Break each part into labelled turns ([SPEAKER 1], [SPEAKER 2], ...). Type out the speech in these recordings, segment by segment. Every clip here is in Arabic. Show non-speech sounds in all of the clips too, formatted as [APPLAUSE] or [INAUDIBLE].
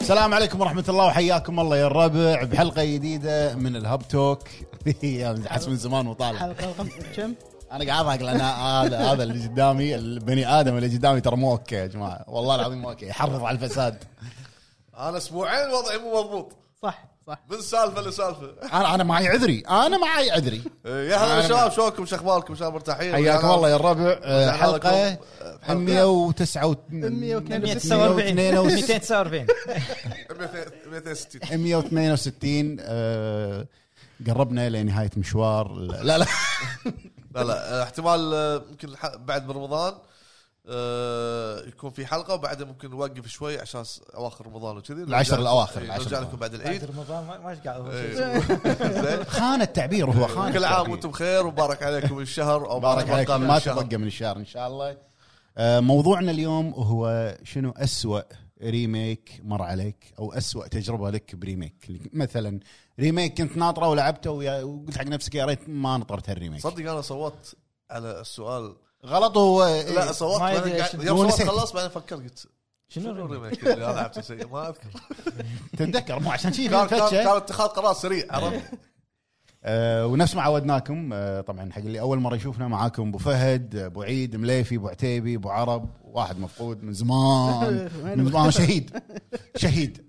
[SPEAKER 1] السلام عليكم ورحمة الله وحياكم الله يا الربع بحلقة جديدة من الهب توك [LAUGHS] حس من زمان وطالع
[SPEAKER 2] [LAUGHS]
[SPEAKER 3] حلقه رقم كم؟
[SPEAKER 1] أنا قاعد أضحك لأن هذا هذا اللي قدامي البني آدم اللي قدامي ترى مو أوكي يا جماعة والله العظيم مو أوكي يحرض على الفساد
[SPEAKER 4] انا اسبوعين وضعي مو مضبوط
[SPEAKER 3] صح صح
[SPEAKER 4] من سالفه
[SPEAKER 1] [LAUGHS]
[SPEAKER 4] لسالفه
[SPEAKER 1] أنا أنا معي عذري أنا معي عذري
[SPEAKER 4] يا هلا بالشباب شلونكم شو اخباركم شباب مرتاحين
[SPEAKER 1] حياكم الله يا الربع آه،
[SPEAKER 4] وسهلا
[SPEAKER 1] حلقة
[SPEAKER 4] لكم. حلقة.
[SPEAKER 1] 149
[SPEAKER 3] 149 249
[SPEAKER 4] 260
[SPEAKER 1] 162 آه، قربنا لنهاية مشوار لا لا
[SPEAKER 4] لا لا آه، احتمال آه، يمكن الح- بعد من رمضان آه، يكون في حلقه وبعدها ممكن نوقف شوي عشان س- اواخر رمضان وكذي
[SPEAKER 1] العشر
[SPEAKER 4] نرجع-
[SPEAKER 1] الأواخر،
[SPEAKER 4] إيه،
[SPEAKER 1] العشر
[SPEAKER 4] نرجع
[SPEAKER 1] الأواخر.
[SPEAKER 4] لكم بعد
[SPEAKER 2] بعد
[SPEAKER 4] العيد
[SPEAKER 2] رمضان ما- ما ايش قاعد هو شيء.
[SPEAKER 4] إيه. [LAUGHS] زين.
[SPEAKER 1] خان التعبير هو خان
[SPEAKER 4] كل عام
[SPEAKER 1] التعبير.
[SPEAKER 4] وانتم بخير وبارك عليكم الشهر او
[SPEAKER 1] بارك
[SPEAKER 4] بارك
[SPEAKER 1] عليكم
[SPEAKER 4] عليكم
[SPEAKER 1] ما
[SPEAKER 4] الشهر.
[SPEAKER 1] تبقى من الشهر ان شاء الله آه، موضوعنا اليوم هو شنو أسوأ ريميك مر عليك او أسوأ تجربه لك بريميك مثلا ريميك كنت ناطره ولعبته ويا- وقلت حق نفسك يا ريت ما نطرت هالريميك
[SPEAKER 4] صدق انا صوتت على السؤال
[SPEAKER 1] غلط هو إيه،
[SPEAKER 4] لا صوت
[SPEAKER 2] ما
[SPEAKER 4] بعدين
[SPEAKER 2] يدري
[SPEAKER 4] قاعد-
[SPEAKER 2] إيش-
[SPEAKER 1] هو
[SPEAKER 4] يوم صوت
[SPEAKER 1] نسيت.
[SPEAKER 4] خلص بعدين فكرت قلت شنو الريميك اللي انا لعبته شيء [LAUGHS] ما اذكر
[SPEAKER 1] تتذكر مو عشان شيء
[SPEAKER 4] [LAUGHS] كان
[SPEAKER 1] في
[SPEAKER 4] كان كان
[SPEAKER 1] فتشة.
[SPEAKER 4] اتخاذ قرار سريع عرفت
[SPEAKER 1] آه، ونفس ما عودناكم آه، طبعا حق اللي اول مره يشوفنا معاكم ابو فهد ابو عيد مليفي ابو عتيبي ابو عرب واحد مفقود من
[SPEAKER 4] [LAUGHS]
[SPEAKER 1] زمان من زمان شهيد شهيد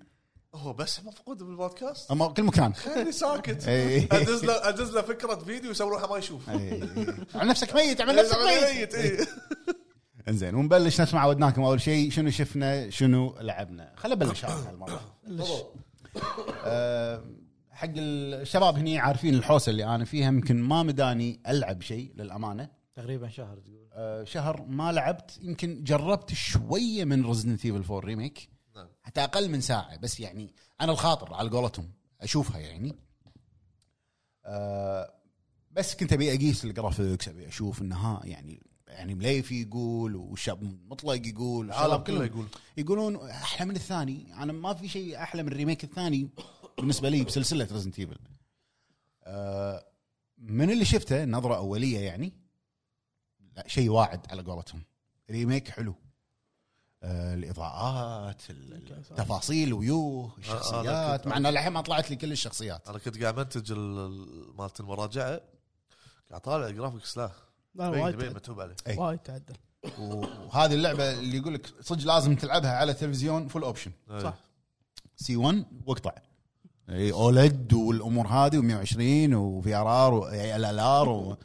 [SPEAKER 4] هو بس مفقود بالبودكاست [LAUGHS]
[SPEAKER 1] أما كل مكان
[SPEAKER 4] خلي ساكت
[SPEAKER 1] إيه.
[SPEAKER 4] ادز له ادز له فكره فيديو يسوي روحه ما يشوف
[SPEAKER 1] إيه. عن نفسك ميت عن نفسك ميت
[SPEAKER 4] [LAUGHS] إيه.
[SPEAKER 1] انزين ونبلش نفس ما عودناكم اول شيء شنو شفنا شنو لعبنا خلينا نبلش أنا هالمره آه، حق الشباب هني عارفين الحوسه اللي انا فيها يمكن ما مداني العب شيء للامانه
[SPEAKER 2] تقريبا شهر تقول
[SPEAKER 1] آه، شهر ما لعبت يمكن جربت شويه من ريزدنت ايفل 4 ريميك
[SPEAKER 4] نعم.
[SPEAKER 1] حتى اقل من ساعه بس يعني انا الخاطر على قولتهم اشوفها يعني آه، بس كنت ابي اقيس الجرافيكس ابي اشوف انها يعني يعني مليفي يقول والشاب مطلق يقول
[SPEAKER 4] العالم
[SPEAKER 1] والشباب
[SPEAKER 4] كله يقول
[SPEAKER 1] يقولون احلى من الثاني انا ما في شيء احلى من الريميك الثاني بالنسبه لي بسلسله ريزنت ايفل آه، من اللي شفته نظره اوليه يعني لا شيء واعد على قولتهم ريميك حلو آه، الاضاءات ال- التفاصيل ويوه
[SPEAKER 4] آه، آه،
[SPEAKER 1] الشخصيات
[SPEAKER 4] كنت-
[SPEAKER 1] مع ان الحين ما طلعت لي كل الشخصيات
[SPEAKER 4] انا كنت قاعد منتج ال- ال- مالت المراجعه قاعد طالع الجرافكس لا
[SPEAKER 3] لا
[SPEAKER 4] يبين- يبين
[SPEAKER 3] وايد
[SPEAKER 4] متعوب عليه
[SPEAKER 1] إيه.
[SPEAKER 3] وايد تعدل
[SPEAKER 1] و- وهذه اللعبه اللي يقول لك صدق لازم تلعبها على تلفزيون فول اوبشن
[SPEAKER 4] إيه.
[SPEAKER 3] صح
[SPEAKER 1] سي 1 واقطع اي اولد والامور هذه و120 وفي ار ار وال ال [LAUGHS] ار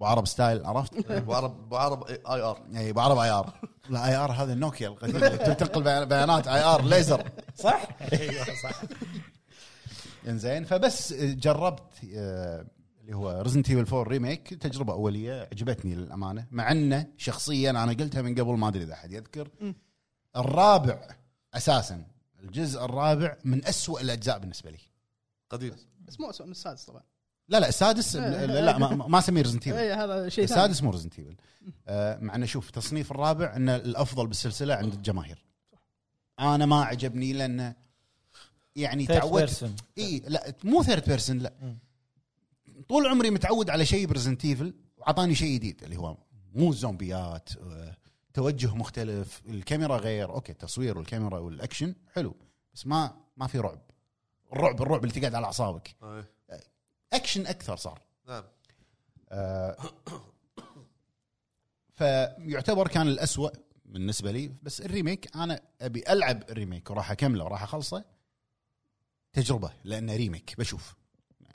[SPEAKER 1] وعرب ستايل عرفت؟
[SPEAKER 4] ابو عرب ابو عرب اي آي ار
[SPEAKER 1] اي بعرب اي ار لا اي ار هذا النوكيا القديم اللي تنقل بيان- بيانات اي ار ليزر
[SPEAKER 2] [LAUGHS] صح؟ ايوه صح
[SPEAKER 1] انزين فبس جربت آه، اللي هو ريزنت ايفل 4 ريميك تجربه اوليه عجبتني للامانه مع انه شخصيا انا قلتها من قبل ما ادري اذا احد يذكر الرابع اساسا الجزء الرابع من أسوأ الاجزاء بالنسبه لي
[SPEAKER 4] قديم
[SPEAKER 3] بس مو اسوء من السادس طبعا
[SPEAKER 1] لا لا السادس
[SPEAKER 3] إيه،
[SPEAKER 1] لا, لا ما, ما اسميه ريزنت ايفل
[SPEAKER 3] اي إيه، هذا شيء ثاني
[SPEAKER 1] السادس مو ريزنت ايفل آه، مع انه شوف تصنيف الرابع انه الافضل بالسلسله عند الجماهير انا ما عجبني لانه يعني تعودت
[SPEAKER 2] بيرسون
[SPEAKER 1] اي لا مو ثيرد بيرسون لا
[SPEAKER 2] مم.
[SPEAKER 1] طول عمري متعود على شيء بريزنت ايفل وعطاني شيء جديد اللي هو مو زومبيات آه، توجه مختلف الكاميرا غير اوكي التصوير والكاميرا والاكشن حلو بس ما ما في رعب الرعب الرعب اللي تقعد على اعصابك
[SPEAKER 4] إيه.
[SPEAKER 1] اكشن اكثر صار
[SPEAKER 4] نعم
[SPEAKER 1] آه، [COUGHS] فيعتبر كان الأسوأ بالنسبة لي بس الريميك أنا أبي ألعب الريميك وراح أكمله وراح أخلصه تجربة لأنه ريميك بشوف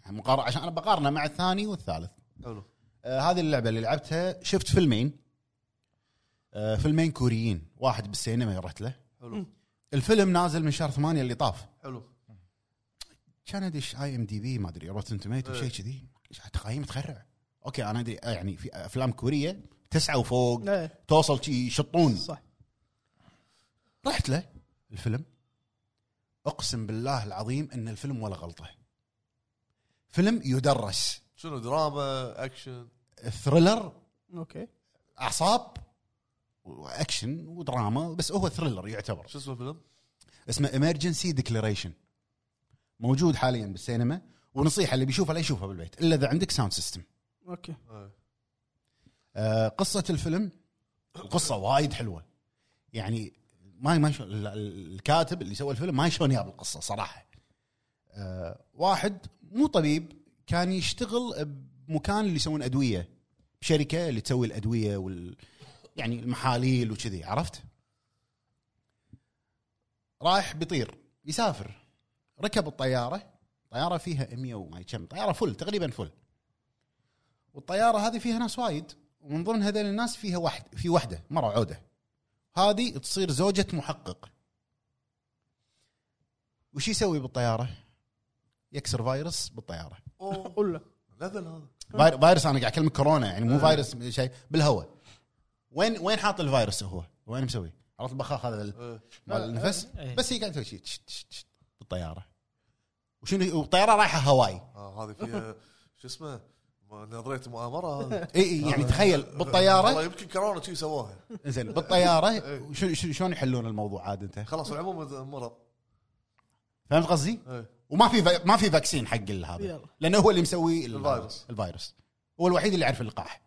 [SPEAKER 1] مقارنة عشان أنا بقارنه مع الثاني والثالث
[SPEAKER 4] حلو
[SPEAKER 1] آه هذه اللعبة اللي لعبتها شفت فيلمين آه فيلمين كوريين واحد بالسينما رحت له
[SPEAKER 4] حلو
[SPEAKER 1] الفيلم نازل من شهر ثمانية اللي طاف
[SPEAKER 4] حلو
[SPEAKER 1] كان ادش اي ام دي بي ما ادري روتن توميتو
[SPEAKER 4] إيه.
[SPEAKER 1] شيء كذي تقايم تخرع اوكي انا ادري آه، يعني في افلام كوريه تسعه وفوق
[SPEAKER 3] إيه،
[SPEAKER 1] توصل شي يشطون
[SPEAKER 3] صح
[SPEAKER 1] رحت له الفيلم اقسم بالله العظيم ان الفيلم ولا غلطه فيلم يدرس
[SPEAKER 4] شنو دراما اكشن
[SPEAKER 1] ثريلر
[SPEAKER 3] اوكي
[SPEAKER 1] اعصاب واكشن ودراما بس هو ثريلر يعتبر
[SPEAKER 4] شو اسمه الفيلم؟
[SPEAKER 1] اسمه امرجنسي ديكلاريشن موجود حاليا بالسينما ونصيحه اللي بيشوفها لا يشوفها بالبيت الا اذا عندك ساوند سيستم
[SPEAKER 3] اوكي
[SPEAKER 4] إيه.
[SPEAKER 1] آه، قصة الفيلم قصة وايد حلوة يعني ما ما شلون- ال- ال- الكاتب اللي سوى الفيلم ما شلون ياب القصه صراحه آه، واحد مو طبيب كان يشتغل بمكان اللي يسوون ادويه بشركه اللي تسوي الادويه وال يعني المحاليل وكذي عرفت؟ رايح بيطير يسافر ركب الطياره طياره فيها 100 وما كم طياره فل تقريبا فل والطياره هذه فيها ناس وايد ومن ضمن هذول الناس فيها واحد في وحده مره عوده هذه تصير زوجة محقق وش يسوي بالطيارة يكسر فيروس بالطيارة
[SPEAKER 4] [LAUGHS] أوه،
[SPEAKER 3] قول له
[SPEAKER 4] ليفل هذا
[SPEAKER 1] فاير- فيروس أنا قاعد أكلمك كورونا يعني
[SPEAKER 3] آه.
[SPEAKER 1] مو فيروس شيء بالهواء وين وين حاط الفيروس هو وين مسوي عرفت البخاخ هذا ال-
[SPEAKER 4] إيه.
[SPEAKER 1] مال
[SPEAKER 3] آه،
[SPEAKER 1] النفس
[SPEAKER 2] إيه.
[SPEAKER 1] بس هي قاعدة تسوي شي تش- تش- تش بالطيارة وشنو والطيارة رايحة هواي
[SPEAKER 4] آه، هذه فيها شو اسمه ما- نظريه مؤامره هذه
[SPEAKER 1] اي اي
[SPEAKER 3] آه.
[SPEAKER 1] يعني تخيل
[SPEAKER 4] والله
[SPEAKER 1] بالطيارة
[SPEAKER 4] يمكن كورونا شي سواها
[SPEAKER 1] زين
[SPEAKER 4] [LAUGHS]
[SPEAKER 1] بالطيارة
[SPEAKER 4] إيه.
[SPEAKER 1] شو- شو- شلون يحلون الموضوع عاد انت
[SPEAKER 4] خلاص العموم مرض
[SPEAKER 1] فهمت قصدي؟
[SPEAKER 4] إيه.
[SPEAKER 1] وما في فا- ما في فاكسين حق ال- هذا
[SPEAKER 3] يلا.
[SPEAKER 1] لانه هو اللي مسوي ال-
[SPEAKER 4] الفيروس.
[SPEAKER 1] الفيروس هو الوحيد اللي يعرف اللقاح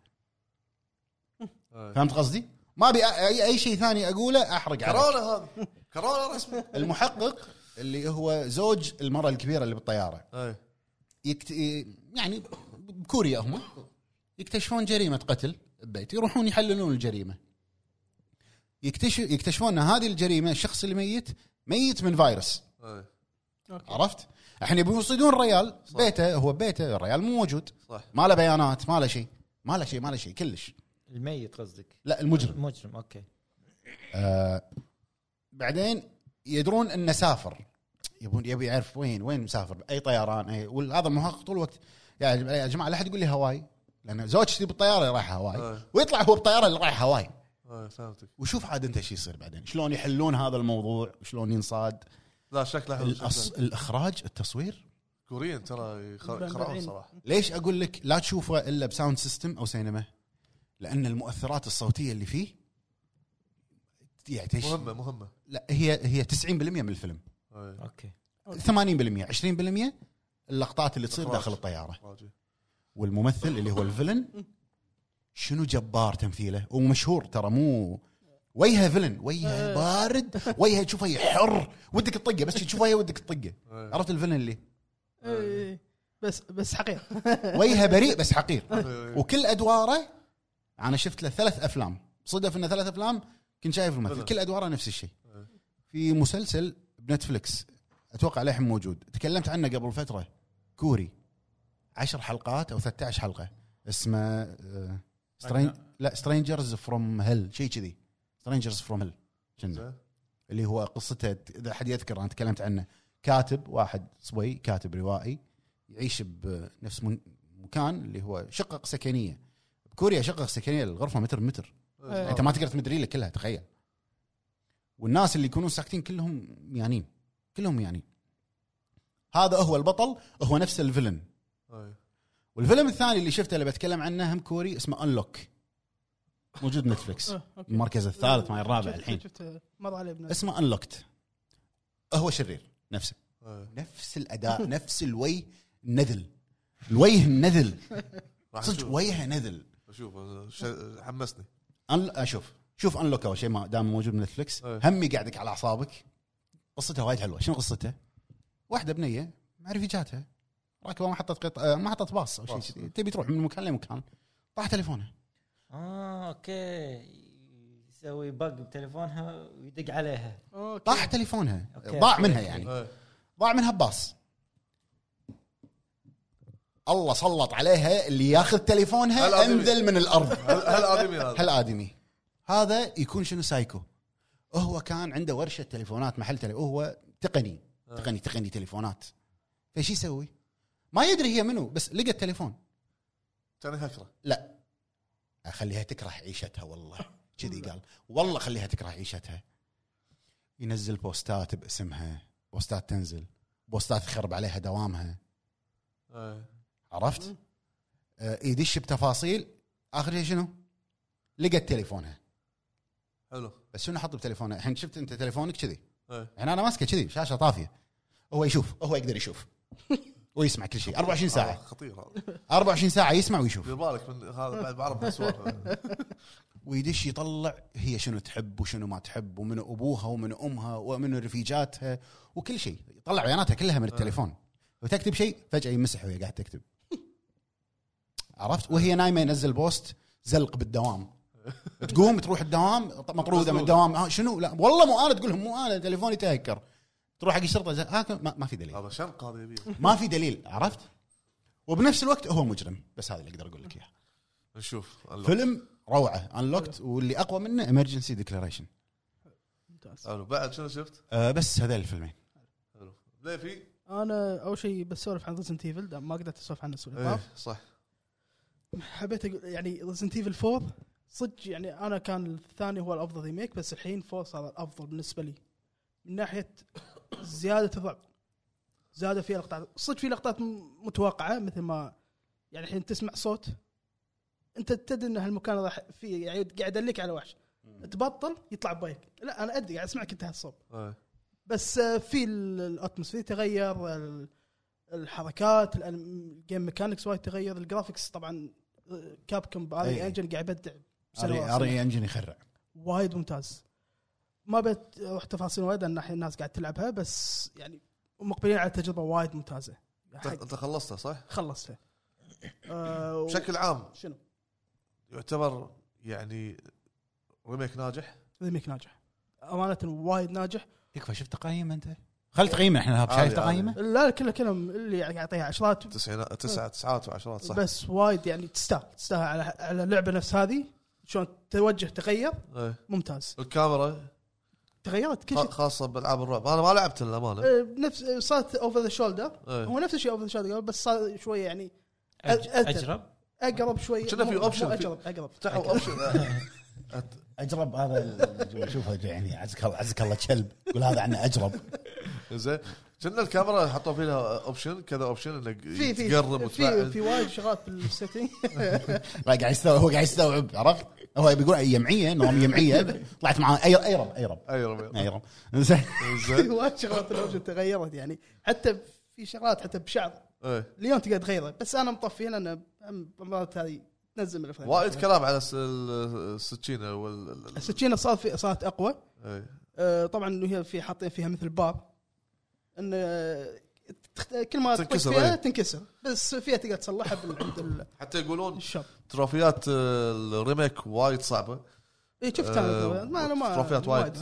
[SPEAKER 4] إيه.
[SPEAKER 1] فهمت قصدي؟ ما ابي أ- اي اي شيء ثاني اقوله احرق عليك
[SPEAKER 4] كورونا هذا كورونا رسمي
[SPEAKER 1] المحقق اللي هو زوج المراه الكبيره اللي بالطياره
[SPEAKER 4] إيه.
[SPEAKER 1] يكت... يعني بكوريا هم يكتشفون جريمه قتل ببيت يروحون يحللون الجريمه يكتشف يكتشفون ان هذه الجريمه الشخص اللي ميت ميت من فيروس
[SPEAKER 4] إيه.
[SPEAKER 3] اوكي
[SPEAKER 1] عرفت؟ الحين يبون يصيدون الريال بيته هو بيته الريال مو موجود
[SPEAKER 4] صح
[SPEAKER 1] ما له بيانات ما له شيء ما له شيء ما له شيء كلش
[SPEAKER 2] الميت قصدك
[SPEAKER 1] لا المجرم
[SPEAKER 2] مجرم اوكي
[SPEAKER 1] آه بعدين يدرون انه سافر يبون يبي يعرف وين وين مسافر اي طيران اي وهذا المحقق طول الوقت يا جماعة- يا جماعه لا حد يقول لي هواي لان زوجتي بالطياره رايحه هواي
[SPEAKER 4] أي.
[SPEAKER 1] ويطلع هو بالطياره اللي رايح هواي
[SPEAKER 4] إيه، فهمتك
[SPEAKER 1] وشوف عاد انت شو يصير بعدين شلون يحلون هذا الموضوع شلون ينصاد
[SPEAKER 4] لا شكله حلو
[SPEAKER 1] الأص...
[SPEAKER 4] شكله.
[SPEAKER 1] الاخراج التصوير
[SPEAKER 4] كوريين ترى يخ- يخرعون
[SPEAKER 3] مبدعين.
[SPEAKER 4] صراحه
[SPEAKER 1] ليش اقول لك لا تشوفه الا بساوند سيستم او سينما لان المؤثرات الصوتيه اللي فيه يعني تش...
[SPEAKER 4] مهمه مهمه
[SPEAKER 1] لا هي هي 90% من الفيلم
[SPEAKER 4] إيه.
[SPEAKER 2] اوكي
[SPEAKER 1] 80% 20% اللقطات اللي تصير
[SPEAKER 4] الإخراج.
[SPEAKER 1] داخل الطياره
[SPEAKER 4] راجي.
[SPEAKER 1] والممثل اللي هو الفيلن شنو جبار تمثيله ومشهور ترى مو وجهه فيلن وجهه
[SPEAKER 3] إيه.
[SPEAKER 1] بارد وجهه تشوفه يحر ودك تطقه بس تشوفه هي ودك تطقه
[SPEAKER 4] إيه.
[SPEAKER 1] عرفت الفيلن اللي
[SPEAKER 3] إي، إي. إيه، بس بس حقيقه
[SPEAKER 1] وجهه بريء بس حقير
[SPEAKER 4] إيه.
[SPEAKER 1] وكل ادواره انا شفت له ثلاث افلام صدف انه ثلاث افلام كنت شايف الممثل
[SPEAKER 4] بلى.
[SPEAKER 1] كل ادواره نفس الشيء
[SPEAKER 4] إيه.
[SPEAKER 1] في مسلسل بنتفلكس اتوقع للحين موجود تكلمت عنه قبل فتره كوري عشر حلقات او 13 حلقه اسمه سترين لا سترينجرز فروم هيل شيء كذي سترينجرز فروم هيل
[SPEAKER 4] زين.
[SPEAKER 1] اللي هو قصته اذا حد يذكر انا تكلمت عنه كاتب واحد صبي كاتب روائي يعيش بنفس من- مكان اللي هو شقق سكنيه بكوريا شقق سكنيه الغرفه متر متر
[SPEAKER 3] إيه.
[SPEAKER 1] انت ما تقدر تمد ريلك كلها تخيل والناس اللي يكونون ساكتين كلهم ميانين كلهم ميانين هذا هو البطل هو نفس الفيلن
[SPEAKER 4] إيه.
[SPEAKER 1] والفيلم الثاني اللي شفته اللي بتكلم عنه هم كوري اسمه انلوك موجود نتفلكس
[SPEAKER 3] آه، أوكي.
[SPEAKER 1] المركز الثالث مع الرابع
[SPEAKER 3] شفت-
[SPEAKER 1] الحين
[SPEAKER 3] شفت مر علي ابن
[SPEAKER 1] اسمه انلوكت هو شرير نفسه
[SPEAKER 4] إيه.
[SPEAKER 1] نفس الاداء
[SPEAKER 3] [LAUGHS]
[SPEAKER 1] نفس الوي النذل الوجه النذل
[SPEAKER 4] راح
[SPEAKER 1] صدق
[SPEAKER 4] نشوف
[SPEAKER 1] وجهه نذل
[SPEAKER 4] اشوف ش- حمسني
[SPEAKER 1] أن... اشوف شوف انلوك اول شيء ما دام موجود بنتفلكس
[SPEAKER 3] إيه.
[SPEAKER 4] أي.
[SPEAKER 1] هم يقعدك على اعصابك قصته وايد حلوه شنو قصته؟ واحده بنيه مع رفيجاتها راكبه محطه قط... آه، محطه باص او شيء
[SPEAKER 4] باص.
[SPEAKER 1] كذي تبي تروح من مكان لمكان طاح تليفونه
[SPEAKER 2] اه اوكي يسوي بق بتليفونها ويدق عليها
[SPEAKER 3] أوكي.
[SPEAKER 1] طاح تليفونها
[SPEAKER 2] أوكي.
[SPEAKER 1] ضاع منها يعني
[SPEAKER 4] إيه.
[SPEAKER 1] ضاع منها بباص الله سلط عليها اللي ياخذ تليفونها
[SPEAKER 4] الآدمي.
[SPEAKER 1] انذل من الارض
[SPEAKER 4] هل هل ادمي هذا
[SPEAKER 1] هالادمي هذا يكون شنو سايكو هو كان عنده ورشه تليفونات محل تليفون هو تقني تقني تقني تليفونات فشي يسوي ما يدري هي منو بس لقى التليفون
[SPEAKER 4] كان هكره
[SPEAKER 1] لا اخليها تكره عيشتها والله كذي قال والله خليها تكره عيشتها ينزل بوستات باسمها بوستات تنزل بوستات يخرب عليها دوامها
[SPEAKER 4] إيه.
[SPEAKER 1] عرفت؟ آه، يدش بتفاصيل اخر شيء شنو؟ لقت تليفونها
[SPEAKER 4] حلو
[SPEAKER 1] بس شنو حط بتليفونه؟ الحين شفت انت تليفونك كذي
[SPEAKER 4] إيه.
[SPEAKER 1] الحين انا ماسكه كذي شاشه طافيه هو يشوف هو يقدر يشوف ويسمع كل شيء 24
[SPEAKER 4] آه،
[SPEAKER 1] ساعه
[SPEAKER 4] خطير هذا
[SPEAKER 1] 24 ساعه يسمع ويشوف
[SPEAKER 3] [LAUGHS]
[SPEAKER 4] دير بالك من هذا بعد بعرف من السوالف
[SPEAKER 1] ويدش يطلع هي شنو تحب وشنو ما تحب ومن ابوها ومن امها ومن رفيجاتها وكل شيء يطلع بياناتها كلها من التليفون وتكتب شيء فجاه يمسح وهي قاعده تكتب [LAUGHS] عرفت وهي نايمه ينزل بوست زلق بالدوام تقوم تروح الدوام ط- مطروده من الدوام آه شنو لا والله مو انا تقول لهم مو انا تليفوني تهكر تروح حق الشرطه زي- آه ما, ما في دليل
[SPEAKER 4] هذا شنق هذا يبي
[SPEAKER 1] ما في دليل عرفت وبنفس الوقت هو مجرم بس هذا اللي اقدر اقول لك اياه
[SPEAKER 4] نشوف الله.
[SPEAKER 1] فيلم روعه انلوكت واللي اقوى منه امرجنسي ديكلاريشن
[SPEAKER 3] ممتاز
[SPEAKER 4] حلو بعد شنو شفت؟
[SPEAKER 1] أه بس هذول الفيلمين
[SPEAKER 4] حلو ليفي
[SPEAKER 3] انا اول شيء بسولف عن ريزنت ايفل ما قدرت اسولف عنه الاسبوع اللي طاف.
[SPEAKER 4] ايه صح
[SPEAKER 3] حبيت اقول يعني ريزنت ايفل 4 صدق يعني انا كان الثاني هو الافضل ريميك بس الحين 4 صار الافضل بالنسبه لي من ناحيه زياده الرعب زاد فيها لقطات صدق في لقطات م- متوقعه مثل ما يعني الحين تسمع صوت انت تدري ان هالمكان راح فيه يعني قاعد ادلك على وحش تبطل يطلع بايك لا انا ادري قاعد اسمعك انت هالصوت
[SPEAKER 4] ايه
[SPEAKER 3] بس آه، في ال- الاتموسفير تغير ال- الحركات ال- الجيم ميكانكس وايد تغير آه، الجرافكس طبعا كاب كم بهذا
[SPEAKER 1] أي.
[SPEAKER 3] انجن قاعد يبدع
[SPEAKER 1] اري
[SPEAKER 3] بسنوات.
[SPEAKER 1] اري انجن يخرع
[SPEAKER 3] وايد ممتاز ما بت اروح تفاصيل وايد لان الحين الناس قاعد تلعبها بس يعني مقبلين على تجربه وايد ممتازه
[SPEAKER 4] أنت- انت خلصته صح؟
[SPEAKER 3] خلصتها آه،
[SPEAKER 4] [LAUGHS]
[SPEAKER 3] و-
[SPEAKER 4] بشكل عام
[SPEAKER 3] شنو
[SPEAKER 4] يعتبر يعني ريميك ناجح
[SPEAKER 3] ريميك ناجح امانه وايد ناجح
[SPEAKER 1] يكفى شفت تقييمه انت خل تقييمه احنا هاب، شايف
[SPEAKER 4] عادي،
[SPEAKER 1] تقييمه
[SPEAKER 3] لا كله كلام اللي قاعد يعطيها عشرات
[SPEAKER 4] تسعينات تسعة تسعات وعشرات صح؟
[SPEAKER 3] إيه. بس وايد يعني تستاهل تستاهل على على لعبه نفس هذه شلون توجه تغير
[SPEAKER 4] ايه
[SPEAKER 3] ممتاز
[SPEAKER 4] الكاميرا
[SPEAKER 3] تغيرت كل
[SPEAKER 4] خ-
[SPEAKER 3] شيء
[SPEAKER 4] خاصه بالعاب الرعب انا ما لعبت للامانه
[SPEAKER 3] آه، نفس آه، صارت اوفر ذا شولدر
[SPEAKER 4] إيه.
[SPEAKER 3] هو نفس الشيء اوفر ذا شولدر بس صار شويه يعني
[SPEAKER 2] أج-
[SPEAKER 3] أج-
[SPEAKER 2] اجرب
[SPEAKER 3] اقرب شويه
[SPEAKER 4] كنا في
[SPEAKER 3] مو- مو
[SPEAKER 4] option في-
[SPEAKER 3] اقرب اقرب
[SPEAKER 4] فتحوا اوبشن
[SPEAKER 1] اجرب هذا [LAUGHS] شوفه يعني عزك الله عزك الله [LAUGHS] كلب قول هذا عنه اجرب
[SPEAKER 4] [LAUGHS] زين كنا الكاميرا حطوا فيها اوبشن كذا اوبشن انك
[SPEAKER 3] في في
[SPEAKER 4] تقرب
[SPEAKER 3] في في
[SPEAKER 4] وتبعد
[SPEAKER 3] وايد شغلات بالسيتنج
[SPEAKER 4] [LAUGHS]
[SPEAKER 1] لا
[SPEAKER 3] [LAUGHS]
[SPEAKER 1] قاعد يستوعب هو قاعد يستوعب عرفت هو بيقول يمعيه نظام يمعيه طلعت معاه أي- ايرب ايرب
[SPEAKER 4] اي أيوة، ربيع
[SPEAKER 1] ايرب زين
[SPEAKER 4] زين
[SPEAKER 3] وايد شغلات الاوبشن تغيرت يعني حتى في شغلات حتى بشعر
[SPEAKER 4] إيه.
[SPEAKER 3] اليوم تقدر تغيره بس انا مطفي لان أم- مرات هذه تنزل من الافلام
[SPEAKER 4] وايد كلام على الس- ال- السكينه وال ال- ال-
[SPEAKER 3] السكينه صار في صارت اقوى
[SPEAKER 4] إيه.
[SPEAKER 3] آه، طبعا انه هي في حاطين فيها مثل بار ان آه، تخت- كل ما تطق
[SPEAKER 4] تنكسر،
[SPEAKER 3] فيها
[SPEAKER 4] إيه.
[SPEAKER 3] تنكسر بس فيها تقدر تصلحها بال- عند ال-
[SPEAKER 4] حتى يقولون
[SPEAKER 3] الشر
[SPEAKER 4] تروفيات آه، الريميك وايد صعبه
[SPEAKER 3] اي شفت
[SPEAKER 4] آه،
[SPEAKER 3] انا إيه، ما انا ما
[SPEAKER 4] تروفيات
[SPEAKER 3] ما
[SPEAKER 4] وايد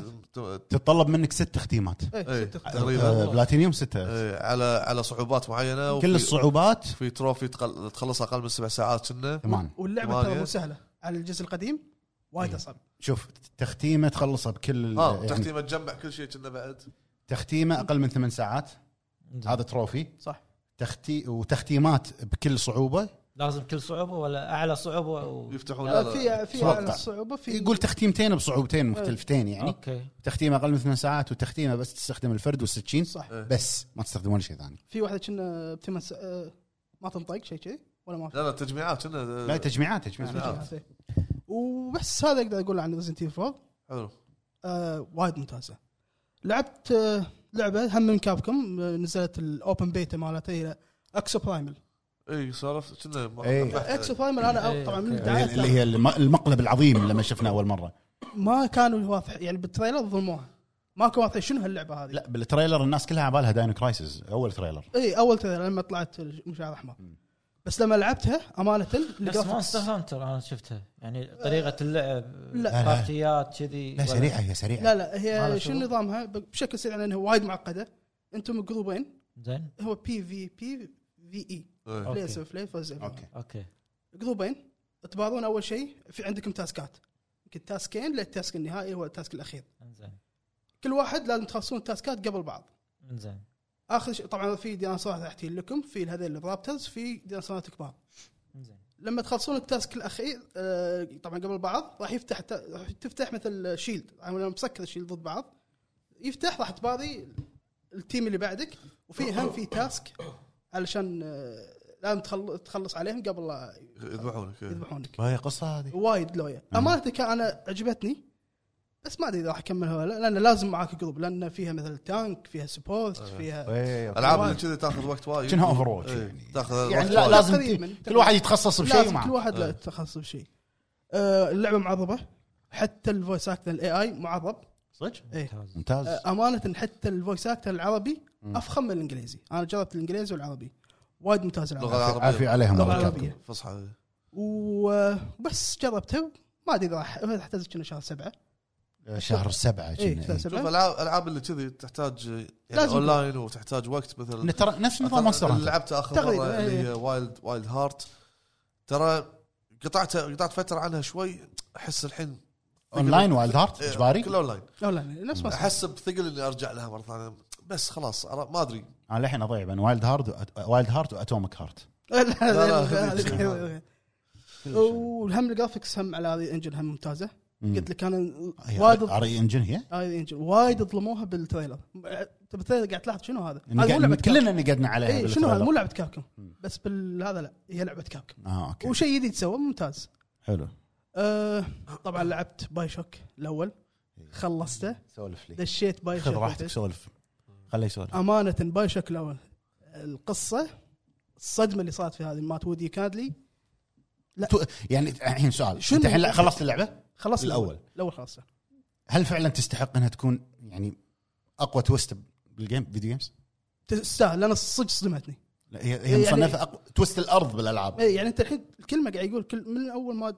[SPEAKER 1] تتطلب منك ست ختيمات
[SPEAKER 3] إيه،
[SPEAKER 4] إيه.
[SPEAKER 3] شفت اختي.
[SPEAKER 4] تقريبا
[SPEAKER 1] آه، بلاتينيوم ستة
[SPEAKER 4] إيه، على على صعوبات معينه وفي-
[SPEAKER 1] كل الصعوبات
[SPEAKER 4] في تروفي تقل- تخلصها اقل من سبع ساعات كنا
[SPEAKER 1] ثمان
[SPEAKER 3] واللعبه ترى
[SPEAKER 4] ثمانية.
[SPEAKER 3] مو سهله على الجزء القديم وايد
[SPEAKER 4] إيه.
[SPEAKER 3] اصعب
[SPEAKER 1] شوف تختيمه تخلصها بكل ال-
[SPEAKER 4] اه
[SPEAKER 1] يعني
[SPEAKER 4] تحتي متجمع كل شيء كنا بعد
[SPEAKER 1] تختيمه اقل من ثمان ساعات هذا تروفي
[SPEAKER 3] صح
[SPEAKER 1] تختي وتختيمات بكل صعوبه
[SPEAKER 2] لازم كل صعوبه ولا اعلى صعوبه و...
[SPEAKER 4] يفتحون
[SPEAKER 3] آه،
[SPEAKER 4] هذا.
[SPEAKER 3] في في
[SPEAKER 1] صعب.
[SPEAKER 3] على الصعوبه في
[SPEAKER 1] يقول تختيمتين بصعوبتين مختلفتين يعني
[SPEAKER 2] اوكي
[SPEAKER 1] تختيمه اقل من ثمان ساعات وتختيمه بس تستخدم الفرد والسكين
[SPEAKER 3] صح
[SPEAKER 1] بس ما تستخدم ولا شيء ثاني
[SPEAKER 3] في واحده كنا بثمان س- آه، ما تنطق شيء كذي ولا ما في
[SPEAKER 4] لا لا تجميعات كنا آه،
[SPEAKER 1] لا تجميعات تجميعات
[SPEAKER 4] تجميعات.
[SPEAKER 3] شيء. وبس هذا اقدر اقول عن ريزنت ايفل 4
[SPEAKER 4] حلو
[SPEAKER 3] آه وايد ممتازه لعبت آه لعبه هم من كابكم آه نزلت الاوبن بيتا مالتها هي اكسو برايمل
[SPEAKER 4] اي صارف إيه، كنا م-
[SPEAKER 1] إيه.
[SPEAKER 4] بحث.
[SPEAKER 3] اكسو برايمل انا
[SPEAKER 2] إيه،
[SPEAKER 3] طبعا من
[SPEAKER 2] أوكي.
[SPEAKER 3] الدعايات
[SPEAKER 1] اللي هي الم- المقلب العظيم لما شفناه اول مره
[SPEAKER 3] ما كانوا واضح يعني بالتريلر ظلموها ما كان واضح شنو هاللعبه هذه
[SPEAKER 1] لا بالتريلر الناس كلها على بالها داينو كرايسز اول تريلر
[SPEAKER 3] اي اول إيه، تريلر لما طلعت المشاعر احمر بس لما لعبتها امانه
[SPEAKER 2] بس مونستر
[SPEAKER 3] الجرافكس
[SPEAKER 2] هانتر انا شفتها يعني طريقه اللعب
[SPEAKER 3] لا.
[SPEAKER 2] بارتيات كذي
[SPEAKER 1] لا سريعه هي سريعه
[SPEAKER 3] لا لا
[SPEAKER 2] ما لها
[SPEAKER 3] هي شنو
[SPEAKER 2] شغل؟
[SPEAKER 3] نظامها بشكل سريع لانها وايد معقده انتم جروبين
[SPEAKER 2] زين
[SPEAKER 3] هو بي في بي في اي
[SPEAKER 4] إيه.
[SPEAKER 2] أوكي.
[SPEAKER 3] بلاي بلاي فوز
[SPEAKER 1] اوكي
[SPEAKER 2] اوكي
[SPEAKER 3] جروبين تبارون اول شيء في عندكم تاسكات يمكن تاسكين للتاسك النهائي هو التاسك الاخير
[SPEAKER 2] انزين
[SPEAKER 3] كل واحد لازم تخلصون التاسكات قبل بعض
[SPEAKER 2] انزين
[SPEAKER 3] اخر شيء طبعا في ديناصورات تحتين لكم في هذول الرابترز في ديناصورات كبار
[SPEAKER 2] انزين
[SPEAKER 3] لما تخلصون التاسك الاخير آه، طبعا قبل بعض راح يفتح التا- راح تفتح مثل شيلد يعني لما مسكر الشيلد ضد بعض يفتح راح تباري التيم اللي بعدك وفي هم في تاسك علشان آه، لازم تخل- تخلص عليهم قبل لا
[SPEAKER 4] يذبحونك إيه.
[SPEAKER 3] يذبحونك
[SPEAKER 1] وهي قصه هذه
[SPEAKER 3] وايد لويا امانه كان انا عجبتني بس ما ادري اذا راح اكملها ولا لا، لان لازم معاك جروب لان فيها مثل تانك فيها سبورت فيها
[SPEAKER 4] العاب اللي كذي تاخذ وقت وايد
[SPEAKER 1] شنها Overwatch
[SPEAKER 4] إيه.
[SPEAKER 1] يعني.
[SPEAKER 4] تاخذ وقت
[SPEAKER 1] إيه، يعني
[SPEAKER 4] وايد
[SPEAKER 1] لا لازم
[SPEAKER 3] تقريباً.
[SPEAKER 1] كل واحد يتخصص بشيء
[SPEAKER 3] لازم كل
[SPEAKER 1] معه
[SPEAKER 3] واحد له تخصص بشيء آه، اللعبه معربه حتى الفويس اكتر الاي اي معرب
[SPEAKER 1] صدق
[SPEAKER 3] ايه
[SPEAKER 2] ممتاز.
[SPEAKER 1] ممتاز
[SPEAKER 3] امانه حتى الفويس اكتر العربي
[SPEAKER 1] مم.
[SPEAKER 3] افخم من الانجليزي انا جربت الانجليزي والعربي وايد ممتاز
[SPEAKER 4] لغة
[SPEAKER 3] العربي
[SPEAKER 4] العربية.
[SPEAKER 1] عافية عليهم
[SPEAKER 3] لغة
[SPEAKER 1] الله
[SPEAKER 3] عربية.
[SPEAKER 1] يكرمك.
[SPEAKER 4] فصحى
[SPEAKER 3] وبس جربته ما ادري اذا راح احتاج كنا شهر سبعه
[SPEAKER 1] شهر سبعة كنا،
[SPEAKER 3] اي شهر
[SPEAKER 1] إيه.
[SPEAKER 4] شوف
[SPEAKER 3] سبعه
[SPEAKER 4] العاب العاب اللي كذي تحتاج يعني
[SPEAKER 3] لازم.
[SPEAKER 4] اونلاين وتحتاج وقت مثلا
[SPEAKER 1] إن ترى نفس نظام مونستر
[SPEAKER 4] اللي
[SPEAKER 1] هانتر.
[SPEAKER 4] لعبته اخر
[SPEAKER 3] تقريباً،
[SPEAKER 4] مره اللي
[SPEAKER 3] إيه.
[SPEAKER 4] هي وايلد وايلد هارت ترى قطعت قطعت فتره عنها شوي احس الحين
[SPEAKER 1] اونلاين وايلد هارت
[SPEAKER 4] إيه،
[SPEAKER 1] اجباري
[SPEAKER 4] كله اونلاين
[SPEAKER 3] لا لا نفس ما
[SPEAKER 4] احس بثقل اني ارجع لها مره ثانيه بس خلاص أرى- ما ادري
[SPEAKER 1] انا الحين اضيع بين وايلد هارت وايلد هارت واتوميك هارت
[SPEAKER 3] لا لا
[SPEAKER 4] لا،
[SPEAKER 3] لا،
[SPEAKER 4] لا.
[SPEAKER 3] لا والهم الجرافكس هم على هذه انجن هم ممتازه قلت لك كان وايد
[SPEAKER 1] ار اي انجن هي
[SPEAKER 3] هذه انجن وايد ظلموها بالتريلر انت بالتريلر قاعد تلاحظ شنو هذا؟
[SPEAKER 1] إن
[SPEAKER 3] هذا مو
[SPEAKER 1] يعني قاعد-
[SPEAKER 3] لعبه
[SPEAKER 1] كلنا نقدنا عليها
[SPEAKER 3] اي شنو هذا
[SPEAKER 1] بالتريلر.
[SPEAKER 3] مو لعبه كابكم
[SPEAKER 1] مم.
[SPEAKER 3] بس بالهذا لا هي لعبه كابكم
[SPEAKER 1] اه اوكي
[SPEAKER 3] وشيء جديد سوى ممتاز
[SPEAKER 1] حلو
[SPEAKER 3] أه طبعا لعبت باي شوك الاول خلصته
[SPEAKER 1] سولف لي
[SPEAKER 3] دشيت باي
[SPEAKER 1] إيه. خذ
[SPEAKER 3] شوك
[SPEAKER 1] راحتك سولف آه، خليه يسولف
[SPEAKER 3] امانه باي شوك الاول القصه الصدمه اللي صارت في هذه مات وودي كادلي لا.
[SPEAKER 1] تو- يعني الحين سؤال
[SPEAKER 3] شنو؟
[SPEAKER 1] انت الحين لا- خلصت اللعبه
[SPEAKER 3] خلصت
[SPEAKER 1] الأول.
[SPEAKER 3] الاول خلصته
[SPEAKER 1] هل فعلا تستحق انها تكون يعني اقوى تويست بالجيم فيديو جيمز؟
[SPEAKER 3] تستاهل لان صدق صدمتني
[SPEAKER 1] لا، هي هي
[SPEAKER 3] يعني-
[SPEAKER 1] مصنفه اقوى تويست الارض بالالعاب
[SPEAKER 3] إيه، يعني انت الحين الكلمه قاعد يقول كل من اول ما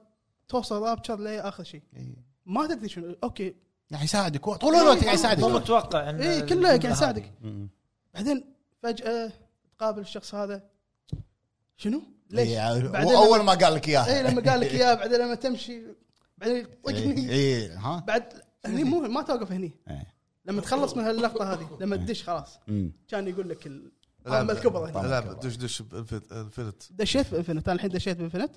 [SPEAKER 3] توصل رابتشر لاخر شيء
[SPEAKER 1] إيه.
[SPEAKER 3] ما تدري شنو اوكي
[SPEAKER 1] قاعد يعني يساعدك هو طول الوقت قاعد
[SPEAKER 2] مو
[SPEAKER 1] يساعدك
[SPEAKER 2] متوقع ان
[SPEAKER 3] اي إيه، كله قاعد
[SPEAKER 2] الجملة
[SPEAKER 3] يساعدك
[SPEAKER 2] هذه.
[SPEAKER 1] م- م.
[SPEAKER 3] بعدين فجاه تقابل الشخص هذا شنو؟ ليش؟
[SPEAKER 1] إيه،
[SPEAKER 3] بعدين
[SPEAKER 1] هو اول ما قال لك اياها
[SPEAKER 3] اي لما قال لك اياه بعدين لما تمشي بعدين
[SPEAKER 1] [LAUGHS] إيه،
[SPEAKER 3] طقني
[SPEAKER 1] اي ها
[SPEAKER 3] بعد هني مو ما توقف هني
[SPEAKER 1] إيه.
[SPEAKER 3] لما تخلص من هاللقطه هذه لما تدش خلاص
[SPEAKER 1] م.
[SPEAKER 3] كان يقول لك ال-
[SPEAKER 4] لا،
[SPEAKER 3] العمل الكبرى هني.
[SPEAKER 4] العب دش دش بانفنت
[SPEAKER 3] دشيت في انفنت انا الحين دشيت في انفنت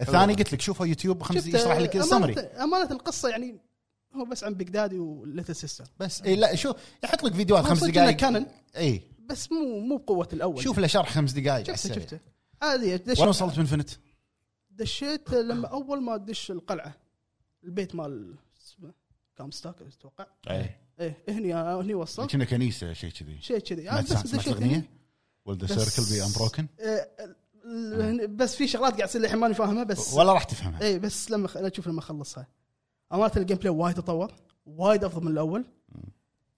[SPEAKER 1] الثاني قلت لك شوفه يوتيوب خمس دقايق يشرح لك السمري
[SPEAKER 3] امانه القصه يعني هو بس عن بيج دادي وليتل سيستر
[SPEAKER 1] بس اي إيه، لا شو يحط لك فيديوهات
[SPEAKER 3] هو
[SPEAKER 1] خمس
[SPEAKER 3] صدق
[SPEAKER 1] دقائق
[SPEAKER 3] إنه كانن.
[SPEAKER 1] اي
[SPEAKER 3] بس مو مو بقوه الاول
[SPEAKER 1] شوف له شرح خمس دقائق
[SPEAKER 3] شفته شفته عادي
[SPEAKER 1] وين
[SPEAKER 3] دشيت
[SPEAKER 1] وصلت من فنت؟
[SPEAKER 3] دشيت لما اول ما تدش القلعه البيت مال اسمه كام ستاك اتوقع
[SPEAKER 1] اي
[SPEAKER 3] ايه هني هني وصلت
[SPEAKER 1] إيه، كنا كنيسه شيء كذي
[SPEAKER 3] شيء كذي آه،
[SPEAKER 1] سمعت
[SPEAKER 3] بس
[SPEAKER 1] سمعت
[SPEAKER 3] دشيت هني.
[SPEAKER 1] الاغنيه؟ Will the
[SPEAKER 3] بس-
[SPEAKER 1] circle be unbroken؟
[SPEAKER 3] آه، ال- ال- بس في شغلات قاعد تصير للحين ماني فاهمها بس إيه.
[SPEAKER 1] ولا راح تفهمها
[SPEAKER 3] اي بس لما خ- اشوف لما اخلصها امانه الجيم بلاي وايد تطور وايد افضل من الاول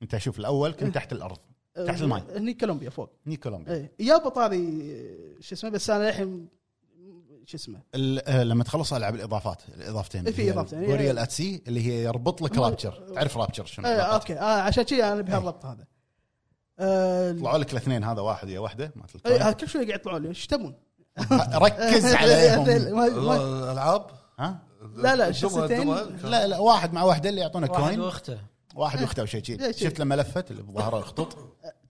[SPEAKER 1] انت شوف الاول
[SPEAKER 3] إيه.
[SPEAKER 1] كنت تحت الارض تحت الماي.
[SPEAKER 3] آه، هني كولومبيا فوق
[SPEAKER 1] ني كولومبيا
[SPEAKER 3] اي إيه، يا بطاري آه، شو اسمه بس انا للحين شو اسمه
[SPEAKER 1] ال- آه، لما تخلص العاب الاضافات الاضافتين
[SPEAKER 3] إيه، في إضافتين. إيه.
[SPEAKER 1] جوريال ات سي اللي هي يربط لك
[SPEAKER 3] ما-
[SPEAKER 1] رابتشر تعرف رابتشر شنو
[SPEAKER 3] اي
[SPEAKER 1] علاقات.
[SPEAKER 3] اوكي آه عشان كذي انا
[SPEAKER 4] إيه.
[SPEAKER 3] بهالربط هذا آه
[SPEAKER 1] طلعوا لك الاثنين هذا واحد يا واحده مالت
[SPEAKER 3] إيه، آه،
[SPEAKER 1] الكورة.
[SPEAKER 3] كل شوي قاعد يطلعوا لي ايش تبون؟
[SPEAKER 1] [LAUGHS]
[SPEAKER 3] إيه،
[SPEAKER 1] ركز عليهم
[SPEAKER 3] ما- ما-
[SPEAKER 4] الالعاب
[SPEAKER 1] ها
[SPEAKER 3] لا، لا، شو
[SPEAKER 4] الدمى-
[SPEAKER 3] ستين؟
[SPEAKER 4] الدمى كان-
[SPEAKER 1] لا لا واحد مع واحده اللي يعطونك
[SPEAKER 2] واحد
[SPEAKER 1] كوين
[SPEAKER 2] واخته
[SPEAKER 1] واحد واخته وشي شي
[SPEAKER 3] إيه، شي.
[SPEAKER 1] شفت لما لفت اللي بظهرها الخطوط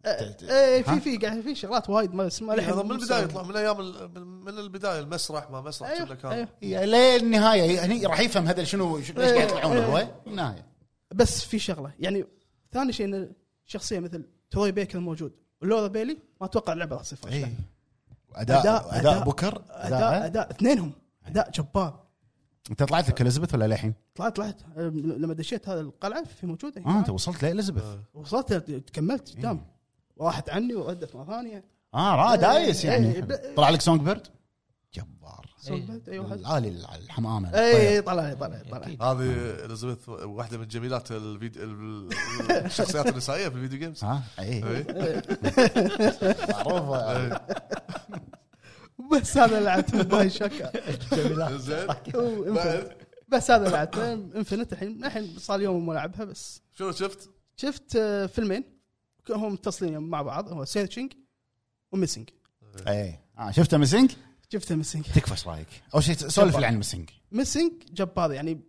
[SPEAKER 3] ايه
[SPEAKER 1] ها؟
[SPEAKER 3] في في قاعد في شغلات وايد ما اسمها
[SPEAKER 4] إيه، هذا من البدايه يطلع من ايام ال- من- من البدايه المسرح ما مسرح كله
[SPEAKER 3] أيوه
[SPEAKER 4] كان
[SPEAKER 3] أيوه
[SPEAKER 1] يا للنهايه يعني راح يفهم هذا شنو شنو-
[SPEAKER 3] إيه،
[SPEAKER 1] ليش قاعد يطلعون هو النهايه
[SPEAKER 3] بس في شغله يعني ثاني شيء ان شخصيه مثل تروي بيكر موجود ولورا بيلي ما اتوقع اللعبه راح تصير فاشله
[SPEAKER 4] إيه.
[SPEAKER 1] اي اداء اداء إيه. بكر
[SPEAKER 3] اداء
[SPEAKER 1] اداء
[SPEAKER 3] اداء اثنينهم
[SPEAKER 4] إيه.
[SPEAKER 3] اداء جبار
[SPEAKER 1] انت طلعت لك اليزابيث ولا للحين؟
[SPEAKER 3] طلعت طلعت أم، لما دشيت هذا القلعه في موجوده
[SPEAKER 1] اه انت وصلت لاليزابيث
[SPEAKER 4] آه.
[SPEAKER 3] وصلت كملت قدام راحت عني وردت مره ثانيه
[SPEAKER 1] اه را دايس
[SPEAKER 3] إيه، أيوة،
[SPEAKER 1] يعني
[SPEAKER 3] ب-
[SPEAKER 1] طلع لك سونج بيرد جبار
[SPEAKER 3] صوبت اي واحد
[SPEAKER 1] العالي الحمامه
[SPEAKER 3] اي
[SPEAKER 1] الطيب.
[SPEAKER 3] إي، طلع لي طلع لي طلع لي.
[SPEAKER 2] أكيد.
[SPEAKER 4] هذه اليزابيث واحده من جميلات الفيديو ال- الشخصيات النسائيه في الفيديو جيمز
[SPEAKER 1] ها اي
[SPEAKER 4] إيه.
[SPEAKER 1] معروفه
[SPEAKER 3] إيه. بس هذا لعبت باي شكا
[SPEAKER 4] زين بعد؟
[SPEAKER 3] بس هذا لعبت انفنت الحين الحين صار لي يوم ما العبها بس
[SPEAKER 4] شنو شفت؟
[SPEAKER 3] شفت آه، فيلمين ك- هم متصلين مع بعض هو سيرشنج وميسنج إيه.
[SPEAKER 1] اي آه شفته مسنج
[SPEAKER 3] شفته ميسنج
[SPEAKER 1] تكفى ايش رايك اول شيء سولف لي عن مسنج
[SPEAKER 3] ميسنج جبار يعني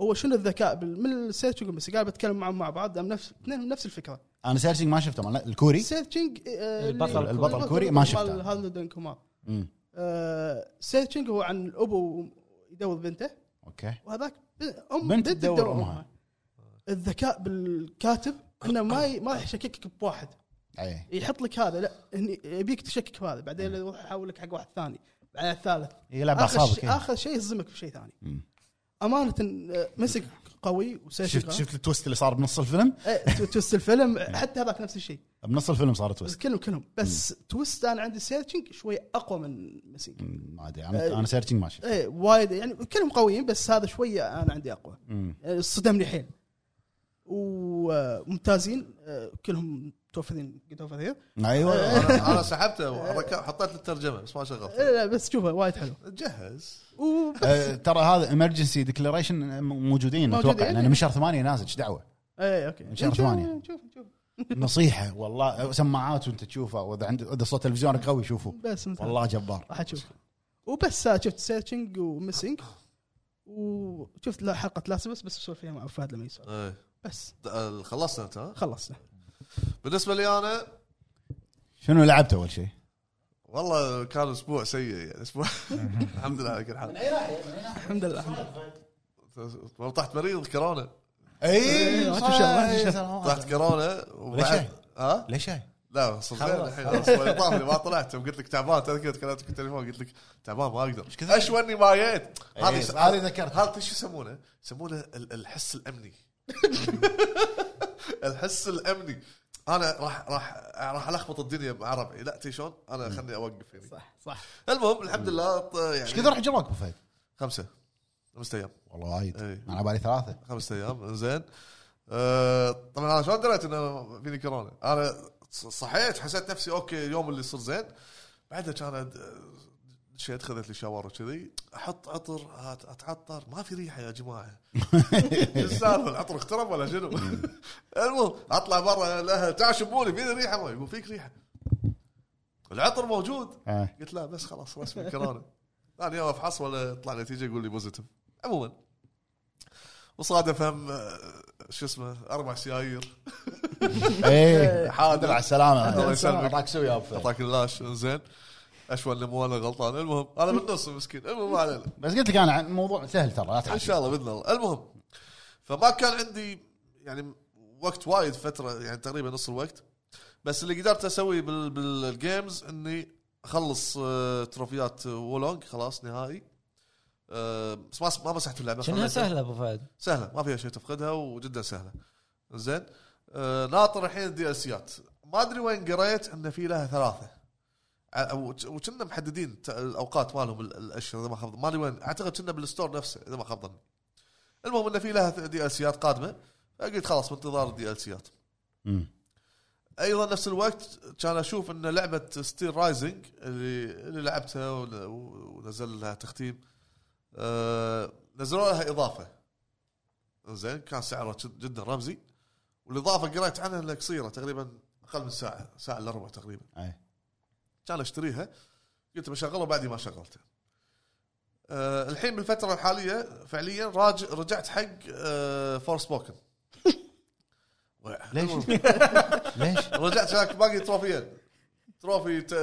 [SPEAKER 3] هو شنو الذكاء بال- من السيرشنج وميسنج قاعد بتكلم معهم مع بعض دام نفس اثنينهم نفس الفكره
[SPEAKER 1] انا سيرشنج ما شفته مال
[SPEAKER 3] إيه؟
[SPEAKER 1] الكوري
[SPEAKER 3] سيرشنج
[SPEAKER 1] إيه،
[SPEAKER 3] آه،
[SPEAKER 2] البطل
[SPEAKER 3] اللي-
[SPEAKER 2] البطل
[SPEAKER 1] الكوري ما شفته.
[SPEAKER 3] مال هالدن كومار
[SPEAKER 1] مم.
[SPEAKER 3] آه، سيرشنج هو عن الابو يدور بنته
[SPEAKER 1] اوكي
[SPEAKER 3] وهذاك ب- ام
[SPEAKER 1] بنت
[SPEAKER 3] بنت
[SPEAKER 1] تدور
[SPEAKER 3] تدور
[SPEAKER 1] أمها.
[SPEAKER 3] امها الذكاء بالكاتب انه ما ي- ما راح يشككك بواحد
[SPEAKER 1] اي
[SPEAKER 3] يحط لك هذا لا هني يبيك تشكك في هذا بعدين يروح يحولك حق واحد ثاني بعدين الثالث
[SPEAKER 1] يلعب
[SPEAKER 3] اخر
[SPEAKER 1] اعصابك
[SPEAKER 3] شيء
[SPEAKER 1] إيه.
[SPEAKER 3] اخر شيء يصدمك بشيء ثاني
[SPEAKER 1] مم.
[SPEAKER 3] امانه آه، مسك قوي وسيف إيه،
[SPEAKER 1] شفت شفت التويست اللي صار بنص الفيلم
[SPEAKER 3] توست الفيلم حتى هذاك نفس الشيء
[SPEAKER 1] بنص الفيلم صار
[SPEAKER 3] بس [LAUGHS]
[SPEAKER 1] تويست
[SPEAKER 3] كلهم كلهم بس توست انا عندي سيرتشنج شوي اقوى من مسيك
[SPEAKER 1] مم، ما ادري انا انا سيرشنج
[SPEAKER 3] [LAUGHS]
[SPEAKER 1] ما شفت
[SPEAKER 3] ايه وايد يعني كلهم قويين بس هذا شوي انا عندي اقوى
[SPEAKER 1] مم.
[SPEAKER 3] يعني صدمني حيل وممتازين آه، كلهم متوفرين قد اوفر
[SPEAKER 1] [LAUGHS] ايوه
[SPEAKER 4] انا أنا سحبته وركب- حطيت الترجمه بس ما شغلت
[SPEAKER 3] إيه، لا بس شوفه وايد حلو
[SPEAKER 4] جهز
[SPEAKER 3] وبس
[SPEAKER 1] آه، ترى هذا امرجنسي ديكلاريشن موجودين اتوقع
[SPEAKER 3] موجودين. إيه.
[SPEAKER 1] لان من شهر ثمانيه نازل إيش
[SPEAKER 3] [LAUGHS]
[SPEAKER 1] دعوه
[SPEAKER 3] ايه اوكي
[SPEAKER 1] شهر
[SPEAKER 3] نشوف-
[SPEAKER 1] ثمانية.
[SPEAKER 3] نشوف نشوف
[SPEAKER 1] نصيحه والله سماعات وانت تشوفه واذا عند اذا صوت تلفزيونك قوي شوفه
[SPEAKER 3] بس مثلاً.
[SPEAKER 1] والله جبار
[SPEAKER 3] راح اشوف وبس آه، شفت سيرشنج ومسنج وشفت لا حلقه لاسبس بس اسولف فيها مع أبو فهد لما يسولف
[SPEAKER 4] إيه.
[SPEAKER 3] بس
[SPEAKER 4] د- خلصنا انت ها
[SPEAKER 3] خلصنا
[SPEAKER 4] بالنسبه لي انا
[SPEAKER 1] شنو لعبت اول شيء؟
[SPEAKER 4] والله كان اسبوع سيء يعني اسبوع الحمد لله على كل حال
[SPEAKER 3] الحمد لله الحمد لله
[SPEAKER 4] والله طحت مريض كورونا
[SPEAKER 1] اي
[SPEAKER 3] ما تشوف شر، ما تشوف
[SPEAKER 4] طحت كورونا
[SPEAKER 1] ليش؟
[SPEAKER 4] وبعد ها
[SPEAKER 1] طيب. ليش هاي؟
[SPEAKER 4] لا صدقني
[SPEAKER 2] خلاص،
[SPEAKER 4] الحين خلاص والله طافني ما طلعت قلت لك تعبان تذكر تكلمتك بالتليفون قلت لك تعبان ما اقدر اشوى اني ما جيت
[SPEAKER 1] إيه،
[SPEAKER 4] هذه
[SPEAKER 1] هذه ذكرتها.
[SPEAKER 4] هذا شو يسمونه؟ يسمونه ال- الحس الامني الحس الامني انا راح راح راح الخبط الدنيا بعربي لا تي شلون؟ انا خلني اوقف هنا
[SPEAKER 3] صح صح
[SPEAKER 4] المهم الحمد لله ط- يعني
[SPEAKER 1] ايش كثر راح جراك ابو فهد؟
[SPEAKER 4] خمسه خمسة ايام
[SPEAKER 1] والله وايد
[SPEAKER 4] إي.
[SPEAKER 1] انا على بالي ثلاثه
[SPEAKER 4] خمسة ايام زين أه طبعا انا شلون دريت انه فيني كورونا؟ انا ص- صحيت حسيت نفسي اوكي اليوم اللي صر زين بعدها كان أد- دشيت خذت لي شاور وكذي احط عطر هات- اتعطر ما في ريحه يا جماعه شو السالفه العطر اخترب ولا شنو؟ المهم اطلع برا الاهل تعال شموني فيني ريحه ما يقول فيك ريحه العطر موجود
[SPEAKER 1] آه.
[SPEAKER 4] قلت لا بس خلاص رسمي [LAUGHS] كورونا ثاني يوم افحص ولا طلع نتيجه يقول لي بوزيتيف عموما وصادف هم آه، شو اسمه اربع سيايير
[SPEAKER 3] [LAUGHS]
[SPEAKER 1] اي
[SPEAKER 4] حاضر.
[SPEAKER 1] على السلامه
[SPEAKER 4] الله يسلمك.
[SPEAKER 1] يعطاك سوي يا ابو فهد.
[SPEAKER 4] اعطاك اللاش زين اشوى انه مو انا غلطان المهم انا بالنص مسكين المهم ما علينا
[SPEAKER 1] بس قلت لك انا عن- الموضوع سهل ترى لا
[SPEAKER 4] ان
[SPEAKER 1] تحس
[SPEAKER 4] شاء الله باذن الله المهم فما كان عندي يعني وقت وايد فتره يعني تقريبا نص الوقت بس اللي قدرت اسويه بال- بالجيمز اني اخلص آه، تروفيات وولونج خلاص نهائي آه، بس ما ما مسحت اللعبه
[SPEAKER 2] شنها
[SPEAKER 4] خليتها.
[SPEAKER 2] سهله ابو فهد
[SPEAKER 4] سهله ما فيها شيء تفقدها وجدا سهله زين آه ناطر الحين الدي اسيات ما ادري وين قريت ان في لها ثلاثه ع- و- وكنا محددين ت- الاوقات مالهم ال- الاشهر اذا ما خاب ما ادري وين اعتقد كنا بالستور نفسه اذا ما خاب ظني المهم ان في لها دي اسيات قادمه فقلت خلاص بانتظار الدي اسيات
[SPEAKER 1] مم.
[SPEAKER 4] ايضا نفس الوقت كان اشوف ان لعبه ستيل رايزنج اللي اللي لعبتها ون- ونزل لها تختيم آه، نزلوا لها اضافه زين كان سعرها جد- جدا رمزي والاضافه قريت عنها انها قصيره تقريبا اقل من ساعه ساعه الا ربع تقريبا
[SPEAKER 1] أي.
[SPEAKER 4] كان اشتريها قلت بشغلها بعدي ما شغلته أه الحين بالفتره الحاليه فعليا راج رجعت حق أه فور [LAUGHS] سبوكن [LAUGHS]
[SPEAKER 1] ليش؟ ليش؟
[SPEAKER 4] رجعت هناك باقي تروفيين تروفي ت-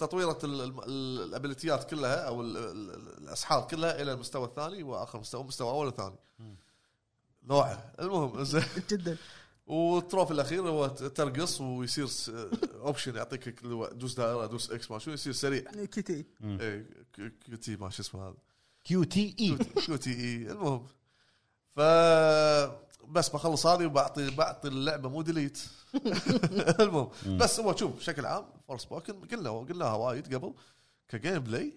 [SPEAKER 4] تطويرة ال- ال- ال- الابيليتيات كلها او ال- ال- الاسحار كلها الى المستوى الثاني واخر مستوى مستوى اول وثاني نوعه المهم زين
[SPEAKER 3] جدا
[SPEAKER 4] والتروفي الاخير هو ت- ترقص ويصير س- اوبشن يعطيك كل و- دوس دائره دوس اكس ما شو يصير سريع
[SPEAKER 3] كيتي
[SPEAKER 4] إيه، ك- كيو تي ما شو اسمه هذا
[SPEAKER 1] كيو تي اي
[SPEAKER 4] كيو تي اي إيه، المهم ف بس بخلص هذه وبعطي بعطي اللعبه مو ديليت [LAUGHS] المهم بس هو شوف بشكل عام فور سبوكن قلنا قلناها وايد قبل كجيم بلاي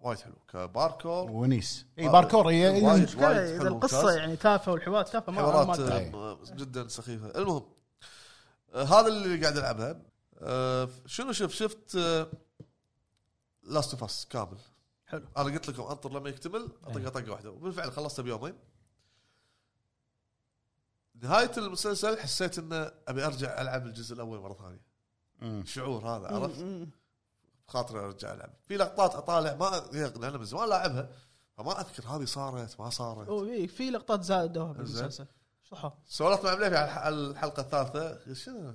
[SPEAKER 4] وايد حلو كباركور
[SPEAKER 1] ونيس اي باركور هي
[SPEAKER 4] وايد.
[SPEAKER 3] اذا
[SPEAKER 4] حلو
[SPEAKER 3] القصه
[SPEAKER 4] ممتاز.
[SPEAKER 3] يعني تافهه والحوار تافه ما ما
[SPEAKER 4] حوارات
[SPEAKER 3] أدري.
[SPEAKER 4] آه، جدا سخيفه المهم آه، هذا اللي قاعد العبها آه، شنو شفت شفت آه، لاست اوف اس كامل
[SPEAKER 3] حلو إيه.
[SPEAKER 4] انا قلت لكم انطر لما يكتمل اطقه طقه واحده وبالفعل خلصته بيومين نهايه المسلسل حسيت انه ابي ارجع العب الجزء الاول مره ثانيه
[SPEAKER 1] مم.
[SPEAKER 4] شعور هذا عرفت
[SPEAKER 3] مم.
[SPEAKER 4] خاطري ارجع العب في لقطات اطالع ما لان من زمان لاعبها فما اذكر هذه صارت ما صارت
[SPEAKER 3] أو إيه، في لقطات زادوها
[SPEAKER 4] زين.
[SPEAKER 3] بالمسلسل شرحوها
[SPEAKER 4] سولفت مع مليفي على الح- على الحلقه الثالثه شنو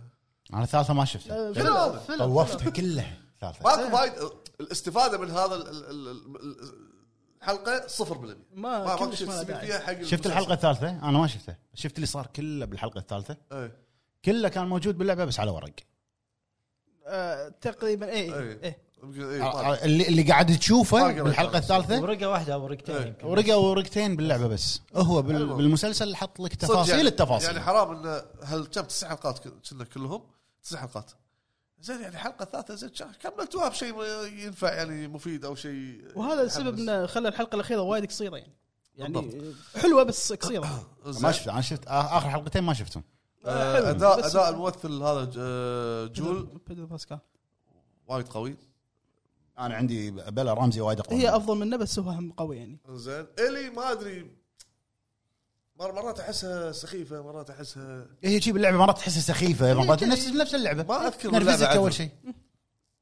[SPEAKER 1] انا الثالثه ما شفتها
[SPEAKER 3] آه،
[SPEAKER 4] فيلم هذا.
[SPEAKER 3] فيلم- فيلم.
[SPEAKER 1] طوفتها كلها الثالثه
[SPEAKER 4] ماكو فايد الاستفاده من هذا ال- ال- ال- ال- الحلقه 0%
[SPEAKER 3] ما
[SPEAKER 4] ما ماكو
[SPEAKER 3] كلش
[SPEAKER 4] شيء
[SPEAKER 3] ما له
[SPEAKER 4] تستفيد
[SPEAKER 3] داعي.
[SPEAKER 4] فيها حق
[SPEAKER 1] شفت الحلقه الثالثه انا ما شفتها شفت اللي صار كله بالحلقه الثالثه
[SPEAKER 4] ايه
[SPEAKER 1] كله كان موجود باللعبه بس على ورق
[SPEAKER 3] آه، تقريبا اي
[SPEAKER 4] إيه.
[SPEAKER 3] اي
[SPEAKER 4] إيه،
[SPEAKER 3] آه،
[SPEAKER 4] طالع.
[SPEAKER 1] أه، اللي اللي قاعد تشوفه
[SPEAKER 4] طاقة
[SPEAKER 1] بالحلقه
[SPEAKER 4] بالحلقة.
[SPEAKER 1] الثالثه
[SPEAKER 2] ورقه واحده او رقتين
[SPEAKER 4] إيه.
[SPEAKER 2] يمكن
[SPEAKER 1] ورقه ورقتين باللعبه بس هو بال-
[SPEAKER 4] حلو.
[SPEAKER 1] بالمسلسل حط لك
[SPEAKER 4] صدق يعني-
[SPEAKER 1] تفاصيل التفاصيل
[SPEAKER 4] يعني حرام انه هل كم تسع حلقات ك- كنا كلهم تسع حلقات زين يعني حلقه ثالثه زين شا- كملتوها بشيء ينفع يعني مفيد او شيء
[SPEAKER 3] وهذا السبب انه خلى الحلقه الاخيره وايد قصيره يعني يعني حلوه
[SPEAKER 4] [COUGHS]
[SPEAKER 3] بس قصيره
[SPEAKER 4] زين.
[SPEAKER 1] ما شفت انا شفت آه، اخر حلقتين ما شفتهم
[SPEAKER 4] آه،
[SPEAKER 3] حلو.
[SPEAKER 4] اداء
[SPEAKER 3] بس-
[SPEAKER 4] اداء الممثل هذا ج- آه، جول
[SPEAKER 3] بيدرو باسكال
[SPEAKER 4] وايد قوي
[SPEAKER 1] انا عندي بلا رمزي وايد اقوى
[SPEAKER 3] هي
[SPEAKER 1] منه.
[SPEAKER 3] افضل منه بس هو هم قوي يعني
[SPEAKER 4] زين الي ما ادري مر- مرات احسها سخيفه مرات احسها
[SPEAKER 1] هي شي باللعبه مرات تحسها سخيفه مرات نفس نفس اللعبه
[SPEAKER 4] إيه، ما أذكر
[SPEAKER 1] نرفزك
[SPEAKER 4] اللعبة
[SPEAKER 1] اول
[SPEAKER 4] عدل.
[SPEAKER 1] شيء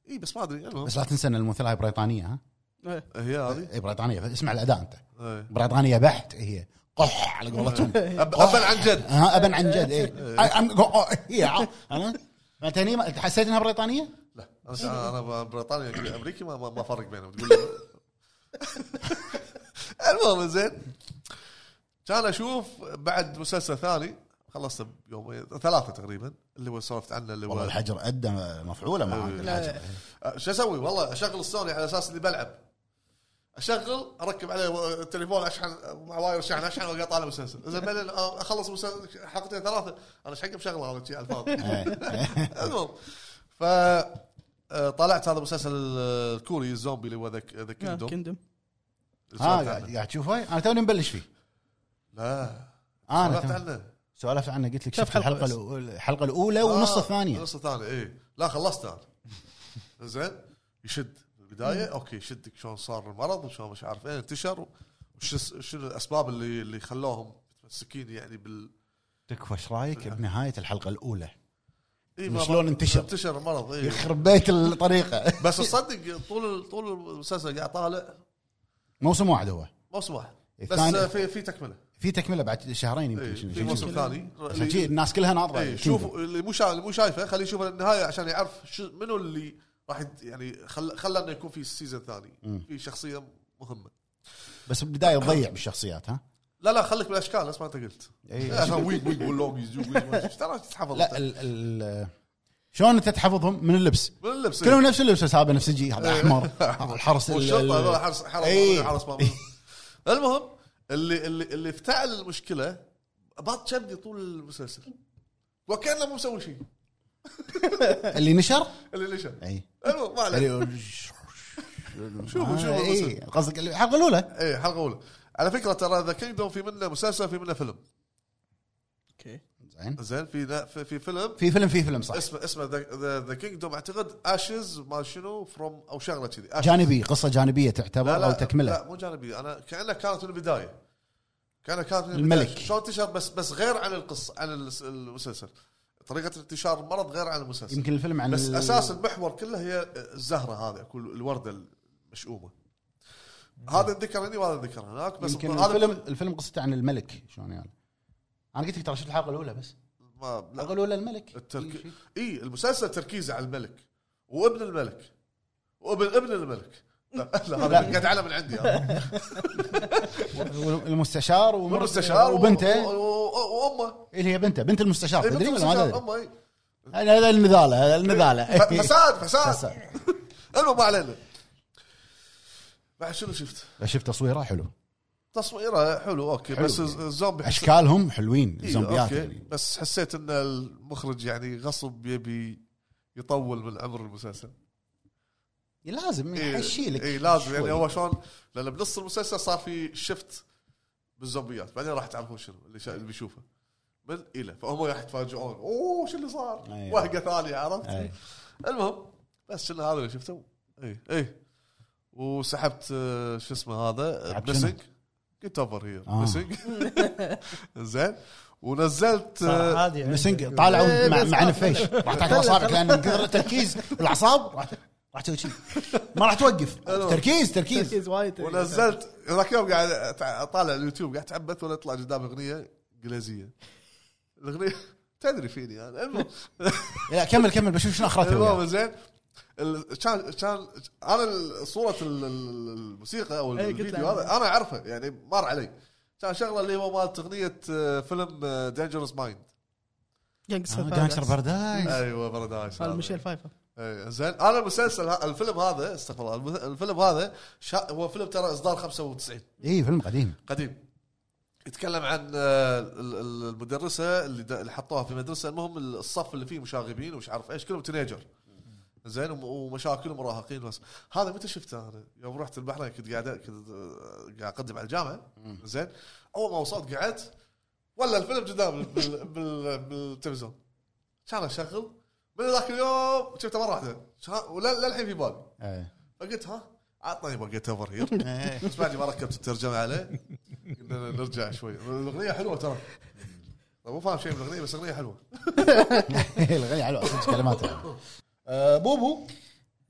[SPEAKER 4] اي بس ما ادري المهم
[SPEAKER 1] بس لا تنسى ان الممثله هاي بريطانيه ها
[SPEAKER 3] إيه.
[SPEAKER 4] هي هذه
[SPEAKER 1] اي بريطانيه اسمع الاداء انت
[SPEAKER 4] إيه.
[SPEAKER 1] بريطانيه بحت هي قح على
[SPEAKER 4] [LAUGHS]
[SPEAKER 1] قولتهم
[SPEAKER 4] أب- ابا عن جد إيه.
[SPEAKER 1] ها ابا عن جد إيه. اي هي ع- ها؟ انت هني ما- أنت حسيت انها بريطانيه؟
[SPEAKER 4] لا أنا- انا بريطانيا امريكي ما ما ما فرق بينهم تقول لي- [LAUGHS] المهم زين كان اشوف بعد مسلسل ثاني خلصته بيومين ثلاثه تقريبا اللي هو سولفت عنه اللي
[SPEAKER 1] والله
[SPEAKER 4] هو
[SPEAKER 1] الحجر ادى مفعوله ما عاد الحجر
[SPEAKER 4] أه، شو اسوي والله اشغل السوني على اساس اني بلعب اشغل اركب عليه و- التليفون اشحن مع واير شحن اشحن واقعد طالع مسلسل اذا بعدين اخلص مسلسل حلقتين ثلاثه انا ايش حق مشغله هذا شي على الفاضي [LAUGHS] المهم ف آه، طلعت هذا المسلسل الكوري الزومبي اللي هو ذا ذا
[SPEAKER 3] آه،
[SPEAKER 4] كيندوم
[SPEAKER 3] كندم
[SPEAKER 1] ها قاعد قاعد تشوفه انا توني مبلش فيه آه،
[SPEAKER 4] لا
[SPEAKER 1] انا
[SPEAKER 4] طلعت
[SPEAKER 1] تو-
[SPEAKER 4] عنه
[SPEAKER 1] سولفت عنه قلت لك
[SPEAKER 3] شاف
[SPEAKER 1] شفت
[SPEAKER 3] حلقة
[SPEAKER 1] الحلقه
[SPEAKER 3] بس.
[SPEAKER 1] الأولى- الحلقه الاولى ونص
[SPEAKER 4] آه،
[SPEAKER 1] الثانيه
[SPEAKER 4] نص الثانيه اي لا خلصت انا زين يشد بالبدايه اوكي يشدك شلون صار المرض وشلون مش عارف ايه انتشر وش شنو الاسباب اللي اللي خلوهم متمسكين يعني بال
[SPEAKER 1] تكفى ايش رايك بنهايه الحلقه الاولى
[SPEAKER 4] إيه، ما-
[SPEAKER 1] شلون
[SPEAKER 4] ما-
[SPEAKER 1] انتشر؟
[SPEAKER 4] انتشر المرض اي
[SPEAKER 1] يخرب بيت الطريقه
[SPEAKER 4] بس تصدق طول طول المسلسل قاعد طالع
[SPEAKER 1] موسم واحد هو
[SPEAKER 4] موسم واحد بس
[SPEAKER 1] الثاني-
[SPEAKER 4] آه، في في تكمله
[SPEAKER 1] في تكمله بعد شهرين
[SPEAKER 4] إيه،
[SPEAKER 1] يمكن شنو-
[SPEAKER 4] في
[SPEAKER 1] شنو-
[SPEAKER 4] موسم إيه.
[SPEAKER 1] شنو.
[SPEAKER 4] ثاني
[SPEAKER 1] عشان شي الناس كلها ناطره
[SPEAKER 4] اي
[SPEAKER 1] كينجدوم.
[SPEAKER 4] شوف اللي مو شايف اللي مو شايفه خليه يشوف النهايه عشان يعرف شو منو اللي راح يد- يعني خل- خلى انه يكون في سيزون ثاني في شخصيه مهمه
[SPEAKER 1] بس بالبدايه تضيع بالشخصيات ها
[SPEAKER 4] لا لا خليك بالاشكال نفس ما انت قلت
[SPEAKER 1] إي.
[SPEAKER 4] [LAUGHS] عشان ويج ويج واللوجيز ويج ويج ويج. ترى تتحفظ
[SPEAKER 1] إيه، لا
[SPEAKER 4] أنت.
[SPEAKER 1] ال ال شلون انت تحفظهم من اللبس
[SPEAKER 4] من اللبس
[SPEAKER 1] كلهم نفس اللبس بس هذا بنفسجي هذا
[SPEAKER 4] إيه.
[SPEAKER 1] احمر
[SPEAKER 4] [LAUGHS]
[SPEAKER 1] هذا الحرس ال-
[SPEAKER 4] والشرطه
[SPEAKER 1] ال- إيه.
[SPEAKER 4] هذول حرس حرس
[SPEAKER 1] إي.
[SPEAKER 4] حرس
[SPEAKER 1] [LAUGHS]
[SPEAKER 4] ما بيهم. المهم اللي اللي اللي افتعل المشكله بط شدي طول المسلسل وكانه مو مسوي شيء
[SPEAKER 1] اللي نشر
[SPEAKER 4] اللي اللي شاف
[SPEAKER 1] اي
[SPEAKER 4] المهم ما عليك
[SPEAKER 1] اللي-
[SPEAKER 4] إيه. شوفوا شوفوا
[SPEAKER 1] آه،
[SPEAKER 4] المسلسل.
[SPEAKER 1] اي قصدك الحلقه الاولى
[SPEAKER 4] ايه حلقه اولى على فكره ترى ذا كينجدوم في منه مسلسل في منه فيلم
[SPEAKER 3] اوكي
[SPEAKER 1] زين
[SPEAKER 4] زين في في, في فيلم
[SPEAKER 1] في فيلم في فيلم صح
[SPEAKER 4] اسمه اسمه ذا كينجدوم اعتقد اشز ما شنو فروم او شغله كذي Ashes.
[SPEAKER 1] جانبي قصه جانبيه تعتبر او تكمله
[SPEAKER 4] لا مو جانبي انا كانها كانت من البدايه كانها كانت من
[SPEAKER 1] الملك.
[SPEAKER 4] البداية. شلون انتشر بس بس غير عن القصه عن الس- المسلسل طريقه انتشار المرض غير عن المسلسل
[SPEAKER 1] يمكن الفيلم عن
[SPEAKER 4] بس
[SPEAKER 1] ال-
[SPEAKER 4] اساس المحور كله هي الزهره هذه كل الورده المشؤومه هذا انذكر هني وهذا انذكر هناك بس
[SPEAKER 1] يمكن
[SPEAKER 4] هذا
[SPEAKER 1] الفيلم الفيلم قصته عن الملك شلون يعني انا قلت لك ترى شفت الحلقه الاولى بس
[SPEAKER 4] ما لا
[SPEAKER 1] الحلقه الاولى الملك
[SPEAKER 4] الترك... اي المسلسل تركيزه على الملك وابن الملك وابن ابن الملك لا لا هذا
[SPEAKER 1] لا.
[SPEAKER 4] قاعد على من عندي هذا.
[SPEAKER 1] المستشار
[SPEAKER 4] والمستشار
[SPEAKER 1] وبنته
[SPEAKER 4] و- و- و- وامه
[SPEAKER 1] اللي هي بنته بنت المستشار
[SPEAKER 4] إيه،
[SPEAKER 1] تدري ولا ما
[SPEAKER 4] المستشار،
[SPEAKER 1] تدري؟
[SPEAKER 4] امه إيه.
[SPEAKER 1] هذا هذا النذاله هذا النذاله
[SPEAKER 4] ف- فساد فساد
[SPEAKER 1] فساد.
[SPEAKER 4] المهم ما علينا بعد شنو شفت؟
[SPEAKER 1] شفت تصويره حلو
[SPEAKER 4] تصويره حلو اوكي
[SPEAKER 1] حلو.
[SPEAKER 4] بس الز- الزومبي حس-
[SPEAKER 1] اشكالهم حلوين
[SPEAKER 4] إيه،
[SPEAKER 1] الزومبيات
[SPEAKER 4] أوكي.
[SPEAKER 1] يعني
[SPEAKER 4] بس حسيت ان المخرج يعني غصب يبي يطول من عمر المسلسل
[SPEAKER 1] لازم يحشي لك
[SPEAKER 4] اي إيه، لازم يعني
[SPEAKER 1] شوي.
[SPEAKER 4] هو شلون لان بنص المسلسل صار في شفت بالزومبيات بعدين راح تعرفون شنو اللي, شا... اللي بيشوفه من الى فهم راح يتفاجئون اوه شو اللي صار؟
[SPEAKER 1] أيوة.
[SPEAKER 4] وهقه ثانيه عرفت؟
[SPEAKER 1] أي.
[SPEAKER 4] المهم بس شنو هذا اللي شفته اي اي وسحبت آه، شو اسمه هذا
[SPEAKER 1] سحبت
[SPEAKER 4] ميسنج جيت اوفر هير
[SPEAKER 1] آه.
[SPEAKER 4] ميسنج [LAUGHS] زين ونزلت آه،
[SPEAKER 2] صار عادي
[SPEAKER 1] مسنج
[SPEAKER 3] إيه،
[SPEAKER 1] طالعوا مع,
[SPEAKER 3] بس
[SPEAKER 1] مع
[SPEAKER 3] ما-
[SPEAKER 1] نفيش راح تاكل اصابعك لان من كثر التركيز الاعصاب راح راح تسوي شيء ما راح
[SPEAKER 4] [LAUGHS]
[SPEAKER 1] توقف
[SPEAKER 4] أيوة.
[SPEAKER 1] تركيز تركيز
[SPEAKER 3] تركيز وايد آه،
[SPEAKER 4] ونزلت ذاك اليوم قاعد أتع- اطالع اليوتيوب قاعد اتعبث ولا يطلع قدام اغنيه انجليزيه الاغنيه [LAUGHS] تدري فيني
[SPEAKER 3] [LAUGHS]
[SPEAKER 4] انا المهم
[SPEAKER 1] لا كمل كمل بشوف شنو آه، اخرته
[SPEAKER 4] المهم
[SPEAKER 1] وياك.
[SPEAKER 4] زين ال- كان كان انا ال- صوره ال- ال- الموسيقى او
[SPEAKER 3] إيه، قلت
[SPEAKER 4] الفيديو
[SPEAKER 3] له.
[SPEAKER 4] هذا انا اعرفه يعني مر علي كان شغله اللي هو مالت اغنيه آه، فيلم دينجرس مايند
[SPEAKER 1] آه، جانجستر بارادايس
[SPEAKER 4] ايوه بارادايس
[SPEAKER 3] هذا ميشيل فايفر
[SPEAKER 4] إيه، زين انا المسلسل ه- الفيلم هذا استغفر الله المس- الفيلم هذا شا... هو فيلم ترى اصدار 95
[SPEAKER 1] اي إيه، فيلم قديم
[SPEAKER 4] قديم يتكلم عن آه، ال- ال- المدرسه اللي د- اللي حطوها في مدرسه المهم الصف اللي فيه مشاغبين ومش عارف ايش كلهم تينيجر زين وم- ومشاكل مراهقين بس هذا متى شفته انا يوم رحت البحرين كنت قاعد كنت آه، قاعد اقدم على الجامعه زين اول ما وصلت قعدت ولا الفيلم قدام بال- بال- بالتلفزيون كان اشغل من ذاك اليوم شفته مره واحده شا- ولا- للحين في بالي
[SPEAKER 1] إيه.
[SPEAKER 4] فقلت ها عطني وقت اوفر هير بس بعدني ما ركبت الترجمه عليه قلنا نرجع شوي الاغنيه حلوه ترى أنا مو فاهم شيء من الاغنيه بس اغنيه حلوه
[SPEAKER 1] الغني إيه، على اساس كلماته آه، بوبو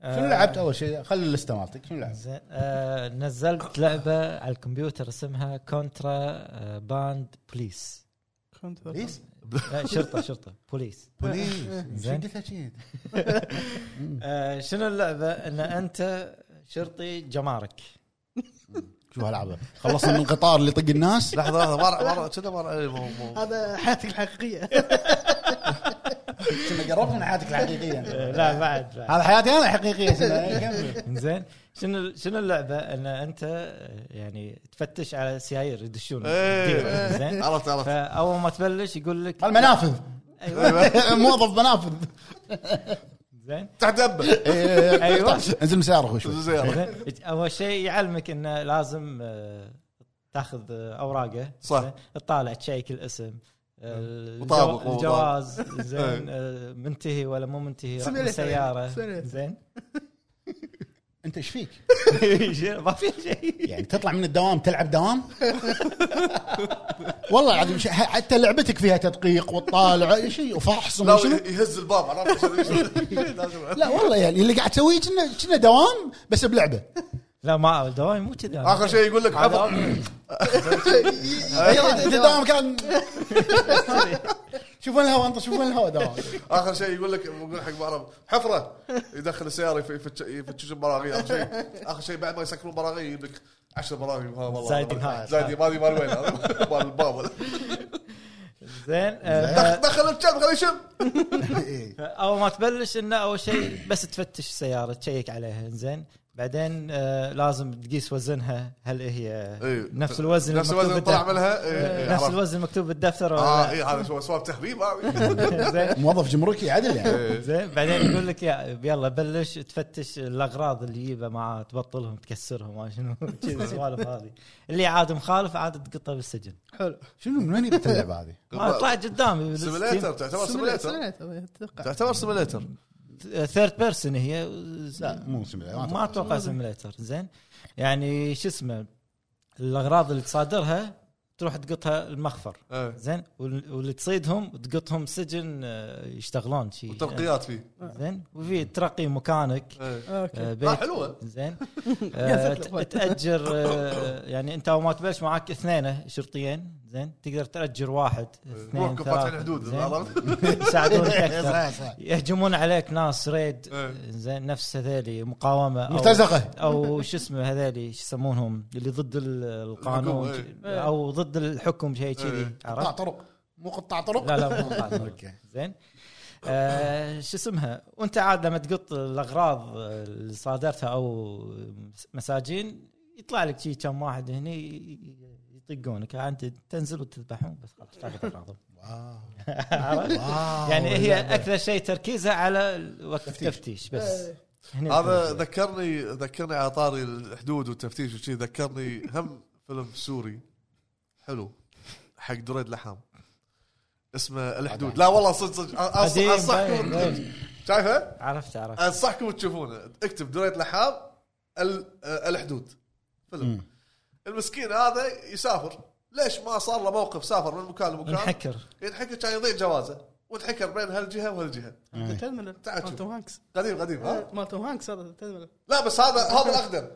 [SPEAKER 1] شنو لعبت اول شيء خلي اللسته مالتك شنو لعبت؟
[SPEAKER 2] آه، زين آه، نزلت لعبه على الكمبيوتر اسمها آه، كونترا باند بوليس
[SPEAKER 3] كنت
[SPEAKER 4] إيه.
[SPEAKER 1] بوليس
[SPEAKER 2] لا شرطه شرطه بوليس
[SPEAKER 1] بوليس شو
[SPEAKER 2] زين.
[SPEAKER 1] قلت لك شيء؟
[SPEAKER 2] آه، شنو اللعبه ان انت شرطي جمارك
[SPEAKER 1] شو هالعبه خلصنا من القطار اللي يطق الناس
[SPEAKER 4] لحظه لحظه ما ما كنا ما إيه، مو- مو-
[SPEAKER 3] هذا حياتك الحقيقيه
[SPEAKER 1] كنا قربنا من حياتك الحقيقيه
[SPEAKER 2] آه، لا بعد بعد
[SPEAKER 1] هذا حياتي انا الحقيقيه [LAUGHS] كنا- إيه، كمل.
[SPEAKER 2] زين شنو شنو اللعبه ان انت يعني تفتش على سيايير يدشون
[SPEAKER 4] إيه.
[SPEAKER 2] زين
[SPEAKER 4] عرفت عرفت إيه،
[SPEAKER 2] فاول ما تبلش يقول لك
[SPEAKER 1] المنافذ
[SPEAKER 2] ايوه
[SPEAKER 1] [LAUGHS] موظف منافذ
[SPEAKER 2] زين
[SPEAKER 4] تحت دبه
[SPEAKER 1] [LAUGHS]
[SPEAKER 2] أيوة.
[SPEAKER 1] إيه، انزل من سيارة [LAUGHS] اخوي شوي
[SPEAKER 4] زين
[SPEAKER 2] زين. اول شيء يعلمك انه لازم آه، تاخذ آه، اوراقه
[SPEAKER 4] صح.
[SPEAKER 2] زين. تطالع تشيك الاسم آه، الجو-
[SPEAKER 4] مطابق، مو
[SPEAKER 2] الجواز زين آه، منتهي ولا مو منتهي
[SPEAKER 3] سمي
[SPEAKER 2] رقم
[SPEAKER 3] لي-
[SPEAKER 2] السياره
[SPEAKER 3] سمي لي.
[SPEAKER 2] زين [LAUGHS]
[SPEAKER 1] انت ايش فيك؟
[SPEAKER 2] ما في شيء
[SPEAKER 1] يعني تطلع من الدوام تلعب [LAUGHS] دوام؟ والله العظيم شي- ح- حتى لعبتك فيها تدقيق وتطالع شيء وفحص
[SPEAKER 4] لا
[SPEAKER 1] وما شنو
[SPEAKER 4] يهز الباب عرفت لازم-
[SPEAKER 1] لا والله يعني اللي قاعد تسويه كنا كنا دوام بس بلعبه
[SPEAKER 2] لا ما الدوام مو كذا
[SPEAKER 4] اخر شيء يقول لك
[SPEAKER 2] هذا
[SPEAKER 4] حفظ
[SPEAKER 1] أيوة، الدوام كان شوفون الهواء انت شوفون الهواء دوام
[SPEAKER 4] اخر شيء يقول لك يقول حق بعرب حفره يدخل السياره يف- يفتش يفتش البراغي اخر شيء اخر شيء بعد ما يسكرون براغي يجيب لك 10 براغي ها والله
[SPEAKER 2] زايدين هاي.
[SPEAKER 4] زايدين ما ادري مال وين هذا، مال الباب ولا-
[SPEAKER 2] زين آه،
[SPEAKER 4] دخل دخل الكلب خليه يشم
[SPEAKER 1] إيه.
[SPEAKER 2] اول ما تبلش انه اول شيء بس تفتش السياره تشيك عليها زين بعدين آه، لازم تقيس وزنها هل هي
[SPEAKER 4] إيه.
[SPEAKER 2] نفس الوزن
[SPEAKER 4] نفس
[SPEAKER 2] المكتوب
[SPEAKER 4] الوزن اللي طلع
[SPEAKER 2] بالدفتر؟
[SPEAKER 4] منها إيه، إيه،
[SPEAKER 2] نفس
[SPEAKER 4] عرفت.
[SPEAKER 2] الوزن المكتوب بالدفتر
[SPEAKER 4] اه
[SPEAKER 2] ولا
[SPEAKER 4] اي هذا سو- سوالف تهريب
[SPEAKER 2] [LAUGHS]
[SPEAKER 4] هذه.
[SPEAKER 2] زين
[SPEAKER 1] موظف جمركي عدل يعني
[SPEAKER 2] زين بعدين يقول لك يا يلا بلش تفتش الاغراض اللي يجيبها معاه تبطلهم تكسرهم ما شنو [LAUGHS] كذي السوالف هذه اللي عاد مخالف عاد تقطه بالسجن
[SPEAKER 3] حلو
[SPEAKER 1] شنو من وين جبت اللعبه هذه؟
[SPEAKER 2] ما طلعت قدامي
[SPEAKER 4] سيميليتر آه، تعتبر سيميليتر
[SPEAKER 3] سيميليتر، اتوقع
[SPEAKER 4] تعتبر سيميليتر
[SPEAKER 2] ثيرد بيرسون هي
[SPEAKER 1] لا مو سمع- ما
[SPEAKER 2] ما
[SPEAKER 1] أتوقع.
[SPEAKER 2] اتوقع سيميليتر زين يعني شو اسمه الاغراض اللي تصادرها تروح تقطها المخفر
[SPEAKER 4] إيه.
[SPEAKER 2] زين وال- واللي تصيدهم تقطهم سجن آه، يشتغلون شي
[SPEAKER 4] وترقيات فيه
[SPEAKER 2] زين وفي ترقي مكانك
[SPEAKER 4] إيه.
[SPEAKER 2] آه،
[SPEAKER 3] اوكي
[SPEAKER 2] بيت
[SPEAKER 4] آه، حلوة.
[SPEAKER 2] زين
[SPEAKER 3] يا
[SPEAKER 2] آه،
[SPEAKER 3] ساتر الله.
[SPEAKER 2] ت- تاجر آه، يعني انت اول ما تبلش معاك اثنين شرطيين زين تقدر تاجر واحد
[SPEAKER 4] إيه،
[SPEAKER 2] اثنين
[SPEAKER 4] روحكم فاتحين حدود
[SPEAKER 2] زين؟
[SPEAKER 4] [LAUGHS] عرفت؟
[SPEAKER 2] [LAUGHS] يساعدونك [LAUGHS] اكثر
[SPEAKER 1] صح، صح.
[SPEAKER 2] يهجمون عليك ناس ريد
[SPEAKER 4] إيه.
[SPEAKER 2] زين نفس هذيلي مقاومه أو-
[SPEAKER 1] مرتزقه
[SPEAKER 2] او شو اسمه هذيلي شو يسمونهم اللي ضد ال- القانون
[SPEAKER 4] الحكم،
[SPEAKER 3] إيه.
[SPEAKER 2] او ضد الحكم شيء كذي
[SPEAKER 4] إيه.
[SPEAKER 1] قطاع
[SPEAKER 2] عرفت
[SPEAKER 1] طرق مو قطاع طرق
[SPEAKER 2] لا لا مو قانون.
[SPEAKER 1] اوكي
[SPEAKER 2] زين آه شو اسمها وانت عاد لما تقط الاغراض اللي صادرتها او مساجين يطلع لك شي كم واحد هني يطقونك انت تنزل وتذبحهم بس خلاص تاخذ اغراضهم
[SPEAKER 1] واو
[SPEAKER 2] [LAUGHS] عرفت؟
[SPEAKER 1] واو.
[SPEAKER 2] يعني هي اكثر شيء تركيزها على وقت التفتيش بس
[SPEAKER 3] إيه.
[SPEAKER 2] هني [LAUGHS]
[SPEAKER 4] هذا
[SPEAKER 2] التركيز.
[SPEAKER 4] ذكرني ذكرني على طاري الحدود والتفتيش وشي ذكرني هم فيلم سوري حلو حق دريد لحام اسمه الحدود لا والله صدق صدق أ- أص-
[SPEAKER 2] قديم، باين،
[SPEAKER 4] انصحكم
[SPEAKER 2] باين.
[SPEAKER 4] شايفه؟
[SPEAKER 2] عرفت عرفت
[SPEAKER 4] انصحكم تشوفونه اكتب دريد لحام ال- آه، الحدود فيلم المسكين هذا يسافر ليش ما صار له موقف سافر من مكان لمكان
[SPEAKER 2] ينحكر
[SPEAKER 4] ينحكر كان يضيع جوازه وانحكر بين هالجهه وهالجهه
[SPEAKER 3] تدمر
[SPEAKER 4] تعال
[SPEAKER 3] مال
[SPEAKER 4] شوف.
[SPEAKER 3] توم هانكس
[SPEAKER 4] قديم قديم ها
[SPEAKER 3] مال توم هانكس هذا إيه، تدمر
[SPEAKER 4] لا بس هذا هذا الاقدم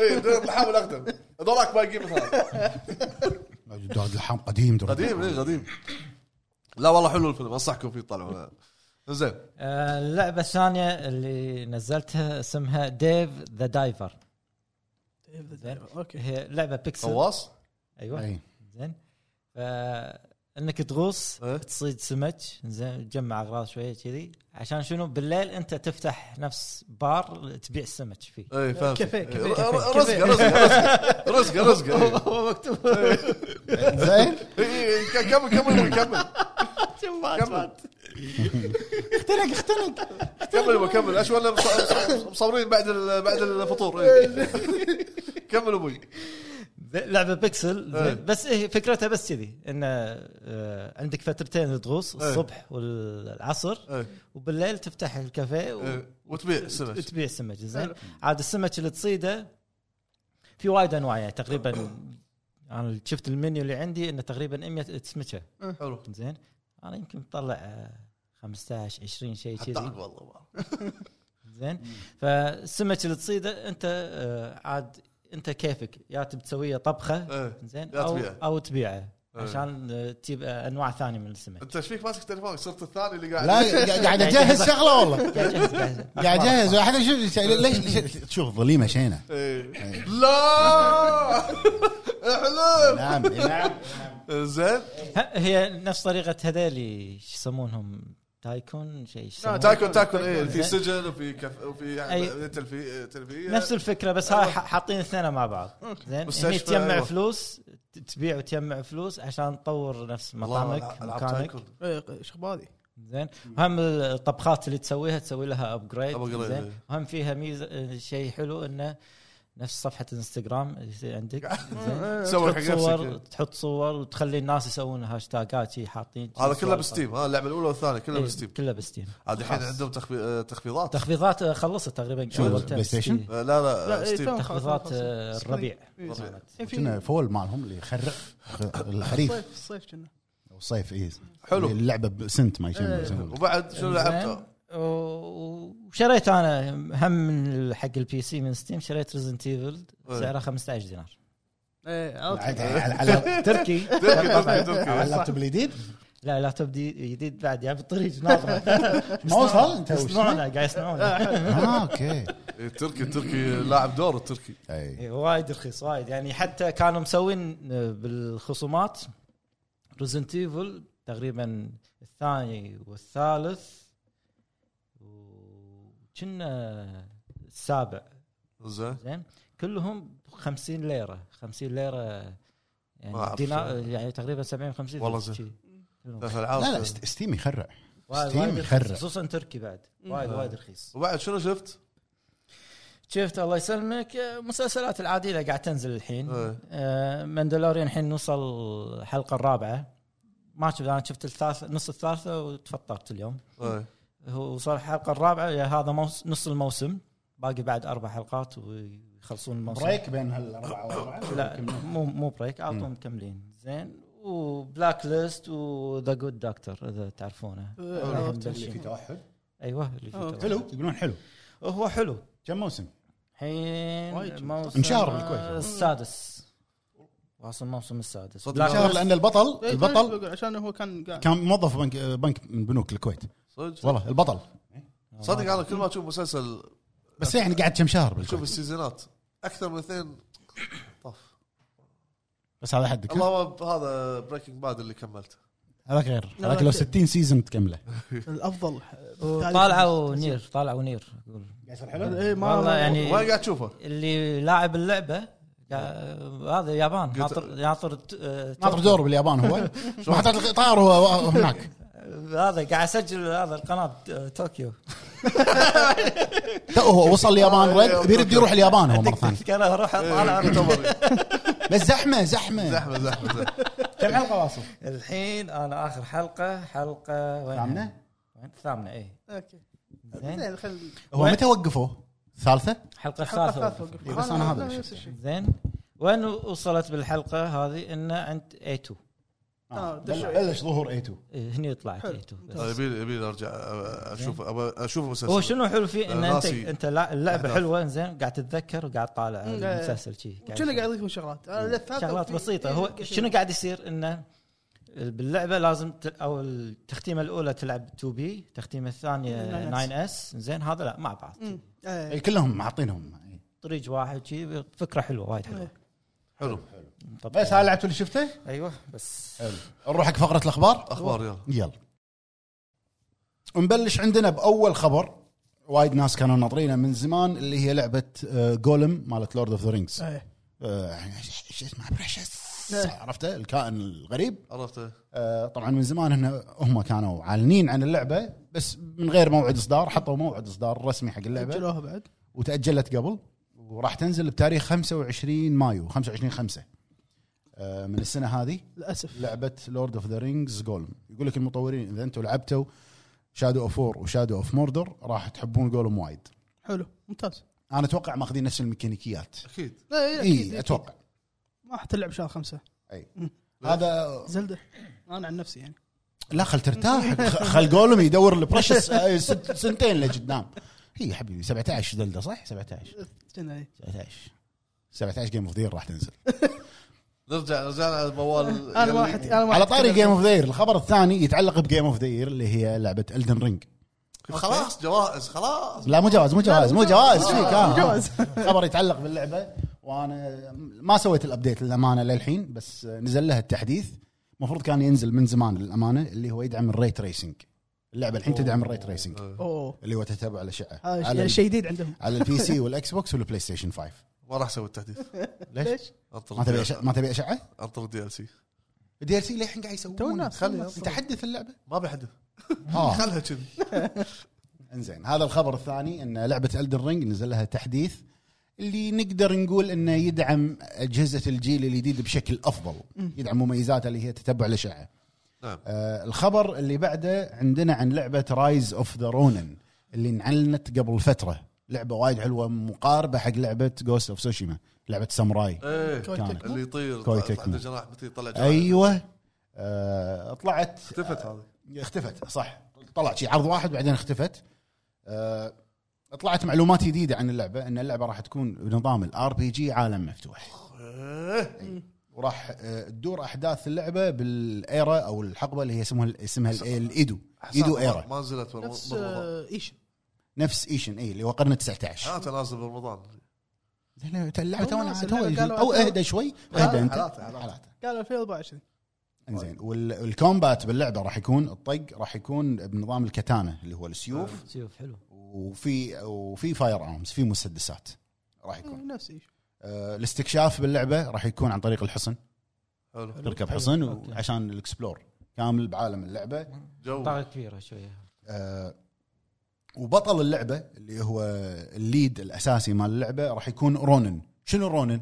[SPEAKER 4] [LAUGHS] اي دريد لحام الاقدم هذولاك باقيين مثلا
[SPEAKER 1] درد الحام قديم درد
[SPEAKER 4] قديم اي قديم لا والله حلو الفيلم انصحكم فيه تطلعونه زين
[SPEAKER 2] آه، اللعبه الثانيه اللي نزلتها اسمها ديف ذا دايفر
[SPEAKER 3] اوكي إيه،
[SPEAKER 2] هي لعبه بيكسل
[SPEAKER 4] غواص
[SPEAKER 1] إيه.
[SPEAKER 2] ايوه
[SPEAKER 1] أي.
[SPEAKER 2] زين آه، انك تغوص
[SPEAKER 4] إيه.
[SPEAKER 2] تصيد سمك زين تجمع اغراض شويه كذي عشان شنو بالليل انت تفتح نفس بار تبيع السمك فيه
[SPEAKER 4] اي فهمت
[SPEAKER 3] كافيه،
[SPEAKER 4] إيه،
[SPEAKER 3] كافيه،
[SPEAKER 4] ر-
[SPEAKER 3] كافيه.
[SPEAKER 4] رزقه رزقه رزقه رزقه
[SPEAKER 2] هو مكتوب
[SPEAKER 1] زين
[SPEAKER 4] إيه، إيه، كمل كمل كمل كمل
[SPEAKER 3] اختنق اختنق
[SPEAKER 4] كمل كمل اشوى ولا مص- مصورين بعد ال- بعد الفطور إيه. كمل ابوي
[SPEAKER 2] لعبه بيكسل
[SPEAKER 4] إيه.
[SPEAKER 2] بس هي فكرتها بس كذي انه آه، عندك فترتين تغوص
[SPEAKER 4] إيه.
[SPEAKER 2] الصبح والعصر
[SPEAKER 4] إيه،
[SPEAKER 2] وبالليل تفتح الكافيه و-
[SPEAKER 4] إيه. وتبيع
[SPEAKER 2] [LAUGHS]
[SPEAKER 4] السمك
[SPEAKER 2] تبيع السمك زين عاد السمك اللي تصيده في وايد انواع يعني تقريبا انا شفت المنيو اللي عندي انه تقريبا 100 سمكه
[SPEAKER 4] حلو
[SPEAKER 2] زين انا يمكن مطلع آه، 15 20 شيء
[SPEAKER 4] حتى
[SPEAKER 2] كذي
[SPEAKER 4] والله
[SPEAKER 2] زين فالسمك اللي تصيده انت آه، عاد انت كيفك يا تبي تسويه طبخه
[SPEAKER 4] إيه.
[SPEAKER 2] زين
[SPEAKER 4] لا
[SPEAKER 2] او
[SPEAKER 4] تبيعه.
[SPEAKER 2] او تبيعه
[SPEAKER 4] إيه.
[SPEAKER 2] عشان آه، تجيب آه، انواع ثانيه من السمك
[SPEAKER 4] انت ايش فيك ماسك تليفونك صرت الثاني اللي قاعد
[SPEAKER 1] لا قاعد اجهز شغله
[SPEAKER 2] [LAUGHS]
[SPEAKER 1] والله
[SPEAKER 2] قاعد
[SPEAKER 4] [LAUGHS]
[SPEAKER 2] أجهز- قاعد-
[SPEAKER 1] قاعد اجهز واحد شوف شوف- ليش ليش- شوف الظليمه شينه
[SPEAKER 4] إيه. لا احلم
[SPEAKER 1] نعم نعم
[SPEAKER 4] زين
[SPEAKER 2] ه- هي نفس طريقه هذيلي شو يسمونهم تايكون شيء شو
[SPEAKER 4] لا،
[SPEAKER 2] يسمونهم؟
[SPEAKER 4] تايكون تايكون ايه في سجن وفي كف وفي يعني
[SPEAKER 2] أي.
[SPEAKER 4] تلفي- تلفيه
[SPEAKER 2] نفس الفكره بس هاي ح- حاطين اثنين مع بعض زين هني
[SPEAKER 4] أيوة. مستشفى،
[SPEAKER 2] تجمع
[SPEAKER 4] أيوة.
[SPEAKER 2] فلوس ت- تبيع وتجمع فلوس عشان تطور نفس
[SPEAKER 4] والله
[SPEAKER 2] مطعمك
[SPEAKER 4] ألعاب
[SPEAKER 2] مكانك
[SPEAKER 4] تايكون.
[SPEAKER 3] إيه، شخباذي
[SPEAKER 2] زين هم الطبخات اللي تسويها تسوي لها ابجريد
[SPEAKER 4] Upgrade،
[SPEAKER 2] زين
[SPEAKER 4] إيه.
[SPEAKER 2] هم فيها ميزه شيء حلو انه نفس صفحه انستغرام اللي
[SPEAKER 4] [LAUGHS]
[SPEAKER 2] عندك زين
[SPEAKER 4] سوي إيه، حق
[SPEAKER 2] تحط صور
[SPEAKER 4] نفسك
[SPEAKER 2] تحط صور وتخلي الناس يسوون هاشتاجات شي حاطين
[SPEAKER 4] هذا
[SPEAKER 2] شي
[SPEAKER 4] كله
[SPEAKER 2] صور.
[SPEAKER 4] بستيم ها اللعبه الاولى والثانية كلها
[SPEAKER 2] إيه،
[SPEAKER 4] بستيم
[SPEAKER 2] كله بستيم
[SPEAKER 4] عاد الحين
[SPEAKER 2] خلاص.
[SPEAKER 4] عندهم تخفي- آه، تخفيضات
[SPEAKER 2] تخفيضات آه، خلصت تقريبا
[SPEAKER 1] شو،
[SPEAKER 2] أول تم.
[SPEAKER 1] بلاي ستيشن؟
[SPEAKER 2] إيه.
[SPEAKER 4] آه، لا لا
[SPEAKER 3] لا، إيه،
[SPEAKER 4] ستيم
[SPEAKER 3] فاهم.
[SPEAKER 2] تخفيضات
[SPEAKER 3] خلاص،
[SPEAKER 2] آه،
[SPEAKER 3] خلاص.
[SPEAKER 2] الربيع
[SPEAKER 3] إيه.
[SPEAKER 2] صارت.
[SPEAKER 1] كنا فول مالهم اللي يخرع الخريف
[SPEAKER 3] الصيف الصيف كنا
[SPEAKER 1] والصيف اي
[SPEAKER 4] حلو.
[SPEAKER 1] اللعبه بسنت ما شنو يسمونها
[SPEAKER 4] وبعد شنو
[SPEAKER 2] [LAUGHS] زين.
[SPEAKER 4] لعبت؟
[SPEAKER 2] و- وشريت انا هم من حق البي سي من ستيم شريت ريزنت ايفل
[SPEAKER 4] إيه.
[SPEAKER 2] سعرها 15 دينار
[SPEAKER 3] ايه
[SPEAKER 1] بعد
[SPEAKER 3] عرفت.
[SPEAKER 1] على على-
[SPEAKER 2] تركي
[SPEAKER 4] تركي،
[SPEAKER 2] طبعاً.
[SPEAKER 4] تركي، تركي.
[SPEAKER 1] على اللابتوب الجديد
[SPEAKER 2] لا لا تبدي جديد بعد يعني
[SPEAKER 1] [LAUGHS]
[SPEAKER 2] بالطريق ناظره
[SPEAKER 1] ما وصل انت وش-
[SPEAKER 2] يصنعونه قاعد يصنعونه
[SPEAKER 1] اه اوكي
[SPEAKER 4] إيه، التركي التركي لاعب دور التركي
[SPEAKER 1] أي.
[SPEAKER 2] إيه، وايد رخيص وايد يعني حتى كانوا مسوين آه، بالخصومات ريزنت ايفل تقريبا الثاني والثالث وكنا السابع
[SPEAKER 4] زين
[SPEAKER 2] زين كلهم 50 ليره 50 ليره
[SPEAKER 4] ما
[SPEAKER 2] يعني
[SPEAKER 4] أعرف
[SPEAKER 2] دينار
[SPEAKER 4] شو.
[SPEAKER 2] يعني تقريبا 70 50
[SPEAKER 4] والله
[SPEAKER 2] شي.
[SPEAKER 4] زين.
[SPEAKER 2] كلهم.
[SPEAKER 4] ثلاث
[SPEAKER 1] لا لا
[SPEAKER 4] العاب
[SPEAKER 1] است- ستيم يخرع
[SPEAKER 2] وايد-
[SPEAKER 1] ستيم
[SPEAKER 2] وايد رخيص،
[SPEAKER 1] يخرع.
[SPEAKER 2] خصوصا تركي بعد وايد
[SPEAKER 4] آه.
[SPEAKER 2] وايد رخيص
[SPEAKER 4] وبعد شنو شفت؟
[SPEAKER 2] شفت الله يسلمك آه، مسلسلات العاديه قاعد تنزل الحين
[SPEAKER 4] إيه.
[SPEAKER 2] آه، مندلوريان الحين نوصل الحلقه الرابعه ما شفت انا شفت الثالثه نص الثالثه وتفطرت اليوم
[SPEAKER 4] إيه.
[SPEAKER 2] هو وصل الحلقه الرابعه يا هذا موس- نص الموسم باقي بعد اربع حلقات ويخلصون الموسم
[SPEAKER 1] بريك بين هالاربعه والاربعه
[SPEAKER 2] لا مو مو بريك على طول مكملين زين وبلاك ليست وذا جود دكتور اذا تعرفونه
[SPEAKER 3] إيه، عرفت.
[SPEAKER 1] اللي في توحد
[SPEAKER 2] ايوه اللي فيه
[SPEAKER 3] آه،
[SPEAKER 2] توقع.
[SPEAKER 1] حلو يقولون حلو
[SPEAKER 2] هو حلو
[SPEAKER 1] كم موسم؟
[SPEAKER 2] الحين
[SPEAKER 3] وايد.
[SPEAKER 2] موسم
[SPEAKER 1] انشهر بالكويت.
[SPEAKER 2] السادس واصل موسم السادس
[SPEAKER 4] صدق
[SPEAKER 2] بلاك
[SPEAKER 1] شهر لان البطل
[SPEAKER 3] إيه،
[SPEAKER 1] نعم. البطل
[SPEAKER 3] بقول- عشان هو كان قاعد
[SPEAKER 1] كان موظف بنك بنك من بنوك الكويت
[SPEAKER 4] صدق
[SPEAKER 1] والله البطل
[SPEAKER 4] صدق انا كل ما اشوف مسلسل
[SPEAKER 1] بس يعني قعد كم شهر
[SPEAKER 4] شوف
[SPEAKER 1] بالكويت
[SPEAKER 4] السيزونات اكثر من اثنين طف
[SPEAKER 1] بس هذا حدك ها؟
[SPEAKER 4] اللهم هذا بريكنج باد اللي كملته
[SPEAKER 1] هذاك غير
[SPEAKER 3] لا،
[SPEAKER 1] هذاك لو
[SPEAKER 3] لا.
[SPEAKER 1] 60 سيزون تكمله
[SPEAKER 3] الافضل
[SPEAKER 2] طالعه ونير طالعه ونير
[SPEAKER 1] إيه.
[SPEAKER 3] ايه ما
[SPEAKER 2] والله يعني-
[SPEAKER 4] وين قاعد تشوفه؟
[SPEAKER 2] اللي لاعب اللعبه قا- هذا يابان
[SPEAKER 4] قلت-
[SPEAKER 2] ناطر ناطر آه،
[SPEAKER 1] ناطر دور باليابان هو ما حطيت القطار هو هو هناك
[SPEAKER 2] هذا قاعد اسجل هذا القناه آه، طوكيو
[SPEAKER 1] تو هو وصل اليابان رد بيرد يروح اليابان هو مره
[SPEAKER 2] [LAUGHS]
[SPEAKER 1] ثانيه
[SPEAKER 2] كان اروح
[SPEAKER 4] إيه،
[SPEAKER 2] اطالع
[SPEAKER 4] يعتبر
[SPEAKER 1] بس زحمه زحمه
[SPEAKER 4] زحمه زحمه [LAUGHS] زحمة.
[SPEAKER 1] كم حلقه واصل؟
[SPEAKER 2] الحين انا اخر حلقه حلقه وين
[SPEAKER 1] ثامنة؟
[SPEAKER 2] وين الثامنه اي
[SPEAKER 3] اوكي
[SPEAKER 2] زين
[SPEAKER 3] زين خل
[SPEAKER 1] هو متى وقفوا؟ الثالثه؟
[SPEAKER 2] الحلقه
[SPEAKER 3] الحلقه الثالثه
[SPEAKER 2] الثالثه
[SPEAKER 3] وقف
[SPEAKER 1] إيه، بس أنا هذا
[SPEAKER 3] لا،
[SPEAKER 1] اللي
[SPEAKER 3] نفس الشيء
[SPEAKER 2] زين وين وصلت بالحلقه هذه انه عند اي 2
[SPEAKER 3] آه، دشوا.
[SPEAKER 1] بلش ظهور اي 2
[SPEAKER 2] إيه، هني طلعت
[SPEAKER 3] حلو.
[SPEAKER 2] اي 2 بس.
[SPEAKER 4] طيب، يبي يبي ارجع أ- اشوف أبى- اشوف
[SPEAKER 2] هو
[SPEAKER 4] مسلسل
[SPEAKER 2] شنو حلو فيه ان
[SPEAKER 4] آه،
[SPEAKER 2] انت
[SPEAKER 4] ناسي.
[SPEAKER 2] انت لا- اللعبه
[SPEAKER 4] أحداث.
[SPEAKER 2] حلوه زين قاعد تتذكر وقاعد طالع
[SPEAKER 3] مم.
[SPEAKER 2] المسلسل شي
[SPEAKER 3] كنا إيه. قاعد يضيفون شغلات آه، أنا للثالثة
[SPEAKER 2] شغلات
[SPEAKER 3] وفي-
[SPEAKER 2] بسيطه
[SPEAKER 3] إيه،
[SPEAKER 2] هو
[SPEAKER 3] كثير.
[SPEAKER 2] شنو قاعد يصير انه باللعبه لازم ت... او التختيمه الاولى تلعب 2 بي التختيمه الثانيه
[SPEAKER 3] 9S.
[SPEAKER 2] 9 اس زين هذا لا مع بعض
[SPEAKER 3] مم. إيه.
[SPEAKER 1] كلهم معطينهم
[SPEAKER 2] طريق واحد شي فكره حلوه وايد حلوه
[SPEAKER 3] إيه. طيب.
[SPEAKER 4] حلو
[SPEAKER 2] طبعاً.
[SPEAKER 1] بس هاي لعبت اللي شفته
[SPEAKER 2] ايوه بس
[SPEAKER 1] حلو نروح حق فقره الاخبار
[SPEAKER 4] اخبار يلا
[SPEAKER 1] يلا نبلش عندنا باول خبر وايد ناس كانوا ناطرينه من زمان اللي هي لعبه جولم مالت لورد اوف ذا رينجز
[SPEAKER 3] إيه.
[SPEAKER 1] آه، يعني شو اسمه بريشس
[SPEAKER 3] إيه.
[SPEAKER 1] عرفته الكائن الغريب
[SPEAKER 4] عرفته
[SPEAKER 1] آه، طبعا من زمان هن هم كانوا عالنين عن اللعبه بس من غير موعد اصدار حطوا موعد اصدار رسمي حق اللعبه
[SPEAKER 3] اجلوها بعد
[SPEAKER 1] وتاجلت قبل وراح تنزل بتاريخ 25 مايو 25 5 آه، من السنه هذه
[SPEAKER 3] للاسف
[SPEAKER 1] لعبه لورد اوف ذا رينجز جولم يقول لك المطورين اذا انتم لعبتوا شادو اوف وور وشادو اوف موردر راح تحبون جولم وايد
[SPEAKER 3] حلو ممتاز
[SPEAKER 1] انا اتوقع ماخذين نفس الميكانيكيات
[SPEAKER 4] اكيد
[SPEAKER 3] لا إيه، أكيد، أكيد.
[SPEAKER 1] اي اتوقع
[SPEAKER 3] ما حتلعب شهر خمسه
[SPEAKER 1] هذا
[SPEAKER 3] زلده انا عن نفسي يعني
[SPEAKER 1] لا خل ترتاح [LAUGHS] خ- خل جولم يدور البرشس آه، ست- سنتين لقدام هي يا حبيبي 17 دلده صح 17
[SPEAKER 3] كنا إيه.
[SPEAKER 1] 17 17 جيم اوف ذير راح تنزل
[SPEAKER 4] نرجع رجعنا على موال
[SPEAKER 3] انا واحد انا واحد
[SPEAKER 1] على طاري جيم اوف ذير الخبر الثاني يتعلق بجيم اوف ذير اللي هي لعبه الدن رينج
[SPEAKER 4] خلاص جوائز خلاص
[SPEAKER 1] لا مو جواز مو جواز مو جواز
[SPEAKER 4] لا،
[SPEAKER 1] فيك
[SPEAKER 4] مو
[SPEAKER 1] آه.
[SPEAKER 3] جواز.
[SPEAKER 1] خبر يتعلق باللعبه وانا ما سويت الابديت للامانه للحين بس نزل لها التحديث المفروض كان ينزل من زمان للامانه اللي هو يدعم الري تريسنج اللعبه الحين تدعم الري تريسنج
[SPEAKER 4] أوه.
[SPEAKER 3] اوه
[SPEAKER 1] اللي هو تتابع الاشعه على
[SPEAKER 3] هذا شيء-
[SPEAKER 1] ال-
[SPEAKER 3] شيء جديد عندهم
[SPEAKER 1] على البي سي والاكس بوكس والبلاي ستيشن 5
[SPEAKER 4] ما راح اسوي التحديث
[SPEAKER 1] ليش؟
[SPEAKER 4] انطر
[SPEAKER 1] ما تبي
[SPEAKER 4] ال
[SPEAKER 1] أشعة؟ ما تبي اشعه؟
[SPEAKER 4] DLC. انطر الدي ال سي
[SPEAKER 1] الدي ال سي للحين قاعد
[SPEAKER 3] تو
[SPEAKER 1] يسوون
[SPEAKER 3] الناس خلي آه.
[SPEAKER 1] تحدث اللعبه
[SPEAKER 4] ما بيحدث
[SPEAKER 1] اه
[SPEAKER 4] خلها كذي
[SPEAKER 1] انزين هذا الخبر الثاني ان لعبه الدر رينج نزل لها تحديث اللي نقدر نقول انه يدعم اجهزه الجيل الجديد بشكل افضل يدعم مميزاتها اللي هي تتبع الاشعه
[SPEAKER 4] نعم
[SPEAKER 1] آه الخبر اللي بعده عندنا عن لعبه رايز اوف ذا رونن اللي انعلنت قبل فتره لعبه وايد حلوه مقاربه حق لعبه جوست اوف سوشيما لعبه ساموراي
[SPEAKER 4] ايه
[SPEAKER 1] كانت.
[SPEAKER 4] اللي يطير
[SPEAKER 1] كوي
[SPEAKER 4] طلع-
[SPEAKER 1] تكمو.
[SPEAKER 4] عنده جناح متى يطلع جناح
[SPEAKER 1] ايوه آه طلعت
[SPEAKER 4] اختفت هذه
[SPEAKER 1] اختفت صح طلع شي عرض واحد بعدين اختفت أه، طلعت معلومات جديده عن اللعبه ان اللعبه راح تكون بنظام الار بي جي عالم مفتوح
[SPEAKER 4] إيه.
[SPEAKER 1] وراح أه، تدور احداث اللعبه بالايرا او الحقبه اللي هي اسمها اسمها ال- الايدو
[SPEAKER 4] أحسن
[SPEAKER 1] ايدو
[SPEAKER 4] ما-
[SPEAKER 1] ايرا
[SPEAKER 4] ما نزلت بال-
[SPEAKER 3] نفس
[SPEAKER 4] برمضان
[SPEAKER 3] آه، ايش
[SPEAKER 1] نفس ايشن اي اللي هو قرن 19
[SPEAKER 4] انا آه، تنازل برمضان
[SPEAKER 1] اللعبه
[SPEAKER 3] تو
[SPEAKER 1] تونا
[SPEAKER 3] ناس،
[SPEAKER 1] تو
[SPEAKER 3] اللعبة قالوا
[SPEAKER 1] او
[SPEAKER 3] عشان-
[SPEAKER 1] اهدى شوي اهدى انت
[SPEAKER 4] حالاته، حالاته.
[SPEAKER 1] حالاته.
[SPEAKER 3] قال 2024
[SPEAKER 1] انزين وال- والكومبات باللعبه راح يكون الطق راح يكون بنظام الكتانه اللي هو السيوف
[SPEAKER 2] شوف حلو
[SPEAKER 1] وفي وفي فاير ارمز في مسدسات راح يكون
[SPEAKER 3] إيه، نفس ايش
[SPEAKER 1] آه، الاستكشاف باللعبه راح يكون عن طريق الحصن
[SPEAKER 4] حلو
[SPEAKER 1] تركب
[SPEAKER 2] حلو.
[SPEAKER 1] حصن
[SPEAKER 2] أوكي.
[SPEAKER 1] وعشان الاكسبلور كامل بعالم اللعبه
[SPEAKER 4] جو
[SPEAKER 2] طاقه كبيره شويه
[SPEAKER 1] آه، وبطل اللعبه اللي هو الليد الاساسي مال اللعبه راح يكون رونن شنو رونن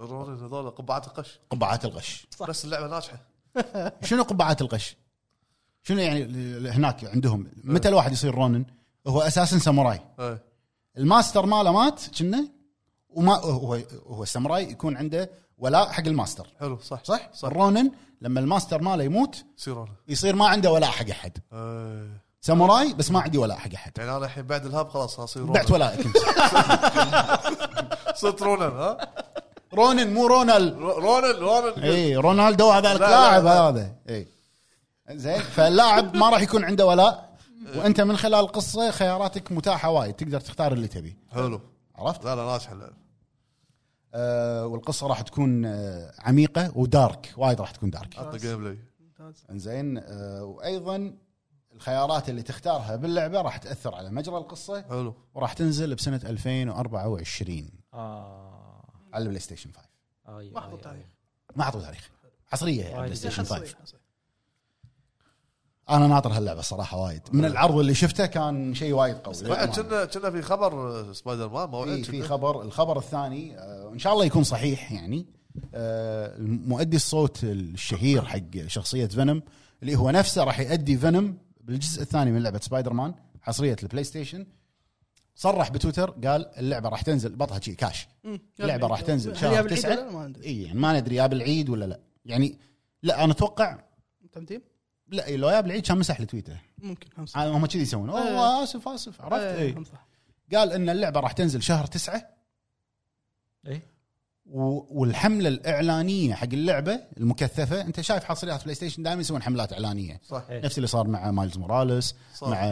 [SPEAKER 4] الرونين هذول قبعات القش
[SPEAKER 1] قبعات الغش
[SPEAKER 4] بس اللعبه ناجحه
[SPEAKER 1] شنو قبعات الغش شنو يعني ال- هناك عندهم متى الواحد يصير رونن هو اساسا ساموراي
[SPEAKER 4] ايه
[SPEAKER 1] الماستر ماله مات كنا وما هو هو الساموراي يكون عنده ولاء حق الماستر
[SPEAKER 4] حلو
[SPEAKER 1] صح؟
[SPEAKER 4] صح صح.
[SPEAKER 1] صح الرونن لما الماستر ماله يموت
[SPEAKER 4] يصير انا
[SPEAKER 1] يصير ما عنده ولاء حق احد
[SPEAKER 4] إيه.
[SPEAKER 1] ساموراي بس ما عندي ولاء حق احد
[SPEAKER 4] يعني انا الحين بعد الهاب خلاص اصير رونن.
[SPEAKER 1] بعت ولائك
[SPEAKER 4] [LAUGHS]
[SPEAKER 1] انت
[SPEAKER 4] صرت رونن ها
[SPEAKER 1] رونن مو رونال
[SPEAKER 4] رو- رونن رونن
[SPEAKER 1] اي رونالدو هذا
[SPEAKER 4] لا،
[SPEAKER 1] لاعب
[SPEAKER 4] لا.
[SPEAKER 1] هذا اي زين فاللاعب ما راح يكون عنده ولاء وانت من خلال القصه خياراتك متاحه وايد تقدر تختار اللي تبيه
[SPEAKER 4] حلو
[SPEAKER 1] عرفت؟
[SPEAKER 4] لا لا ناجحه اللعبه
[SPEAKER 1] آه والقصه راح تكون آه عميقه ودارك وايد راح تكون دارك
[SPEAKER 4] عطنا جيم بلاي
[SPEAKER 3] ممتاز
[SPEAKER 1] انزين آه وايضا الخيارات اللي تختارها باللعبه راح تاثر على مجرى القصه
[SPEAKER 4] حلو
[SPEAKER 1] وراح تنزل بسنه 2024
[SPEAKER 2] اه
[SPEAKER 1] على البلاي ستيشن 5
[SPEAKER 2] ايوه
[SPEAKER 3] ما حطوا
[SPEAKER 2] أيوه،
[SPEAKER 3] تاريخ.
[SPEAKER 1] ما اعطوا تاريخ حصريه يعني
[SPEAKER 2] وايد
[SPEAKER 1] بلاي ستيشن
[SPEAKER 3] حصري،
[SPEAKER 1] 5
[SPEAKER 3] حصري.
[SPEAKER 1] انا ناطر هاللعبه صراحه وايد من العرض اللي شفته كان شيء وايد قوي
[SPEAKER 4] بعد
[SPEAKER 1] للأمانة.
[SPEAKER 4] كنا كنا في خبر آه، سبايدر مان موعد
[SPEAKER 1] في إيه، في
[SPEAKER 4] كنا.
[SPEAKER 1] خبر الخبر الثاني آه، ان شاء الله يكون صحيح يعني آه، مؤدي الصوت الشهير حق شخصيه فينوم اللي هو نفسه راح يؤدي فينوم بالجزء الثاني من لعبه سبايدر مان حصريه البلاي ستيشن صرح بتويتر قال اللعبه راح تنزل بطها شي كاش
[SPEAKER 3] مم.
[SPEAKER 1] اللعبة راح تنزل
[SPEAKER 3] هل
[SPEAKER 1] شهر
[SPEAKER 3] يا بالعيد
[SPEAKER 1] تسعة؟
[SPEAKER 3] ولا لا؟ ما ندري
[SPEAKER 1] اي يعني ما ندري يا بالعيد ولا لا يعني لا انا اتوقع
[SPEAKER 3] تمتيم
[SPEAKER 1] لا لو يا بالعيد كان مسح لتويته
[SPEAKER 3] ممكن خمسة
[SPEAKER 1] هم كذي يسوون اوه
[SPEAKER 3] إيه.
[SPEAKER 1] اسف اسف عرفت
[SPEAKER 3] إيه،
[SPEAKER 1] إيه.
[SPEAKER 3] خمسة.
[SPEAKER 1] قال ان اللعبه راح تنزل شهر تسعة
[SPEAKER 2] اي
[SPEAKER 1] و- والحمله الاعلانيه حق اللعبه المكثفه انت شايف حصريات بلاي ستيشن دائما يسوون حملات اعلانيه
[SPEAKER 4] صح
[SPEAKER 2] إيه.
[SPEAKER 1] نفس اللي صار مع مايلز موراليس
[SPEAKER 4] صار.
[SPEAKER 1] مع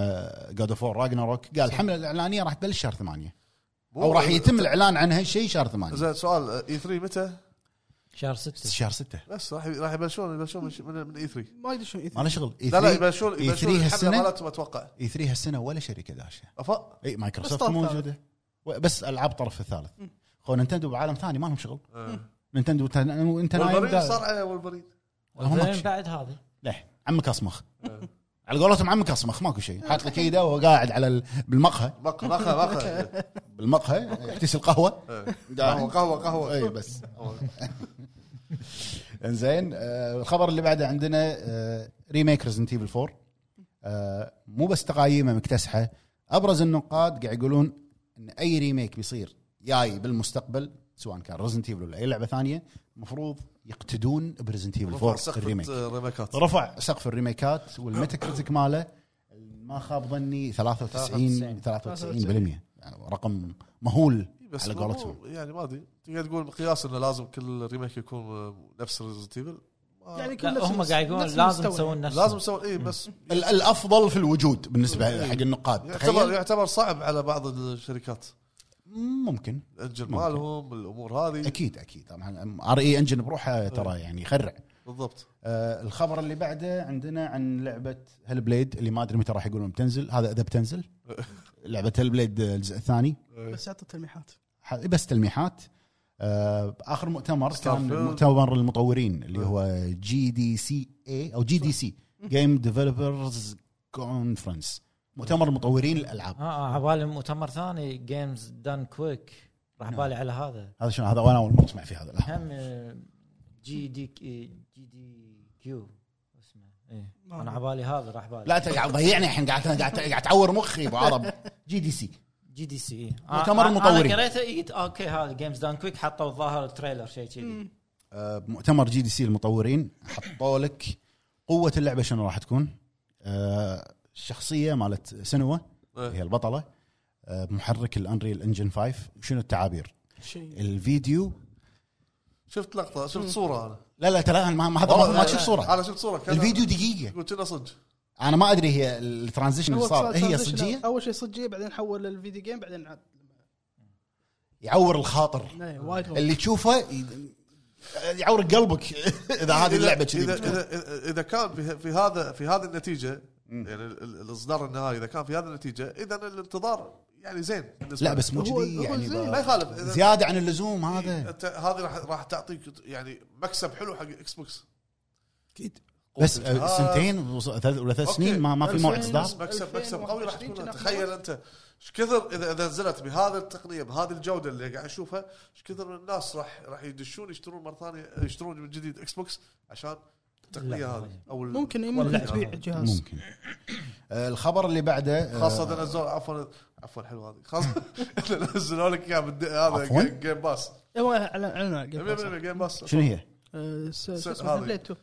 [SPEAKER 1] جود اوف راجناروك قال الحمله الاعلانيه راح تبلش شهر ثمانية او
[SPEAKER 4] مو-
[SPEAKER 1] راح يتم الاعلان عن هالشيء شهر ثمانية
[SPEAKER 4] زين سؤال اي 3 آه، E متى؟
[SPEAKER 2] شهر 6
[SPEAKER 1] شهر 6
[SPEAKER 4] بس راح راح يبلشون يبلشون من- من من اي 3
[SPEAKER 1] E
[SPEAKER 3] ما ادري شنو
[SPEAKER 1] ما له شغل E اي
[SPEAKER 4] لا لا
[SPEAKER 1] 3
[SPEAKER 4] يبلشون
[SPEAKER 1] E3
[SPEAKER 4] يبلشون الحمله
[SPEAKER 1] هالسنة؟
[SPEAKER 4] مالتهم اتوقع
[SPEAKER 1] اي 3 هالسنه ولا شركه داشه
[SPEAKER 4] افا
[SPEAKER 1] اي مايكروسوفت
[SPEAKER 3] طرف
[SPEAKER 1] موجوده و- بس العاب طرف الثالث خو نينتندو بعالم ثاني ما لهم شغل نينتندو وت- وانت نايم
[SPEAKER 4] آه. والبريد صار
[SPEAKER 1] دا-
[SPEAKER 4] على والبريد
[SPEAKER 1] والله ماكو شيء.
[SPEAKER 2] بعد هذه
[SPEAKER 1] لا عمك اصمخ على قولتهم عمك اصمخ ماكو شيء حاط لك ايده وهو قاعد على ال- بالمقهى
[SPEAKER 4] مقهى [LAUGHS] مقهى
[SPEAKER 1] بالمقهى يحتسي القهوه
[SPEAKER 4] قهوه قهوه قهوه [LAUGHS]
[SPEAKER 1] اي آه. بس انزين آه، الخبر اللي بعده عندنا آه، ريميك ريزنت ايفل 4 آه، مو بس تقايمه مكتسحه ابرز النقاد قاعد يقولون ان اي ريميك بيصير جاي بالمستقبل سواء كان ريزنت ايفل ولا اي لعبه ثانيه المفروض يقتدون بريزنت ايفل 4 الريميك
[SPEAKER 4] آه، ريميكات
[SPEAKER 1] رفع سقف الريميكات والميتا كريتيك ماله ما خاب ظني 93 93% يعني رقم مهول
[SPEAKER 4] بس
[SPEAKER 1] على
[SPEAKER 4] مو-
[SPEAKER 1] قولتهم
[SPEAKER 4] يعني ما ادري تقدر تقول مقياس انه لازم كل ريميك يكون آه، نفس ريزنت ايفل
[SPEAKER 3] يعني كل
[SPEAKER 2] لا،
[SPEAKER 3] نفس
[SPEAKER 2] هم
[SPEAKER 3] المس-
[SPEAKER 2] قاعد يقولون
[SPEAKER 3] نفس
[SPEAKER 2] لازم
[SPEAKER 3] المستوى
[SPEAKER 2] تسوون نفس
[SPEAKER 4] يعني. لازم يسوون اي بس
[SPEAKER 1] ال- الافضل في الوجود بالنسبه حق النقاد
[SPEAKER 4] يعتبر يعني.
[SPEAKER 1] تخيل
[SPEAKER 4] يعتبر صعب على بعض الشركات
[SPEAKER 1] ممكن
[SPEAKER 4] الانجن
[SPEAKER 1] ممكن.
[SPEAKER 4] مالهم الامور هذه
[SPEAKER 1] اكيد اكيد طبعا ار اي انجن E بروحه ترى يعني يخرع
[SPEAKER 4] بالضبط
[SPEAKER 1] آه الخبر اللي بعده عندنا عن لعبه هل بليد اللي ما ادري متى راح يقولون بتنزل هذا اذا بتنزل
[SPEAKER 4] [LAUGHS]
[SPEAKER 1] لعبه هل بليد الجزء الثاني
[SPEAKER 3] بس اعطوا تلميحات
[SPEAKER 1] ح- بس تلميحات آه اخر مؤتمر كان
[SPEAKER 4] Starfield.
[SPEAKER 1] مؤتمر المطورين اللي هو جي دي سي اي او جي دي سي جيم ديفلوبرز كونفرنس مؤتمر المطورين الالعاب
[SPEAKER 2] اه على بالي مؤتمر ثاني جيمز دان كويك راح
[SPEAKER 1] نعم.
[SPEAKER 2] بالي على هذا
[SPEAKER 1] هذا شنو هذا وانا اول مره اسمع فيه هذا الألعاب.
[SPEAKER 2] هم آه، جي دي ك- جي دي كيو اسمه ايه انا
[SPEAKER 3] ما أدري.
[SPEAKER 2] على بالي هذا راح بالي
[SPEAKER 1] لا انت قاعد تضيعني الحين قاعد قاعد قاعد تعور مخي ابو عرب جي دي سي
[SPEAKER 2] جي دي سي إيه.
[SPEAKER 1] مؤتمر
[SPEAKER 2] أنا-
[SPEAKER 1] المطورين.
[SPEAKER 2] انا قريته إيه، اوكي هذا جيمز دان كويك حطوا الظاهر تريلر شيء كذي
[SPEAKER 1] آه، بمؤتمر جي دي سي المطورين حطوا لك قوه اللعبه شنو راح تكون آه، الشخصيه مالت سنوا هي
[SPEAKER 4] إيه.
[SPEAKER 1] البطله آه، محرك الانريل انجن 5 شنو التعابير
[SPEAKER 3] شيء
[SPEAKER 1] الفيديو
[SPEAKER 4] شفت لقطه شفت صوره انا
[SPEAKER 1] لا لا ترى ما ما- هذا ما-
[SPEAKER 4] والله
[SPEAKER 1] ما تشوف صوره
[SPEAKER 4] انا شفت صوره كان-
[SPEAKER 1] الفيديو دقيقه
[SPEAKER 4] يقول كنا صدق
[SPEAKER 1] انا ما ادري هي الترانزيشن اللي
[SPEAKER 3] هو
[SPEAKER 1] صار
[SPEAKER 3] صار-
[SPEAKER 1] هي
[SPEAKER 3] صار-
[SPEAKER 1] صجيه
[SPEAKER 3] اول شيء صجيه بعدين حول للفيديو جيم بعدين عاد
[SPEAKER 1] يعور الخاطر
[SPEAKER 3] لا، وايد غلط.
[SPEAKER 1] اللي تشوفه ي- يعور قلبك [LAUGHS] اذا هذه اللعبه
[SPEAKER 4] إذا-
[SPEAKER 1] كذي
[SPEAKER 4] اذا
[SPEAKER 1] بتكون.
[SPEAKER 4] اذا اذا كان في- في هذا في هذه النتيجه يعني ال- ال- الاصدار النهائي اذا كان في هذه النتيجه اذا الانتظار يعني زين بالنسبه
[SPEAKER 1] لا بس مو
[SPEAKER 3] هو-
[SPEAKER 1] كذي
[SPEAKER 3] هو
[SPEAKER 1] يعني
[SPEAKER 3] زين،
[SPEAKER 1] بقى-
[SPEAKER 4] ما يخالف إذا- إيه،
[SPEAKER 1] زياده عن اللزوم هذا
[SPEAKER 4] أنت- هذه راح راح تعطيك يعني مكسب حلو حق اكس بوكس
[SPEAKER 3] اكيد
[SPEAKER 1] بس
[SPEAKER 4] قوة الإنتاج.
[SPEAKER 1] آه، سنتين وص- ثلاث- ولا ثلاث
[SPEAKER 4] أوكي.
[SPEAKER 1] سنين ما, ما في موعد
[SPEAKER 3] ألفين
[SPEAKER 1] اصدار
[SPEAKER 3] وسبعة.
[SPEAKER 4] مكسب مكسب قوي راح
[SPEAKER 3] 2021
[SPEAKER 4] تكون
[SPEAKER 3] كنا
[SPEAKER 4] تخيل انت ايش كثر اذا اذا نزلت بهذا التقنيه بهذه الجوده اللي قاعد اشوفها ايش كثر من الناس راح راح يدشون يشترون مره ثانيه يشترون من جديد اكس بوكس عشان التقنيه
[SPEAKER 2] لا.
[SPEAKER 4] هذه او ال-
[SPEAKER 3] ممكن إيه،
[SPEAKER 2] والله.
[SPEAKER 3] ممكن تبيع جهاز
[SPEAKER 1] ممكن آه، الخبر اللي بعده آه،
[SPEAKER 4] خاصة نزلوا عفوا عفوا حلو هذه خاصة [LAUGHS] نزلوا لك اياها بالد-
[SPEAKER 1] عفواً؟
[SPEAKER 4] هذا جيم باس
[SPEAKER 3] هو اعلنوا
[SPEAKER 4] 100%
[SPEAKER 3] عن جيم باس.
[SPEAKER 4] جيم باس
[SPEAKER 1] شنو هي؟
[SPEAKER 3] آه، س-
[SPEAKER 4] س-
[SPEAKER 3] شو
[SPEAKER 4] هذا.
[SPEAKER 3] اسمه بلاي 2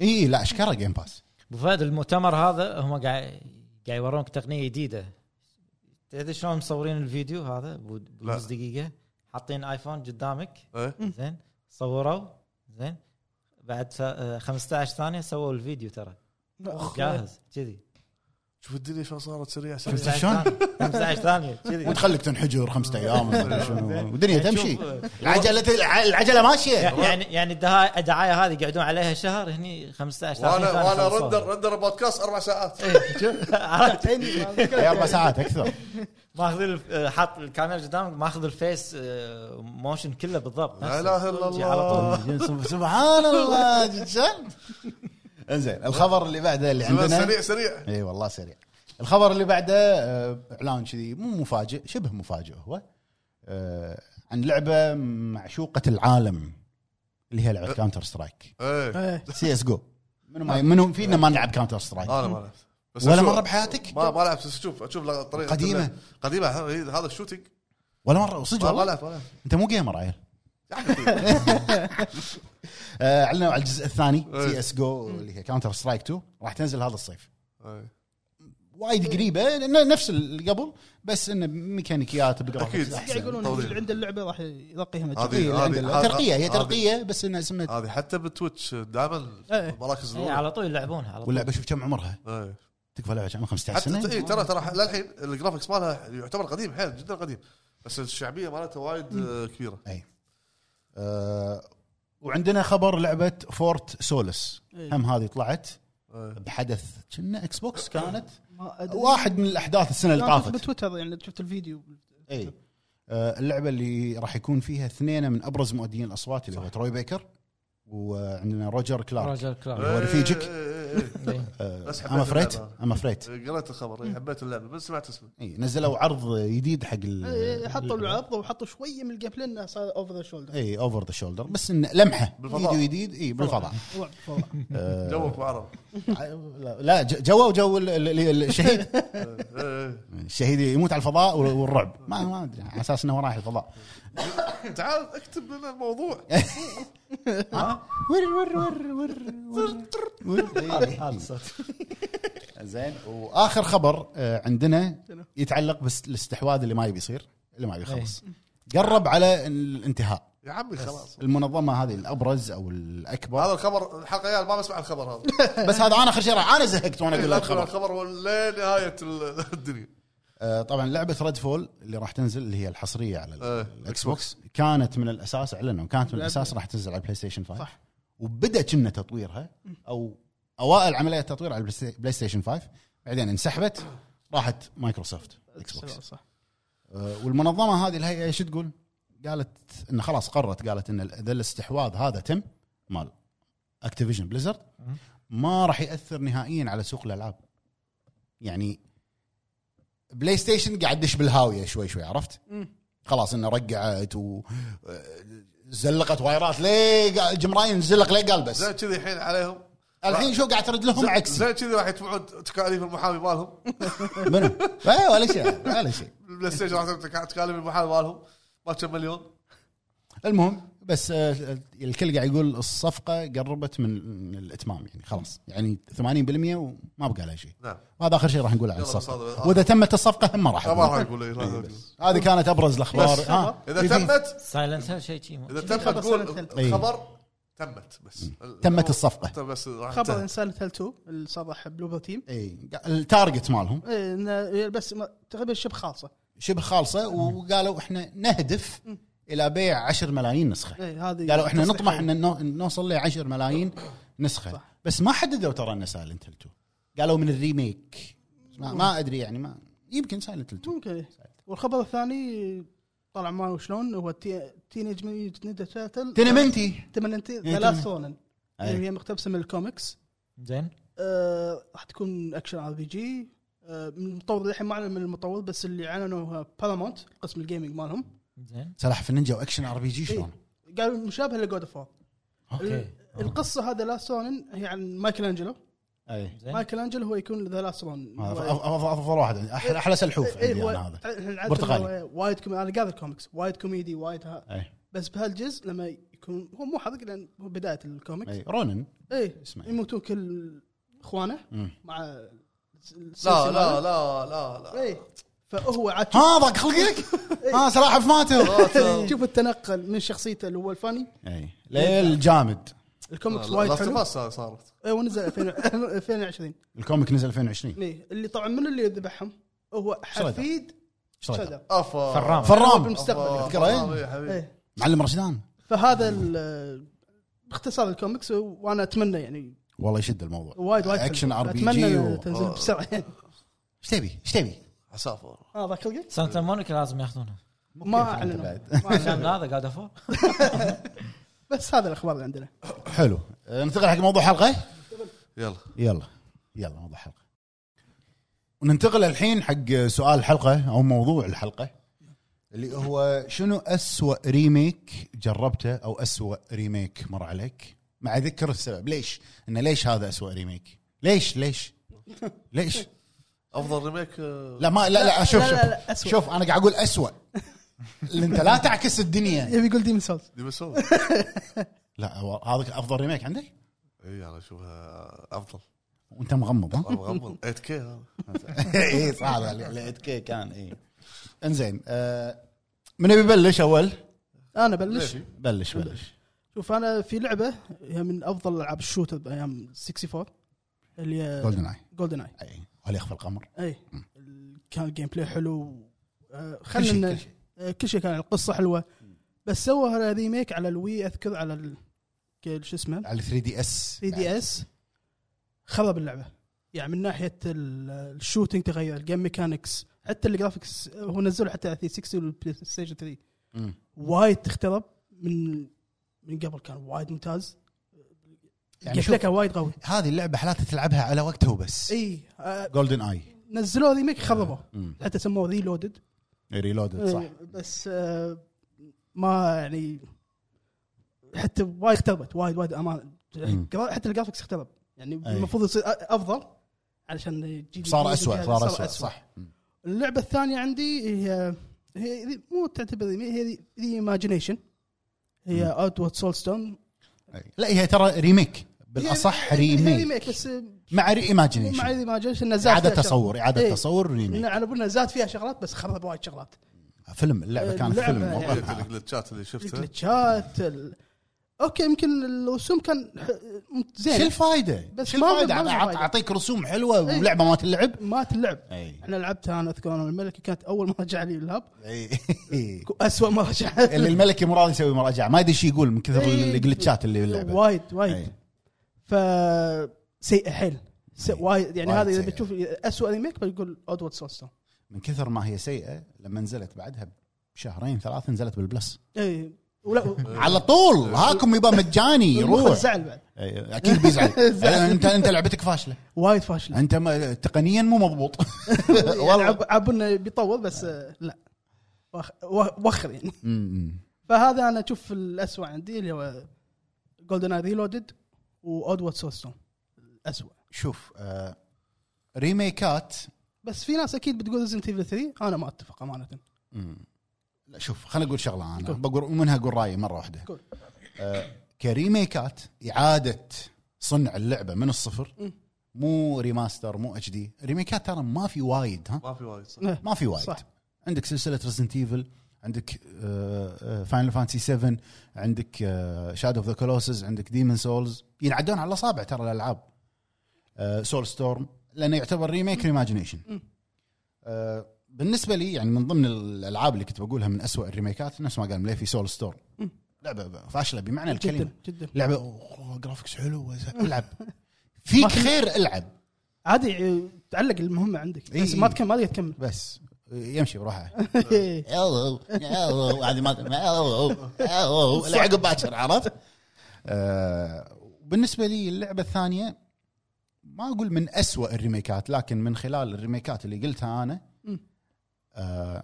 [SPEAKER 1] اي لا اشكره جيم باس
[SPEAKER 2] ابو فهد المؤتمر هذا هم قاعد قاعد يورونك تقنيه جديده تدري شلون مصورين الفيديو هذا بو- بنص دقيقه حاطين ايفون قدامك
[SPEAKER 4] إيه.
[SPEAKER 2] زين صوروا زين بعد ف- آه، 15 ثانيه سووا الفيديو ترى جاهز كذي
[SPEAKER 4] شوف الدنيا شلون صارت سريع سريع
[SPEAKER 2] 15
[SPEAKER 1] شلون؟
[SPEAKER 2] ثانية- 15 ثانيه
[SPEAKER 1] [LAUGHS]
[SPEAKER 2] كذي
[SPEAKER 1] وتخليك تنحجر خمسة ايام ولا
[SPEAKER 4] [LAUGHS]
[SPEAKER 1] شنو والدنيا إيه، تمشي
[SPEAKER 2] شوف،
[SPEAKER 1] العجله الع- العجله ماشيه
[SPEAKER 2] يعني يعني الدها- الدعايه هذه قاعدون عليها شهر هني 15 ثانيه
[SPEAKER 4] وانا وانا
[SPEAKER 2] خلصوها.
[SPEAKER 4] رندر رندر بودكاست اربع
[SPEAKER 2] [LAUGHS]
[SPEAKER 4] ساعات
[SPEAKER 1] إيه،
[SPEAKER 2] عرفت
[SPEAKER 1] هي اربع ساعات اكثر
[SPEAKER 2] ماخذ الف- آه، حاط الكاميرا قدامك ماخذ الفيس آه، موشن كله بالضبط
[SPEAKER 4] لا اله الا
[SPEAKER 2] نفسه. على طول
[SPEAKER 4] الله
[SPEAKER 1] سبحان الله جدا انزين الخبر اللي بعده اللي عندنا
[SPEAKER 4] سريع سريع
[SPEAKER 1] اي والله سريع الخبر اللي بعده آه، اعلان كذي مو مفاجئ شبه مفاجئ هو آه، عن لعبه معشوقه العالم اللي هي لعبه كاونتر سترايك
[SPEAKER 4] إيه.
[SPEAKER 1] [LAUGHS]
[SPEAKER 3] إيه.
[SPEAKER 1] سي اس جو أه. منو ما آه. منو فينا ما نلعب كاونتر سترايك
[SPEAKER 4] انا ما لعبت بس
[SPEAKER 1] ولا
[SPEAKER 4] أشوف-
[SPEAKER 1] مرة بحياتك؟
[SPEAKER 4] ما ما لعبت بس شوف اشوف لقطة- طريقة
[SPEAKER 1] قديمة.
[SPEAKER 4] اللعب. قديمه هذا- هذا الشوتنج
[SPEAKER 1] ولا مره صدق
[SPEAKER 4] ما ما
[SPEAKER 1] والله
[SPEAKER 4] لعبت ما لعبت
[SPEAKER 1] انت مو جيمر عيل
[SPEAKER 4] يا حبيبي.
[SPEAKER 1] [LAUGHS] آه، اعلنوا على الجزء الثاني
[SPEAKER 4] إيه.
[SPEAKER 1] سي اس جو اللي هي كاونتر سترايك 2 راح تنزل هذا الصيف
[SPEAKER 4] إيه.
[SPEAKER 1] وايد قريبه ن- نفس اللي قبل بس انه ميكانيكيات بجرافيكس
[SPEAKER 4] أكيد.
[SPEAKER 1] احسن
[SPEAKER 3] قاعد يقولون
[SPEAKER 4] طبيعي.
[SPEAKER 3] اللي عنده اللعبه راح يلقيها يعني مجد
[SPEAKER 4] هذه-
[SPEAKER 1] إيه، اللي عندنا.
[SPEAKER 4] هذه-
[SPEAKER 1] ترقيه هي
[SPEAKER 4] هذه-
[SPEAKER 1] ترقيه بس انها اسمها
[SPEAKER 4] هذه حتى بالتويتش دائما
[SPEAKER 3] إيه.
[SPEAKER 4] مراكز
[SPEAKER 2] إيه،
[SPEAKER 4] الأولى.
[SPEAKER 2] على طول يلعبونها على طول
[SPEAKER 1] واللعبه شوف كم عمرها
[SPEAKER 4] إيه.
[SPEAKER 1] تكفى لعبه عمرها 15
[SPEAKER 4] حتى
[SPEAKER 1] سنه
[SPEAKER 4] إيه ترى ترى للحين الجرافكس مالها يعتبر قديم حيل جدا قديم بس الشعبيه مالتها وايد آه، كبيره
[SPEAKER 1] آه، وعندنا خبر لعبه فورت سولس
[SPEAKER 3] إيه.
[SPEAKER 1] هم هذه طلعت
[SPEAKER 4] إيه.
[SPEAKER 1] بحدث كنا اكس بوكس كانت
[SPEAKER 3] ما أدري.
[SPEAKER 1] واحد من الاحداث السنه اللي
[SPEAKER 3] كانت
[SPEAKER 1] طافت
[SPEAKER 3] بتويتر يعني شفت الفيديو
[SPEAKER 1] اي آه، اللعبه اللي راح يكون فيها اثنين من ابرز مؤدين الاصوات اللي هو تروي بيكر وعندنا روجر كلارك آه،
[SPEAKER 2] روجر
[SPEAKER 1] إيه.
[SPEAKER 2] كلارك
[SPEAKER 1] هو رفيجك؟
[SPEAKER 4] إيه، إيه، بس حبيت
[SPEAKER 1] ام افريت
[SPEAKER 4] اللعبة.
[SPEAKER 1] ام افريت
[SPEAKER 4] إيه. [LAUGHS] قريت الخبر إيه، حبيت اللعبه بس سمعت اسمه
[SPEAKER 1] اي إيه، نزلوا عرض جديد حق ال- إيه،
[SPEAKER 3] إيه، حطوا العرض وحطوا شويه من الجيم بلاي انه صار اوفر ذا شولدر
[SPEAKER 1] اي اوفر ذا شولدر بس انه لمحه
[SPEAKER 4] بالفضاء.
[SPEAKER 1] فيديو جديد إيه، اي بالفضاء
[SPEAKER 3] رعب
[SPEAKER 1] [LAUGHS]
[SPEAKER 3] فظاع.
[SPEAKER 1] آه،
[SPEAKER 4] جوك معرض
[SPEAKER 1] لا- لا ج- جوه وجو ال- ال- ال- الشهيد
[SPEAKER 4] إيه،
[SPEAKER 1] الشهيد يموت على الفضاء وال- والرعب ما ما ادري على اساس انه رايح الفضاء
[SPEAKER 4] إيه. [LAUGHS] تعال اكتب لنا الموضوع
[SPEAKER 1] [LAUGHS] ور ور ور ور
[SPEAKER 4] [LAUGHS]
[SPEAKER 1] ور إيه. زين واخر خبر آه، عندنا يتعلق بالاستحواذ اللي ما يبي يصير اللي ما يبي
[SPEAKER 3] إيه.
[SPEAKER 1] يخلص قرب على الانتهاء
[SPEAKER 4] يا عمي خلاص
[SPEAKER 1] المنظمه هذه الابرز او الاكبر
[SPEAKER 4] هذا الخبر الحلقه يا ما بسمع الخبر
[SPEAKER 1] [LAUGHS]
[SPEAKER 4] هذا
[SPEAKER 1] بس هذا انا اخر شيء راح- انا زهقت وانا اقول
[SPEAKER 4] [LAUGHS] إيه، أدخل
[SPEAKER 1] الخبر
[SPEAKER 4] الخبر لنهايه ال- [LAUGHS] الدنيا
[SPEAKER 1] آه، طبعا لعبه ريد فول اللي راح تنزل اللي هي الحصريه على ال-
[SPEAKER 4] إيه،
[SPEAKER 1] الاكس بوكس كانت من الاساس اعلنوا كانت من الاساس راح تنزل على البلاي ستيشن 5
[SPEAKER 3] صح.
[SPEAKER 1] وبدا كنا تطويرها او اوائل عمليه تطوير على البلاي- بلاي ستيشن 5 بعدين انسحبت راحت مايكروسوفت اكس بوكس
[SPEAKER 3] صح
[SPEAKER 1] آه، والمنظمه هذه الهيئه شو تقول؟ قالت ان خلاص قررت قالت ان ال- اذا الاستحواذ هذا تم مال اكتيفيجن بليزرد ما راح ياثر نهائيا على سوق الالعاب. يعني بلاي ستيشن قاعد دش بالهاويه شوي شوي عرفت؟ خلاص انه رقعت و آه، زلقت وايرات ليه قا- جيم راين زلق ليه قال بس
[SPEAKER 4] زين كذي الحين عليهم
[SPEAKER 1] الحين شو قاعد ترد لهم عكسي
[SPEAKER 4] زين كذي راح يدفعون تكاليف المحامي مالهم [LAUGHS]
[SPEAKER 1] منو؟ إيه، ولا شيء ولا شيء
[SPEAKER 4] البلاي ستيشن راح تدفع تكاليف المحامي مالهم ما كم مليون
[SPEAKER 1] المهم بس آه، الكل قاعد يقول الصفقه قربت من الاتمام يعني خلاص يعني 80% وما بقى لها شيء
[SPEAKER 4] نعم
[SPEAKER 1] وهذا اخر شيء راح نقول عن
[SPEAKER 4] يلا
[SPEAKER 1] الصفقه
[SPEAKER 4] بالصدق.
[SPEAKER 1] واذا تمت الصفقه هم ما راح
[SPEAKER 4] لا، ما راح
[SPEAKER 1] نقول.
[SPEAKER 4] يقول إيه، لا، لا، لا.
[SPEAKER 1] هذه كانت ابرز الاخبار
[SPEAKER 4] بس.
[SPEAKER 1] ها إيه،
[SPEAKER 4] اذا
[SPEAKER 1] في- في-
[SPEAKER 4] تمت
[SPEAKER 2] سايلنت هيل شيء شيء
[SPEAKER 4] اذا تمت
[SPEAKER 3] إيه، خبر
[SPEAKER 4] قول
[SPEAKER 3] سنة
[SPEAKER 1] إيه.
[SPEAKER 4] الخبر تمت بس
[SPEAKER 1] تمت الصفقة.
[SPEAKER 4] تم بس راح
[SPEAKER 3] خبر
[SPEAKER 4] خبر
[SPEAKER 3] انسان تيل 2 اللي صرح بلوبر تيم
[SPEAKER 1] اي إيه، التارجت مالهم
[SPEAKER 3] إيه، إنه بس ما- تقريبا شبه خالصه
[SPEAKER 1] شبه خالصه وقالوا احنا نهدف الى بيع 10 ملايين نسخه
[SPEAKER 3] إيه، هذه
[SPEAKER 1] قالوا احنا
[SPEAKER 3] تصريح
[SPEAKER 1] نطمح
[SPEAKER 3] يعني.
[SPEAKER 1] ان نو- نوصل ل 10 ملايين نسخه
[SPEAKER 3] صح.
[SPEAKER 1] بس ما حددوا ترى انه سايلنت هيل 2 قالوا من الريميك ما, ما ادري يعني ما يمكن سايلنت هيل 2
[SPEAKER 3] ممكن إيه. والخبر الثاني طلع ما أدري شلون هو تينيج نينجا تيرتل
[SPEAKER 1] تنمنتي
[SPEAKER 3] تمنتي
[SPEAKER 1] إيه،
[SPEAKER 3] ثلاث
[SPEAKER 1] تمن-
[SPEAKER 3] سونن
[SPEAKER 1] أي.
[SPEAKER 3] يعني هي مقتبسه من الكوميكس
[SPEAKER 2] زين
[SPEAKER 3] آه، راح تكون اكشن ار بي جي آه، من المطور للحين ما اعلن من المطور بس اللي اعلنوا بارامونت قسم الجيمنج مالهم
[SPEAKER 2] زين
[SPEAKER 1] سلاحف النينجا واكشن ار بي جي
[SPEAKER 3] إيه.
[SPEAKER 1] شلون؟
[SPEAKER 3] قالوا مشابه لجود اوف
[SPEAKER 1] آه.
[SPEAKER 2] اوكي
[SPEAKER 3] القصه هذا لاست سونن هي عن مايكل انجلو
[SPEAKER 1] اي
[SPEAKER 2] زين
[SPEAKER 3] مايكل انجلو هو يكون ذا لاست سونن
[SPEAKER 1] هذا آه، أف- أف- افضل واحد عندي. احلى احلى
[SPEAKER 3] إيه،
[SPEAKER 1] سلحوف عندي انا هذا برتقالي.
[SPEAKER 3] وايد كوميدي انا قاعد الكوميكس وايد كوميدي وايد ها
[SPEAKER 1] اي
[SPEAKER 3] بس بهالجزء لما يكون هو مو حرق لان هو بدايه الكوميكس
[SPEAKER 1] اي إيه. رونن
[SPEAKER 3] اي
[SPEAKER 1] اسمه إيه.
[SPEAKER 3] يموتون كل اخوانه
[SPEAKER 1] مم.
[SPEAKER 3] مع الس-
[SPEAKER 4] لا
[SPEAKER 3] السلسلة
[SPEAKER 4] لا لا لا لا
[SPEAKER 3] اي إيه، فهو
[SPEAKER 4] [LAUGHS]
[SPEAKER 3] عاد
[SPEAKER 1] ها ضاق خلقك؟
[SPEAKER 3] إيه.
[SPEAKER 1] ها سلاحف ماتوا
[SPEAKER 3] شوف التنقل من شخصيته اللي هو الفاني
[SPEAKER 1] اي إيه. ليل جامد
[SPEAKER 3] الكوميكس وايد حلو
[SPEAKER 4] بس صارت
[SPEAKER 3] إيه، ونزل [LAUGHS] 2000 2020
[SPEAKER 1] الكوميك نزل 2020
[SPEAKER 3] إيه، اللي طبعا من اللي ذبحهم هو حفيد
[SPEAKER 1] ايش رايك؟
[SPEAKER 3] شدر
[SPEAKER 4] افا
[SPEAKER 2] فرام
[SPEAKER 3] هو
[SPEAKER 1] فرام
[SPEAKER 3] بالمستقبل يعني.
[SPEAKER 1] أفا. تذكرين؟
[SPEAKER 4] تذكرين؟
[SPEAKER 3] إيه،
[SPEAKER 1] معلم رشدان
[SPEAKER 3] فهذا ال- باختصار الكوميكس وانا اتمنى يعني
[SPEAKER 1] والله يشد الموضوع
[SPEAKER 3] وايد وايد حلو.
[SPEAKER 1] اكشن ار بي جي
[SPEAKER 3] اتمنى تنزل بسرعه [LAUGHS] يعني
[SPEAKER 1] ايش تبي؟ ايش تبي؟
[SPEAKER 4] عسافر
[SPEAKER 3] اه ذاك القط
[SPEAKER 2] سانتا مونيكا لازم ياخذونها
[SPEAKER 3] ما
[SPEAKER 1] كيف أنت
[SPEAKER 3] اعلنوا
[SPEAKER 1] بعد؟
[SPEAKER 3] ما
[SPEAKER 2] عشان
[SPEAKER 3] أعلنوا.
[SPEAKER 2] هذا قاعد
[SPEAKER 3] [LAUGHS]
[SPEAKER 2] افور
[SPEAKER 3] بس هذا الاخبار اللي عندنا
[SPEAKER 1] حلو أه، ننتقل حق موضوع حلقه
[SPEAKER 4] يلا
[SPEAKER 1] يلا يلا موضوع حلقه وننتقل الحين حق سؤال الحلقه او موضوع الحلقه اللي هو شنو أسوأ ريميك جربته او أسوأ ريميك مر عليك مع ذكر السبب ليش انه ليش هذا أسوأ ريميك ليش ليش ليش
[SPEAKER 4] افضل ريميك آه،
[SPEAKER 1] لا ما لا لا شوف
[SPEAKER 3] لا،
[SPEAKER 1] شوف
[SPEAKER 3] لا، لا، أسوأ.
[SPEAKER 1] شوف انا قاعد اقول أسوأ اللي انت لا تعكس الدنيا
[SPEAKER 3] يبي يقول ديمن سولز
[SPEAKER 4] دي بسوي
[SPEAKER 1] لا هو هذا افضل ريميك عندك
[SPEAKER 4] اي انا اشوفها افضل
[SPEAKER 1] وانت مغمض ها
[SPEAKER 4] أنا مغمض 8 كي هذا
[SPEAKER 3] إيه،
[SPEAKER 1] اي صح هذا كي كان اي [LAUGHS] انزين آه، من يبي يبلش اول؟
[SPEAKER 3] انا بلش
[SPEAKER 4] ليش؟
[SPEAKER 1] بلش بلش
[SPEAKER 3] شوف انا في لعبه هي من افضل العاب الشوتر بايام 64 اللي هي
[SPEAKER 1] جولدن اي
[SPEAKER 3] جولدن اي
[SPEAKER 1] اي ولا يخفى القمر
[SPEAKER 3] اي كان الجيم بلاي حلو آه،
[SPEAKER 1] كل شيء،
[SPEAKER 3] خلنا
[SPEAKER 1] كل شيء.
[SPEAKER 3] آه، كل شيء كان القصه حلوه بس سوى ريميك على الوي اذكر على ال- ك- شو اسمه
[SPEAKER 1] على 3 دي يعني اس
[SPEAKER 3] 3 دي اس خرب اللعبه يعني من ناحيه ال- الشوتينج تغير الجيم ميكانكس حتى الجرافكس هو نزله حتى على 360 والبلاي ستيشن 3 وايد تخترب من من قبل كان وايد ممتاز
[SPEAKER 1] يعني
[SPEAKER 3] يعني
[SPEAKER 1] شوف
[SPEAKER 3] كان وايد قوي
[SPEAKER 1] هذه اللعبه حالاتها تلعبها على وقتها وبس
[SPEAKER 3] اي آه،
[SPEAKER 1] جولدن اي
[SPEAKER 3] نزلوه ريميك خربوه حتى سموه ريلودد
[SPEAKER 1] ريلودد
[SPEAKER 3] إيه.
[SPEAKER 1] صح
[SPEAKER 3] بس آه، ما يعني حتى وايد اختربت وايد وايد امان
[SPEAKER 1] مم.
[SPEAKER 3] حتى الجرافكس اخترب يعني
[SPEAKER 1] أي.
[SPEAKER 3] المفروض يصير أ- افضل علشان يجي-
[SPEAKER 1] صار اسوء
[SPEAKER 3] يجي-
[SPEAKER 1] صار اسوء صح مم.
[SPEAKER 3] اللعبه الثانيه عندي هي هي ذي- مو تعتبر ريميك هي ذي ايماجينيشن هي اوت سول ستون
[SPEAKER 1] أي. لا هي ترى ريميك بالاصح ريميك
[SPEAKER 3] ريميك إيه، بس آه،
[SPEAKER 1] مع ري ايماجينيشن
[SPEAKER 3] مع ايماجينيشن نزلت
[SPEAKER 1] اعاده تصور اعاده
[SPEAKER 3] إيه.
[SPEAKER 1] تصور ريميك
[SPEAKER 3] على بالنا زاد فيها شغلات بس خرب وايد شغلات
[SPEAKER 1] فيلم اللعبه كانت
[SPEAKER 3] اللعبة
[SPEAKER 1] فيلم
[SPEAKER 3] يعني-
[SPEAKER 1] والله.
[SPEAKER 4] موضوع الجلتشات اللي شفتها
[SPEAKER 3] الجلتشات ال... اوكي يمكن الرسوم كان ح- مت-
[SPEAKER 1] شو
[SPEAKER 3] زين
[SPEAKER 1] الفائده؟
[SPEAKER 3] يعني. بس
[SPEAKER 1] شو
[SPEAKER 3] ما-
[SPEAKER 1] الفائده؟
[SPEAKER 3] ما- ما-
[SPEAKER 1] أعط-
[SPEAKER 3] فايدة.
[SPEAKER 1] اعطيك رسوم حلوه
[SPEAKER 3] إيه.
[SPEAKER 1] ولعبه ما
[SPEAKER 3] [LAUGHS]
[SPEAKER 1] تلعب
[SPEAKER 3] مات اللعب
[SPEAKER 1] اي
[SPEAKER 3] انا لعبتها انا اذكر انا الملكي كانت اول ما رجع لي اللاب
[SPEAKER 1] اي
[SPEAKER 3] اسوء ما رجع
[SPEAKER 1] اللي الملكي مو راضي يسوي مراجعه ما يدري ايش يقول من كثر
[SPEAKER 3] إيه.
[SPEAKER 1] الجلتشات اللي إيه. باللعبه
[SPEAKER 3] وايد وايد
[SPEAKER 1] إي.
[SPEAKER 3] ف سيئه حيل س-
[SPEAKER 1] إي.
[SPEAKER 3] وايد يعني
[SPEAKER 1] وايد
[SPEAKER 3] هذا اذا
[SPEAKER 1] سيئة.
[SPEAKER 3] بتشوف اسوء ريميك بتقول اودوارد سولستون
[SPEAKER 1] من كثر ما هي سيئه لما نزلت بعدها بشهرين ثلاثه نزلت بالبلس
[SPEAKER 3] اي ولا
[SPEAKER 1] على طول هاكم يبا
[SPEAKER 3] [LAUGHS]
[SPEAKER 1] مجاني
[SPEAKER 3] والمخرج
[SPEAKER 1] روح
[SPEAKER 3] زعل بعد
[SPEAKER 1] إي، اكيد
[SPEAKER 3] [LAUGHS]
[SPEAKER 1] بيزعل
[SPEAKER 3] زعل.
[SPEAKER 1] انت انت لعبتك
[SPEAKER 3] [LAUGHS]
[SPEAKER 1] فاشله
[SPEAKER 3] وايد فاشله
[SPEAKER 1] انت ما تقنيا مو
[SPEAKER 3] [LAUGHS]
[SPEAKER 1] مضبوط [LAUGHS]
[SPEAKER 3] والله عب عب انه بيطول بس آه، لا وخ- وخ- وخر يعني
[SPEAKER 1] أمم.
[SPEAKER 3] فهذا انا اشوف الاسوء عندي اللي هو جولدن اي ريلودد واودوارد سولستون الاسوء
[SPEAKER 1] شوف آه، ريميكات
[SPEAKER 3] بس في ناس اكيد بتقول ريزنت ايفل 3 انا ما اتفق امانه
[SPEAKER 1] مم. لا شوف خليني اقول شغله انا
[SPEAKER 3] قول.
[SPEAKER 1] بقول ومنها اقول رايي مره واحده
[SPEAKER 3] قول.
[SPEAKER 1] آه كريميكات اعاده صنع اللعبه من الصفر
[SPEAKER 3] مم.
[SPEAKER 1] مو ريماستر مو اتش دي ريميكات ترى ما في وايد ها
[SPEAKER 4] ما في وايد صح
[SPEAKER 1] ما في وايد
[SPEAKER 3] صح.
[SPEAKER 1] عندك سلسله ريزنت ايفل عندك آه، فاينل فانتسي 7 عندك آه، شادو اوف ذا كولوسز عندك ديمون سولز ينعدون على الاصابع ترى الالعاب سول ستورم لانه يعتبر ريميك ريماجينيشن
[SPEAKER 3] مم.
[SPEAKER 1] بالنسبه لي يعني من ضمن الالعاب اللي كنت بقولها من أسوأ الريميكات نفس ما قال مليفي سول ستورم
[SPEAKER 3] مم.
[SPEAKER 1] لعبه فاشله بمعنى الكلمه
[SPEAKER 3] جدا جدا
[SPEAKER 1] لعبه أوه، جرافيكس حلو بس
[SPEAKER 3] [LAUGHS]
[SPEAKER 1] العب فيك خير العب
[SPEAKER 3] عادي آه، تعلق المهمه عندك
[SPEAKER 1] إي
[SPEAKER 3] بس
[SPEAKER 1] إي.
[SPEAKER 3] ما تكمل ما تقدر تكمل
[SPEAKER 1] بس يمشي بروحه [LAUGHS]
[SPEAKER 3] إي.
[SPEAKER 1] يو- يو- هذه ما يو- يو- لا عقب باكر عرفت؟ آه، بالنسبه لي اللعبه الثانيه ما اقول من أسوأ الريميكات لكن من خلال الريميكات اللي قلتها انا
[SPEAKER 3] مم.
[SPEAKER 1] آه،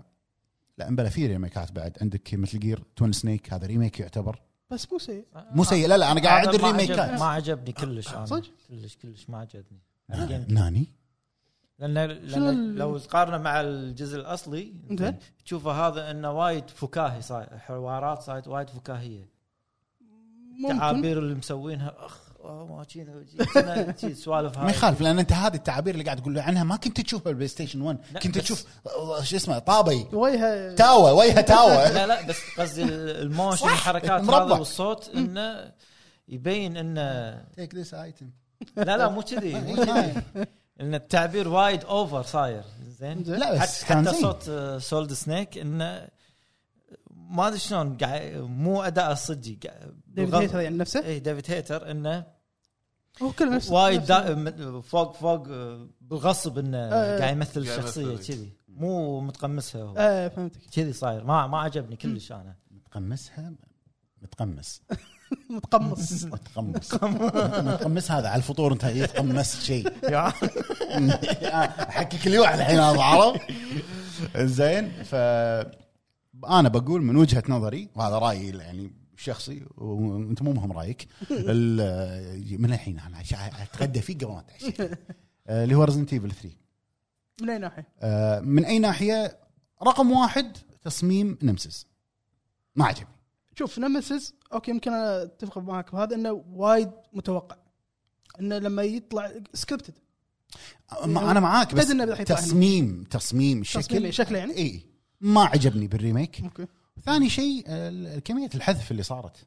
[SPEAKER 1] لا بلا في ريميكات بعد عندك مثل جير تون سنيك هذا ريميك يعتبر
[SPEAKER 3] بس مو سيء
[SPEAKER 1] مو سيء لا لا انا قاعد اعد
[SPEAKER 2] آه، هذا ما عجب-
[SPEAKER 1] الريميكات
[SPEAKER 2] ما عجبني كلش انا
[SPEAKER 3] آه، صدق؟
[SPEAKER 2] كلش كلش ما عجبني
[SPEAKER 1] آه، ناني
[SPEAKER 2] لان
[SPEAKER 3] شنو
[SPEAKER 2] لان
[SPEAKER 3] ال-
[SPEAKER 2] لو تقارنه مع الجزء الاصلي
[SPEAKER 3] زين.
[SPEAKER 2] تشوفه هذا انه وايد فكاهي صاير حوارات صارت وايد فكاهيه
[SPEAKER 3] ممكن
[SPEAKER 2] تعابير اللي مسوينها اخ آه، ما كذا- كذا كذا سوالف
[SPEAKER 1] ما
[SPEAKER 2] هاي.
[SPEAKER 1] يخالف لان انت هذه التعابير اللي قاعد تقول عنها ما كنت تشوفها بالبلاي ستيشن 1
[SPEAKER 2] لا،
[SPEAKER 1] كنت
[SPEAKER 2] بس-
[SPEAKER 1] تشوف آه، شو اسمه طابي
[SPEAKER 3] وجهه
[SPEAKER 1] تاوى وجهه تاوى
[SPEAKER 2] [LAUGHS] لا لا بس قصدي الموشن
[SPEAKER 1] صح،
[SPEAKER 2] الحركات
[SPEAKER 1] مربع.
[SPEAKER 2] هذا والصوت انه يبين انه
[SPEAKER 3] [LAUGHS]
[SPEAKER 1] تيك ذيس ايتم
[SPEAKER 2] لا لا مو كذي
[SPEAKER 1] إيه،
[SPEAKER 2] مو كذي ان التعبير وايد اوفر صاير زين
[SPEAKER 3] زين.
[SPEAKER 1] لا بس
[SPEAKER 2] حتى,
[SPEAKER 1] كان
[SPEAKER 2] حتى
[SPEAKER 1] زين.
[SPEAKER 2] صوت آه، سولد سنيك انه ما ادري شلون قاعد- مو اداء الصجي قاعد-
[SPEAKER 3] ديفيد
[SPEAKER 2] بالغلط.
[SPEAKER 3] هيتر يعني نفسه
[SPEAKER 2] اي ديفيد هيتر انه
[SPEAKER 3] هو كله نفسه
[SPEAKER 2] وايد
[SPEAKER 3] نفسه.
[SPEAKER 2] دا- م- فوق فوق آه، بالغصب انه
[SPEAKER 3] آه.
[SPEAKER 2] قاعد يمثل
[SPEAKER 4] قاعد
[SPEAKER 2] الشخصيه
[SPEAKER 4] يمثل. إيه.
[SPEAKER 2] كذي مو متقمسها هو
[SPEAKER 3] ايه فهمتك
[SPEAKER 2] كذي صاير ما ما عجبني كلش انا
[SPEAKER 1] متقمسها [LAUGHS] متقمس
[SPEAKER 3] متقمص
[SPEAKER 1] متقمس متقمس هذا على الفطور انت إيه تقمست
[SPEAKER 2] [LAUGHS]
[SPEAKER 1] شيء [LAUGHS] احكك اليوع الحين هذا عرب زين ف انا بقول من وجهه نظري وهذا رايي يعني شخصي وانت مو مهم رايك ال- من الحين انا عش- اتغدى فيه قبل ما اتعشى [LAUGHS] آه، اللي هو ريزنت ايفل 3
[SPEAKER 3] من اي ناحيه؟
[SPEAKER 1] آه، من اي ناحيه رقم واحد تصميم نمسس ما عجبني
[SPEAKER 3] شوف نمسيس اوكي يمكن انا اتفق معك بهذا انه وايد متوقع انه لما يطلع سكريبتد
[SPEAKER 1] ما انا معاك بس
[SPEAKER 3] تدري إنه راح يطلع
[SPEAKER 1] تصميم تصميم شكل
[SPEAKER 3] تصميم شكله يعني؟
[SPEAKER 1] اي ما عجبني بالريميك
[SPEAKER 3] اوكي
[SPEAKER 1] ثاني شيء ال- كميه الحذف اللي صارت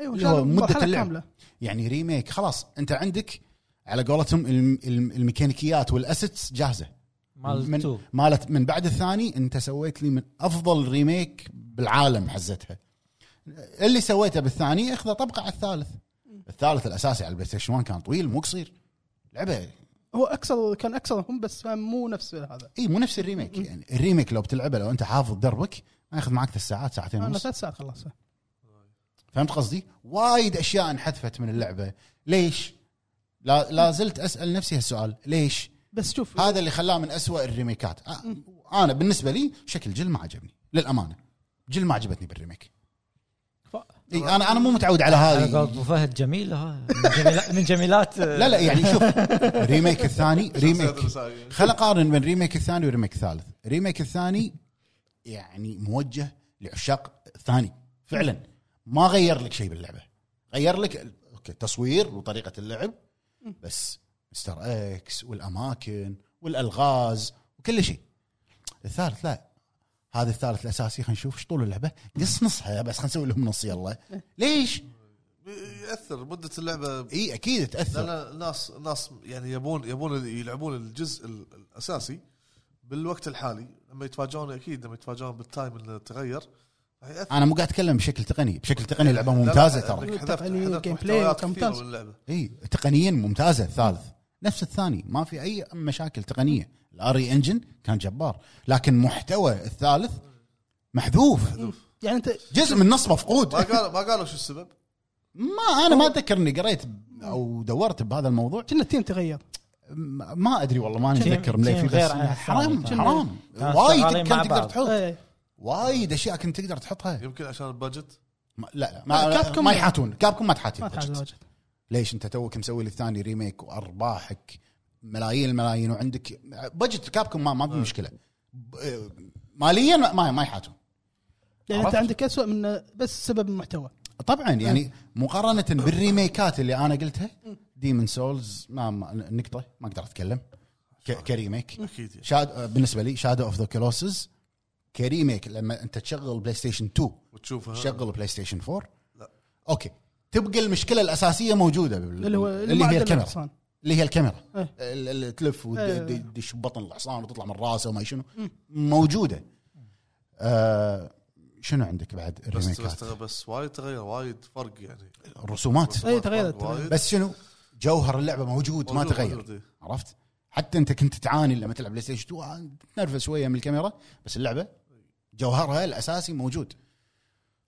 [SPEAKER 3] ايوه
[SPEAKER 1] اللي هو
[SPEAKER 3] شال
[SPEAKER 1] مدة
[SPEAKER 3] مرحلة
[SPEAKER 1] اللعب.
[SPEAKER 3] كاملة.
[SPEAKER 1] يعني ريميك خلاص انت عندك على قولتهم الم- الم- الميكانيكيات والاسيتس جاهزه
[SPEAKER 2] مال
[SPEAKER 1] من
[SPEAKER 2] تو
[SPEAKER 1] مالت من بعد الثاني انت سويت لي من افضل ريميك بالعالم حزتها اللي سويته بالثاني اخذه طبقه على الثالث الثالث الاساسي على البلاي ستيشن 1 كان طويل مو قصير لعبه
[SPEAKER 3] هو اكسل كان اكسل هم بس كان مو نفس هذا
[SPEAKER 1] اي مو نفس الريميك يعني الريميك لو بتلعبه لو انت حافظ دربك ما ياخذ معك ثلاث ساعات ساعتين
[SPEAKER 3] انا
[SPEAKER 1] ونص
[SPEAKER 3] ثلاث ساعات خلصتها
[SPEAKER 1] فهمت قصدي؟ وايد اشياء انحذفت من اللعبه ليش؟ لا, لا زلت اسال نفسي هالسؤال ليش؟
[SPEAKER 3] بس شوف
[SPEAKER 1] هذا اللي خلاه من أسوأ الريميكات آه، انا بالنسبه لي شكل جل ما عجبني للامانه جل ما عجبتني بالريميك إي انا انا مو متعود على
[SPEAKER 2] على قول
[SPEAKER 1] هذه
[SPEAKER 2] ابو فهد جميل ها من جميلا- من جميلات آه،
[SPEAKER 1] لا لا يعني شوف الريميك الثاني ريميك
[SPEAKER 4] الرسائل.
[SPEAKER 1] خل اقارن بين الريميك الثاني والريميك الثالث الريميك الثاني يعني موجه لعشاق الثاني فعلا ما غير لك شيء باللعبه غير لك ال- اوكي التصوير وطريقه اللعب بس مستر اكس والاماكن والالغاز وكل شيء الثالث لا هذا الثالث الاساسي خلينا نشوف ايش طول اللعبه قص نصها بس خلينا نسوي لهم نص يلا ليش؟
[SPEAKER 4] ياثر مده اللعبه
[SPEAKER 1] اي اكيد
[SPEAKER 4] لا
[SPEAKER 1] تاثر
[SPEAKER 4] لا ناس ناس يعني يبون يبون يلعبون الجزء ال- الاساسي بالوقت الحالي لما يتفاجئون اكيد لما يتفاجئون بالتايم اللي تغير راح ياثر
[SPEAKER 1] انا مو قاعد اتكلم بشكل تقني بشكل تقني اللعبه ممتازه
[SPEAKER 4] لا، لا،
[SPEAKER 1] يعني ترى
[SPEAKER 4] عندك حذفت-
[SPEAKER 3] تقنية،
[SPEAKER 4] حذفت
[SPEAKER 3] جيم بلاي
[SPEAKER 4] محتويات
[SPEAKER 3] كان
[SPEAKER 4] كثيرة
[SPEAKER 3] ممتاز.
[SPEAKER 4] من اللعبه
[SPEAKER 1] اي تقنيا ممتازه الثالث نفس الثاني ما في اي مشاكل تقنيه الاري انجن كان جبار لكن محتوى الثالث محذوف
[SPEAKER 3] يعني انت
[SPEAKER 1] جزء من نص مفقود
[SPEAKER 4] ما قالوا ما قالوا شو السبب
[SPEAKER 1] ما انا ما اتذكر اني قريت او دورت بهذا الموضوع
[SPEAKER 3] كنا التيم تغير
[SPEAKER 1] م- ما ادري والله ما اتذكر
[SPEAKER 2] شيء-
[SPEAKER 1] مليفي
[SPEAKER 2] شيء
[SPEAKER 1] بس
[SPEAKER 2] غير عن
[SPEAKER 1] حرام
[SPEAKER 2] الثاني.
[SPEAKER 1] حرام
[SPEAKER 2] كانوا
[SPEAKER 1] وايد
[SPEAKER 2] شغالين
[SPEAKER 1] كان
[SPEAKER 2] مع
[SPEAKER 1] تقدر
[SPEAKER 2] بعض.
[SPEAKER 1] تحط
[SPEAKER 3] إيه.
[SPEAKER 1] وايد اشياء كنت تقدر تحطها
[SPEAKER 4] يمكن عشان البادجت
[SPEAKER 1] ما- لا لا ما,
[SPEAKER 3] كابكم-
[SPEAKER 1] ما يحاتون كابكم ما
[SPEAKER 3] ما تعال
[SPEAKER 1] تحاتون
[SPEAKER 3] واجد
[SPEAKER 1] ليش انت توك مسوي للثاني ريميك وارباحك ملايين الملايين وعندك بجت كابكم ما ما في مشكله ب- آه، ماليا ما ما يحاتون
[SPEAKER 3] يعني انت
[SPEAKER 1] عرفت.
[SPEAKER 3] عندك اسوء من بس سبب المحتوى
[SPEAKER 1] طبعا يعني مقارنه بالريميكات اللي انا قلتها ديمن سولز ما, ما نقطه ما اقدر اتكلم ك- كريميك
[SPEAKER 4] اكيد يعني.
[SPEAKER 1] شاد آه، بالنسبه لي شادو اوف ذا كلوسز كريميك لما انت تشغل بلاي ستيشن 2
[SPEAKER 4] وتشوفها
[SPEAKER 1] شغل بلاي ستيشن 4
[SPEAKER 4] لا.
[SPEAKER 1] اوكي تبقى المشكله الاساسيه موجوده بال-
[SPEAKER 3] اللي هو
[SPEAKER 1] اللي هي الكاميرا
[SPEAKER 3] الحصان
[SPEAKER 1] اللي هي الكاميرا
[SPEAKER 3] إيه.
[SPEAKER 1] ال- اللي تلف
[SPEAKER 3] إيه.
[SPEAKER 1] وتدش ببطن الحصان وتطلع من راسه وما شنو موجوده آه شنو عندك بعد
[SPEAKER 4] بس بس,
[SPEAKER 1] الريميكات
[SPEAKER 4] بس وايد تغير وايد فرق يعني
[SPEAKER 1] الرسومات
[SPEAKER 3] إيه، تغيرت،
[SPEAKER 4] فرق وايد.
[SPEAKER 1] بس شنو جوهر اللعبه موجود ما
[SPEAKER 4] موجود،
[SPEAKER 1] تغير
[SPEAKER 4] موجود، إيه.
[SPEAKER 1] عرفت حتى انت كنت تعاني لما تلعب بلاي ستيشن 2 آه، تتنرفز شويه من الكاميرا بس اللعبه جوهرها الاساسي موجود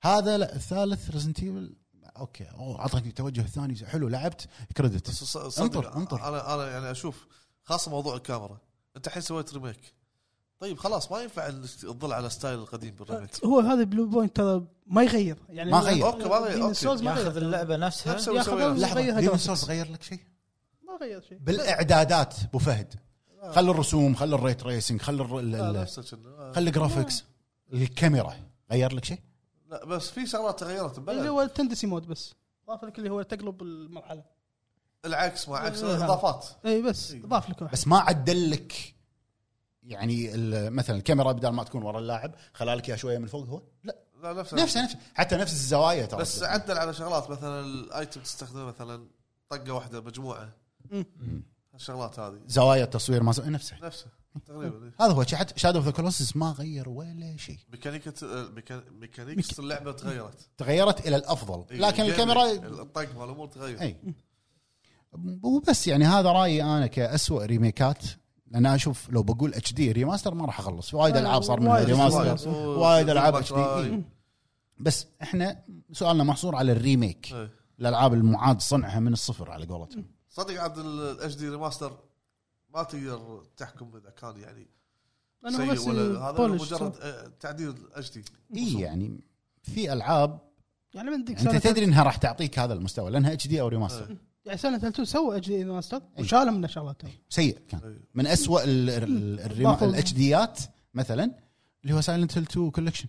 [SPEAKER 1] هذا لا الثالث ريزنت ايفل اوكي اوه اعطتني التوجه الثاني حلو لعبت
[SPEAKER 4] بس
[SPEAKER 1] كريدت
[SPEAKER 4] ص- صدق
[SPEAKER 1] انطر- انطر.
[SPEAKER 4] انا انا يعني اشوف خاصه موضوع الكاميرا انت الحين سويت ريميك طيب خلاص ما ينفع ال- تظل على ستايل القديم بالريميك
[SPEAKER 3] هو هذا بلو بوينت ترى ما يغير يعني
[SPEAKER 1] ما غير.
[SPEAKER 4] أوكي، ما غير،
[SPEAKER 3] Demon's
[SPEAKER 4] أوكي.
[SPEAKER 3] Souls ما
[SPEAKER 2] ياخذ
[SPEAKER 3] غير
[SPEAKER 2] اللعبه نفسها
[SPEAKER 4] نفسه
[SPEAKER 3] ياخذ
[SPEAKER 4] ويسويها.
[SPEAKER 3] اللعبة.
[SPEAKER 1] لحظه
[SPEAKER 3] غير
[SPEAKER 1] ديمون
[SPEAKER 3] جرافيك.
[SPEAKER 1] سولز غير لك شيء
[SPEAKER 3] ما غير شيء
[SPEAKER 1] بالاعدادات ابو فهد خل الرسوم خل الريت ريسنج خل الر- ال-
[SPEAKER 4] لا،
[SPEAKER 1] ال-
[SPEAKER 4] نفسه كنا.
[SPEAKER 1] خل الجرافكس الكاميرا غير لك شيء
[SPEAKER 4] لا بس في شغلات تغيرت
[SPEAKER 3] اللي
[SPEAKER 4] بلا
[SPEAKER 3] هو التندسي مود بس ضاف لك اللي هو تقلب المرحله
[SPEAKER 4] العكس مع عكس
[SPEAKER 3] لا.
[SPEAKER 4] اضافات
[SPEAKER 3] اي إيه، بس ضاف لك واحد
[SPEAKER 1] بس ما عدل لك يعني ال- مثلا الكاميرا بدل ما تكون ورا اللاعب خلى لك اياها شويه من فوق هو لا
[SPEAKER 4] لا نفسها
[SPEAKER 1] نفسه نفسه حتى نفس الزوايا ترى
[SPEAKER 4] طيب. بس عدل على شغلات مثلا الايتم تستخدمه مثلا طقه واحده مجموعه
[SPEAKER 3] مم.
[SPEAKER 4] الشغلات هذه
[SPEAKER 1] زوايا التصوير ما سوى نفسه
[SPEAKER 4] نفسه تقريبا
[SPEAKER 1] هذا هو شيء حتى شادو اوف ذا كولوسس ما غير ولا شيء
[SPEAKER 4] ميكانيكة الميكا- آه، ميكانيكس اللعبه تغيرت
[SPEAKER 1] تغيرت الى الافضل
[SPEAKER 4] إيه،
[SPEAKER 1] لكن
[SPEAKER 4] الجيم-
[SPEAKER 1] الكاميرا
[SPEAKER 4] الطق مالامور تغير
[SPEAKER 1] اي وبس يعني هذا رايي انا كأسوأ ريميكات لان أنا اشوف لو بقول اتش دي ريماستر ما راح اخلص وايد
[SPEAKER 3] آه،
[SPEAKER 1] العاب صار منها
[SPEAKER 3] وايد-
[SPEAKER 1] ريماستر
[SPEAKER 3] وايد.
[SPEAKER 1] وايد ألعاب
[SPEAKER 4] Devil May Cry.
[SPEAKER 1] بس احنا سؤالنا محصور على الريميك
[SPEAKER 4] إيه.
[SPEAKER 1] الالعاب المعاد صنعها من الصفر على قولتهم
[SPEAKER 4] صدق عبد الاتش دي ريماستر ما تقدر تحكم اذا كان يعني
[SPEAKER 3] لانه
[SPEAKER 4] سيء
[SPEAKER 3] بس
[SPEAKER 4] ولا هذا
[SPEAKER 3] بولش
[SPEAKER 4] مجرد آه، تعديل الاتش دي
[SPEAKER 1] اي يعني في العاب
[SPEAKER 3] يعني من ذيك
[SPEAKER 1] انت
[SPEAKER 3] سنه
[SPEAKER 1] تدري انها راح تعطيك هذا المستوى لانها اتش دي او ريماستر
[SPEAKER 3] يعني سنه 2000 سوى اتش دي ماستر
[SPEAKER 1] إيه.
[SPEAKER 3] وشالوا منه شغلات
[SPEAKER 1] سيء كان
[SPEAKER 4] أي.
[SPEAKER 1] من أسوأ ال- ال- الريما-
[SPEAKER 3] ضافوا.
[SPEAKER 1] الاتش ديات مثلا اللي هو سايلنت هيل 2 كولكشن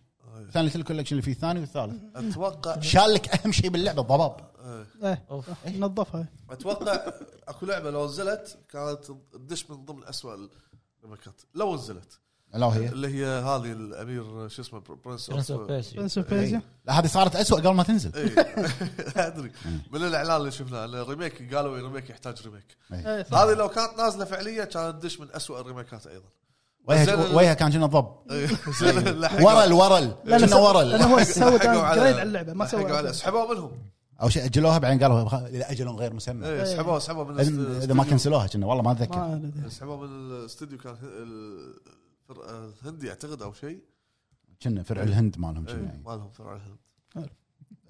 [SPEAKER 1] ثاني هيل كولكشن اللي فيه الثاني والثالث
[SPEAKER 4] اتوقع
[SPEAKER 1] شال لك اهم شيء باللعبه الضباب
[SPEAKER 4] آه،
[SPEAKER 3] ايه
[SPEAKER 2] أوف.
[SPEAKER 3] صح، نظفها
[SPEAKER 4] اتوقع اكو لعبه لو نزلت كانت تدش من ضمن اسوء الريميكات لو نزلت
[SPEAKER 1] لا وهي
[SPEAKER 4] اللي هي هذه الامير شو اسمه برنس
[SPEAKER 2] برنس
[SPEAKER 4] اوف
[SPEAKER 2] اوف بيرسيا
[SPEAKER 3] برنس اوف
[SPEAKER 1] إيه.
[SPEAKER 3] بيرسيا
[SPEAKER 1] لا هذه صارت أسوأ قبل ما تنزل
[SPEAKER 4] [LAUGHS] اي ادري إيه. من الاعلان اللي شفناه إن الريميك قالوا الريميك يحتاج ريميك
[SPEAKER 3] إيه، صح.
[SPEAKER 4] هذه لو كانت نازله فعليا كانت تدش من أسوأ الريميكات ايضا
[SPEAKER 1] وجهها
[SPEAKER 4] زين-
[SPEAKER 1] وجهها كان شنو الضب
[SPEAKER 4] إيه، زين، لحقوا-
[SPEAKER 1] ورل ورل
[SPEAKER 3] لا، لا،
[SPEAKER 1] كنا
[SPEAKER 3] سو- لانه
[SPEAKER 1] ورل
[SPEAKER 3] هو
[SPEAKER 4] لحقوا
[SPEAKER 3] سوى
[SPEAKER 4] على-
[SPEAKER 3] داون جريد على اللعبه ما
[SPEAKER 4] لحقوا
[SPEAKER 3] سوى
[SPEAKER 4] على سحبوها منهم
[SPEAKER 1] او شيء اجلوها بعدين قالوا خ- اذا اجلوا غير مسمى
[SPEAKER 3] إيه.
[SPEAKER 4] ايه سحبوها سحبوها من
[SPEAKER 1] إذا- اذا ما
[SPEAKER 4] الاستديو.
[SPEAKER 1] كنسلوها كنا والله ما اتذكر
[SPEAKER 3] ما أدري.
[SPEAKER 4] سحبوها من الاستوديو كان ه- الفرقه الهندي اعتقد او شيء
[SPEAKER 1] كنا فرع الهند مالهم
[SPEAKER 4] إيه،
[SPEAKER 1] كنا يعني.
[SPEAKER 4] مالهم فرع الهند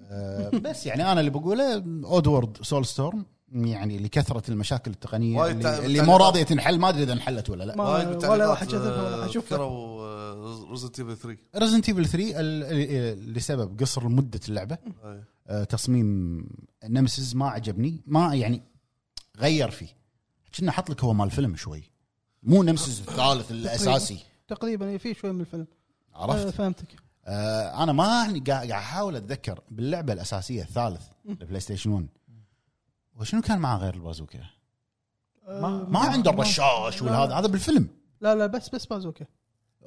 [SPEAKER 1] آه، بس يعني انا اللي بقوله اودورد سول ستورم يعني لكثره المشاكل التقنيه
[SPEAKER 4] وايد
[SPEAKER 1] اللي,
[SPEAKER 4] تعب-
[SPEAKER 1] اللي مو راضيه تنحل ما ادري اذا انحلت ولا لا
[SPEAKER 3] ما-
[SPEAKER 2] آه،
[SPEAKER 4] وايد
[SPEAKER 3] ولا
[SPEAKER 4] بالتعليقات،
[SPEAKER 3] واحد شافها ولا
[SPEAKER 4] آه،
[SPEAKER 3] واحد شافها.
[SPEAKER 4] ذكروا ريزنت ايفل 3
[SPEAKER 1] ريزنت ايفل 3 ال- ال- لسبب قصر مده اللعبه
[SPEAKER 4] إيه.
[SPEAKER 1] آه، تصميم نمسز ما عجبني ما يعني غير فيه كنا حط لك هو مال فيلم شوي مو نمسز الثالث الاساسي
[SPEAKER 3] تقريبا إيه، في شوي من الفيلم طيب. آه،
[SPEAKER 1] عرفت
[SPEAKER 3] فهمتك
[SPEAKER 1] آه انا ما يعني قا- قاعد احاول اتذكر باللعبه الاساسيه الثالث البلاي ستيشن 1 وشنو كان معاه غير البازوكا؟
[SPEAKER 3] آه،
[SPEAKER 2] ما-
[SPEAKER 1] ما عنده الرشاش والهذا هذا بالفيلم
[SPEAKER 3] لا لا بس بس بازوكا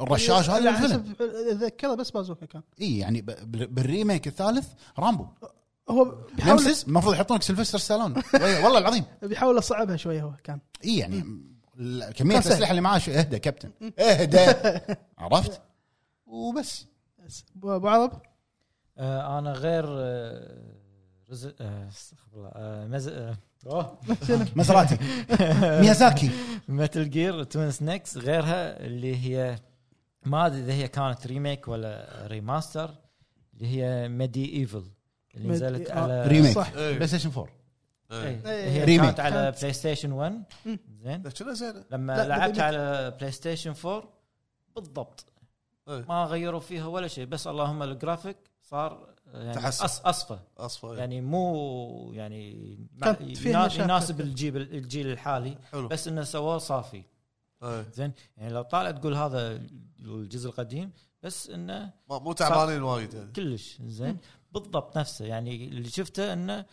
[SPEAKER 1] الرشاش هذا
[SPEAKER 3] على
[SPEAKER 1] بالفيلم
[SPEAKER 3] حسب اتذكره بس بازوكا كان
[SPEAKER 1] اي يعني ب- بال- بالريميك الثالث رامبو
[SPEAKER 3] هو بيحاول
[SPEAKER 1] نمسز المفروض يحطون لك سلفستر ستالون والله العظيم
[SPEAKER 3] بيحاول يصعبها شوي هو كان
[SPEAKER 1] اي يعني ال- كميه
[SPEAKER 3] كان سهل.
[SPEAKER 1] الاسلحه اللي معاه شو- اهدى كابتن
[SPEAKER 3] [LAUGHS]
[SPEAKER 1] اهدى عرفت وبس
[SPEAKER 3] بس. ابو أبو عرب
[SPEAKER 2] آه انا غير آه، رز- آه، استغفر الله آه، مز... آه، [LAUGHS] أوه.
[SPEAKER 1] مزراتي ميازاكي
[SPEAKER 2] متل جير توين سنيكس غيرها اللي هي ما ادري اذا هي كانت ريميك ولا ريماستر اللي هي ميدي ايفل اللي
[SPEAKER 3] ميدي-
[SPEAKER 2] نزلت
[SPEAKER 3] آه.
[SPEAKER 2] على
[SPEAKER 1] ريميك
[SPEAKER 3] صح.
[SPEAKER 1] بلاي ستيشن 4
[SPEAKER 4] ايه
[SPEAKER 2] إيه.
[SPEAKER 3] إيه.
[SPEAKER 2] هي
[SPEAKER 1] ريميك.
[SPEAKER 2] كانت على
[SPEAKER 3] كانت-
[SPEAKER 2] بلاي ستيشن 1
[SPEAKER 3] مم.
[SPEAKER 2] زين
[SPEAKER 4] لا، شنو زينه
[SPEAKER 2] لما
[SPEAKER 3] لا،
[SPEAKER 2] لعبت
[SPEAKER 3] بالريميك.
[SPEAKER 2] على بلاي ستيشن 4 بالضبط
[SPEAKER 4] إيه.
[SPEAKER 2] ما غيروا فيها ولا شيء بس اللهم الجرافيك صار يعني
[SPEAKER 4] تحسن.
[SPEAKER 2] أص اصفى
[SPEAKER 4] اصفى إيه.
[SPEAKER 2] يعني مو يعني ما-
[SPEAKER 3] كانت فيها
[SPEAKER 2] ينا-
[SPEAKER 3] طيب. مشاكل.
[SPEAKER 2] يناسب الجيل الجيل الحالي
[SPEAKER 4] حلو
[SPEAKER 2] بس انه سووه صافي
[SPEAKER 4] إيه.
[SPEAKER 2] زين يعني لو طالع تقول هذا الجزء القديم بس انه
[SPEAKER 4] ما- مو تعبانين وايد يعني
[SPEAKER 2] كلش زين بالضبط نفسه يعني اللي شفته انه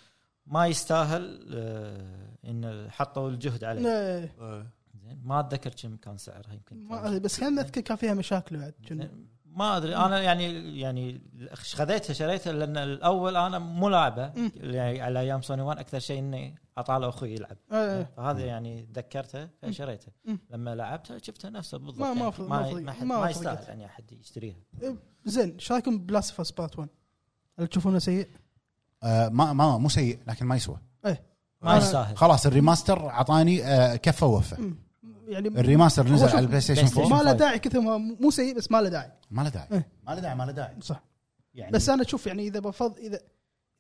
[SPEAKER 2] ما يستاهل آه، انه حطوا الجهد عليه
[SPEAKER 3] لا،
[SPEAKER 4] إيه.
[SPEAKER 2] زين ما اتذكر كم كان سعرها يمكن
[SPEAKER 3] ما أدري، بس كان اذكر كان فيها مشاكل بعد كنا.
[SPEAKER 2] زين، ما ادري انا يعني يعني خذيتها شريتها لان الاول انا مو لاعبه
[SPEAKER 3] مم.
[SPEAKER 2] يعني على ايام سوني 1 اكثر شيء اني اطالع اخوي يلعب
[SPEAKER 1] إيه.
[SPEAKER 3] آه،
[SPEAKER 2] فهذا يعني ذكرته فشريته
[SPEAKER 3] مم.
[SPEAKER 2] لما لعبتها شفتها نفسها بالضبط
[SPEAKER 3] ما- ما
[SPEAKER 2] يعني
[SPEAKER 3] فرق- ما
[SPEAKER 2] ما
[SPEAKER 3] فرق-
[SPEAKER 2] ما, حد-
[SPEAKER 3] ما
[SPEAKER 2] ما
[SPEAKER 3] فرقت.
[SPEAKER 2] يستاهل يعني احد يشتريها
[SPEAKER 3] زين ايش رايكم بلاست اوف اس بارت 1 هل تشوفونه سيء؟
[SPEAKER 1] آه، ما ما مو سيء لكن ما يسوى
[SPEAKER 2] ما
[SPEAKER 3] أنا-
[SPEAKER 2] يستاهل
[SPEAKER 1] خلاص الريماستر اعطاني آه، كفه ووفه
[SPEAKER 3] مم. يعني
[SPEAKER 1] الريماستر اللي
[SPEAKER 3] هو
[SPEAKER 1] نزل
[SPEAKER 3] شوف،
[SPEAKER 1] على البلاي ستيشن
[SPEAKER 2] بلاي ستيشن.
[SPEAKER 1] 4
[SPEAKER 3] ما له
[SPEAKER 2] فايف.
[SPEAKER 3] داعي كثر ما مو سيء بس ما له داعي
[SPEAKER 1] ما له داعي
[SPEAKER 3] إيه.
[SPEAKER 1] ما له داعي ما له داعي
[SPEAKER 3] صح
[SPEAKER 1] يعني
[SPEAKER 3] بس انا اشوف يعني اذا بفض اذا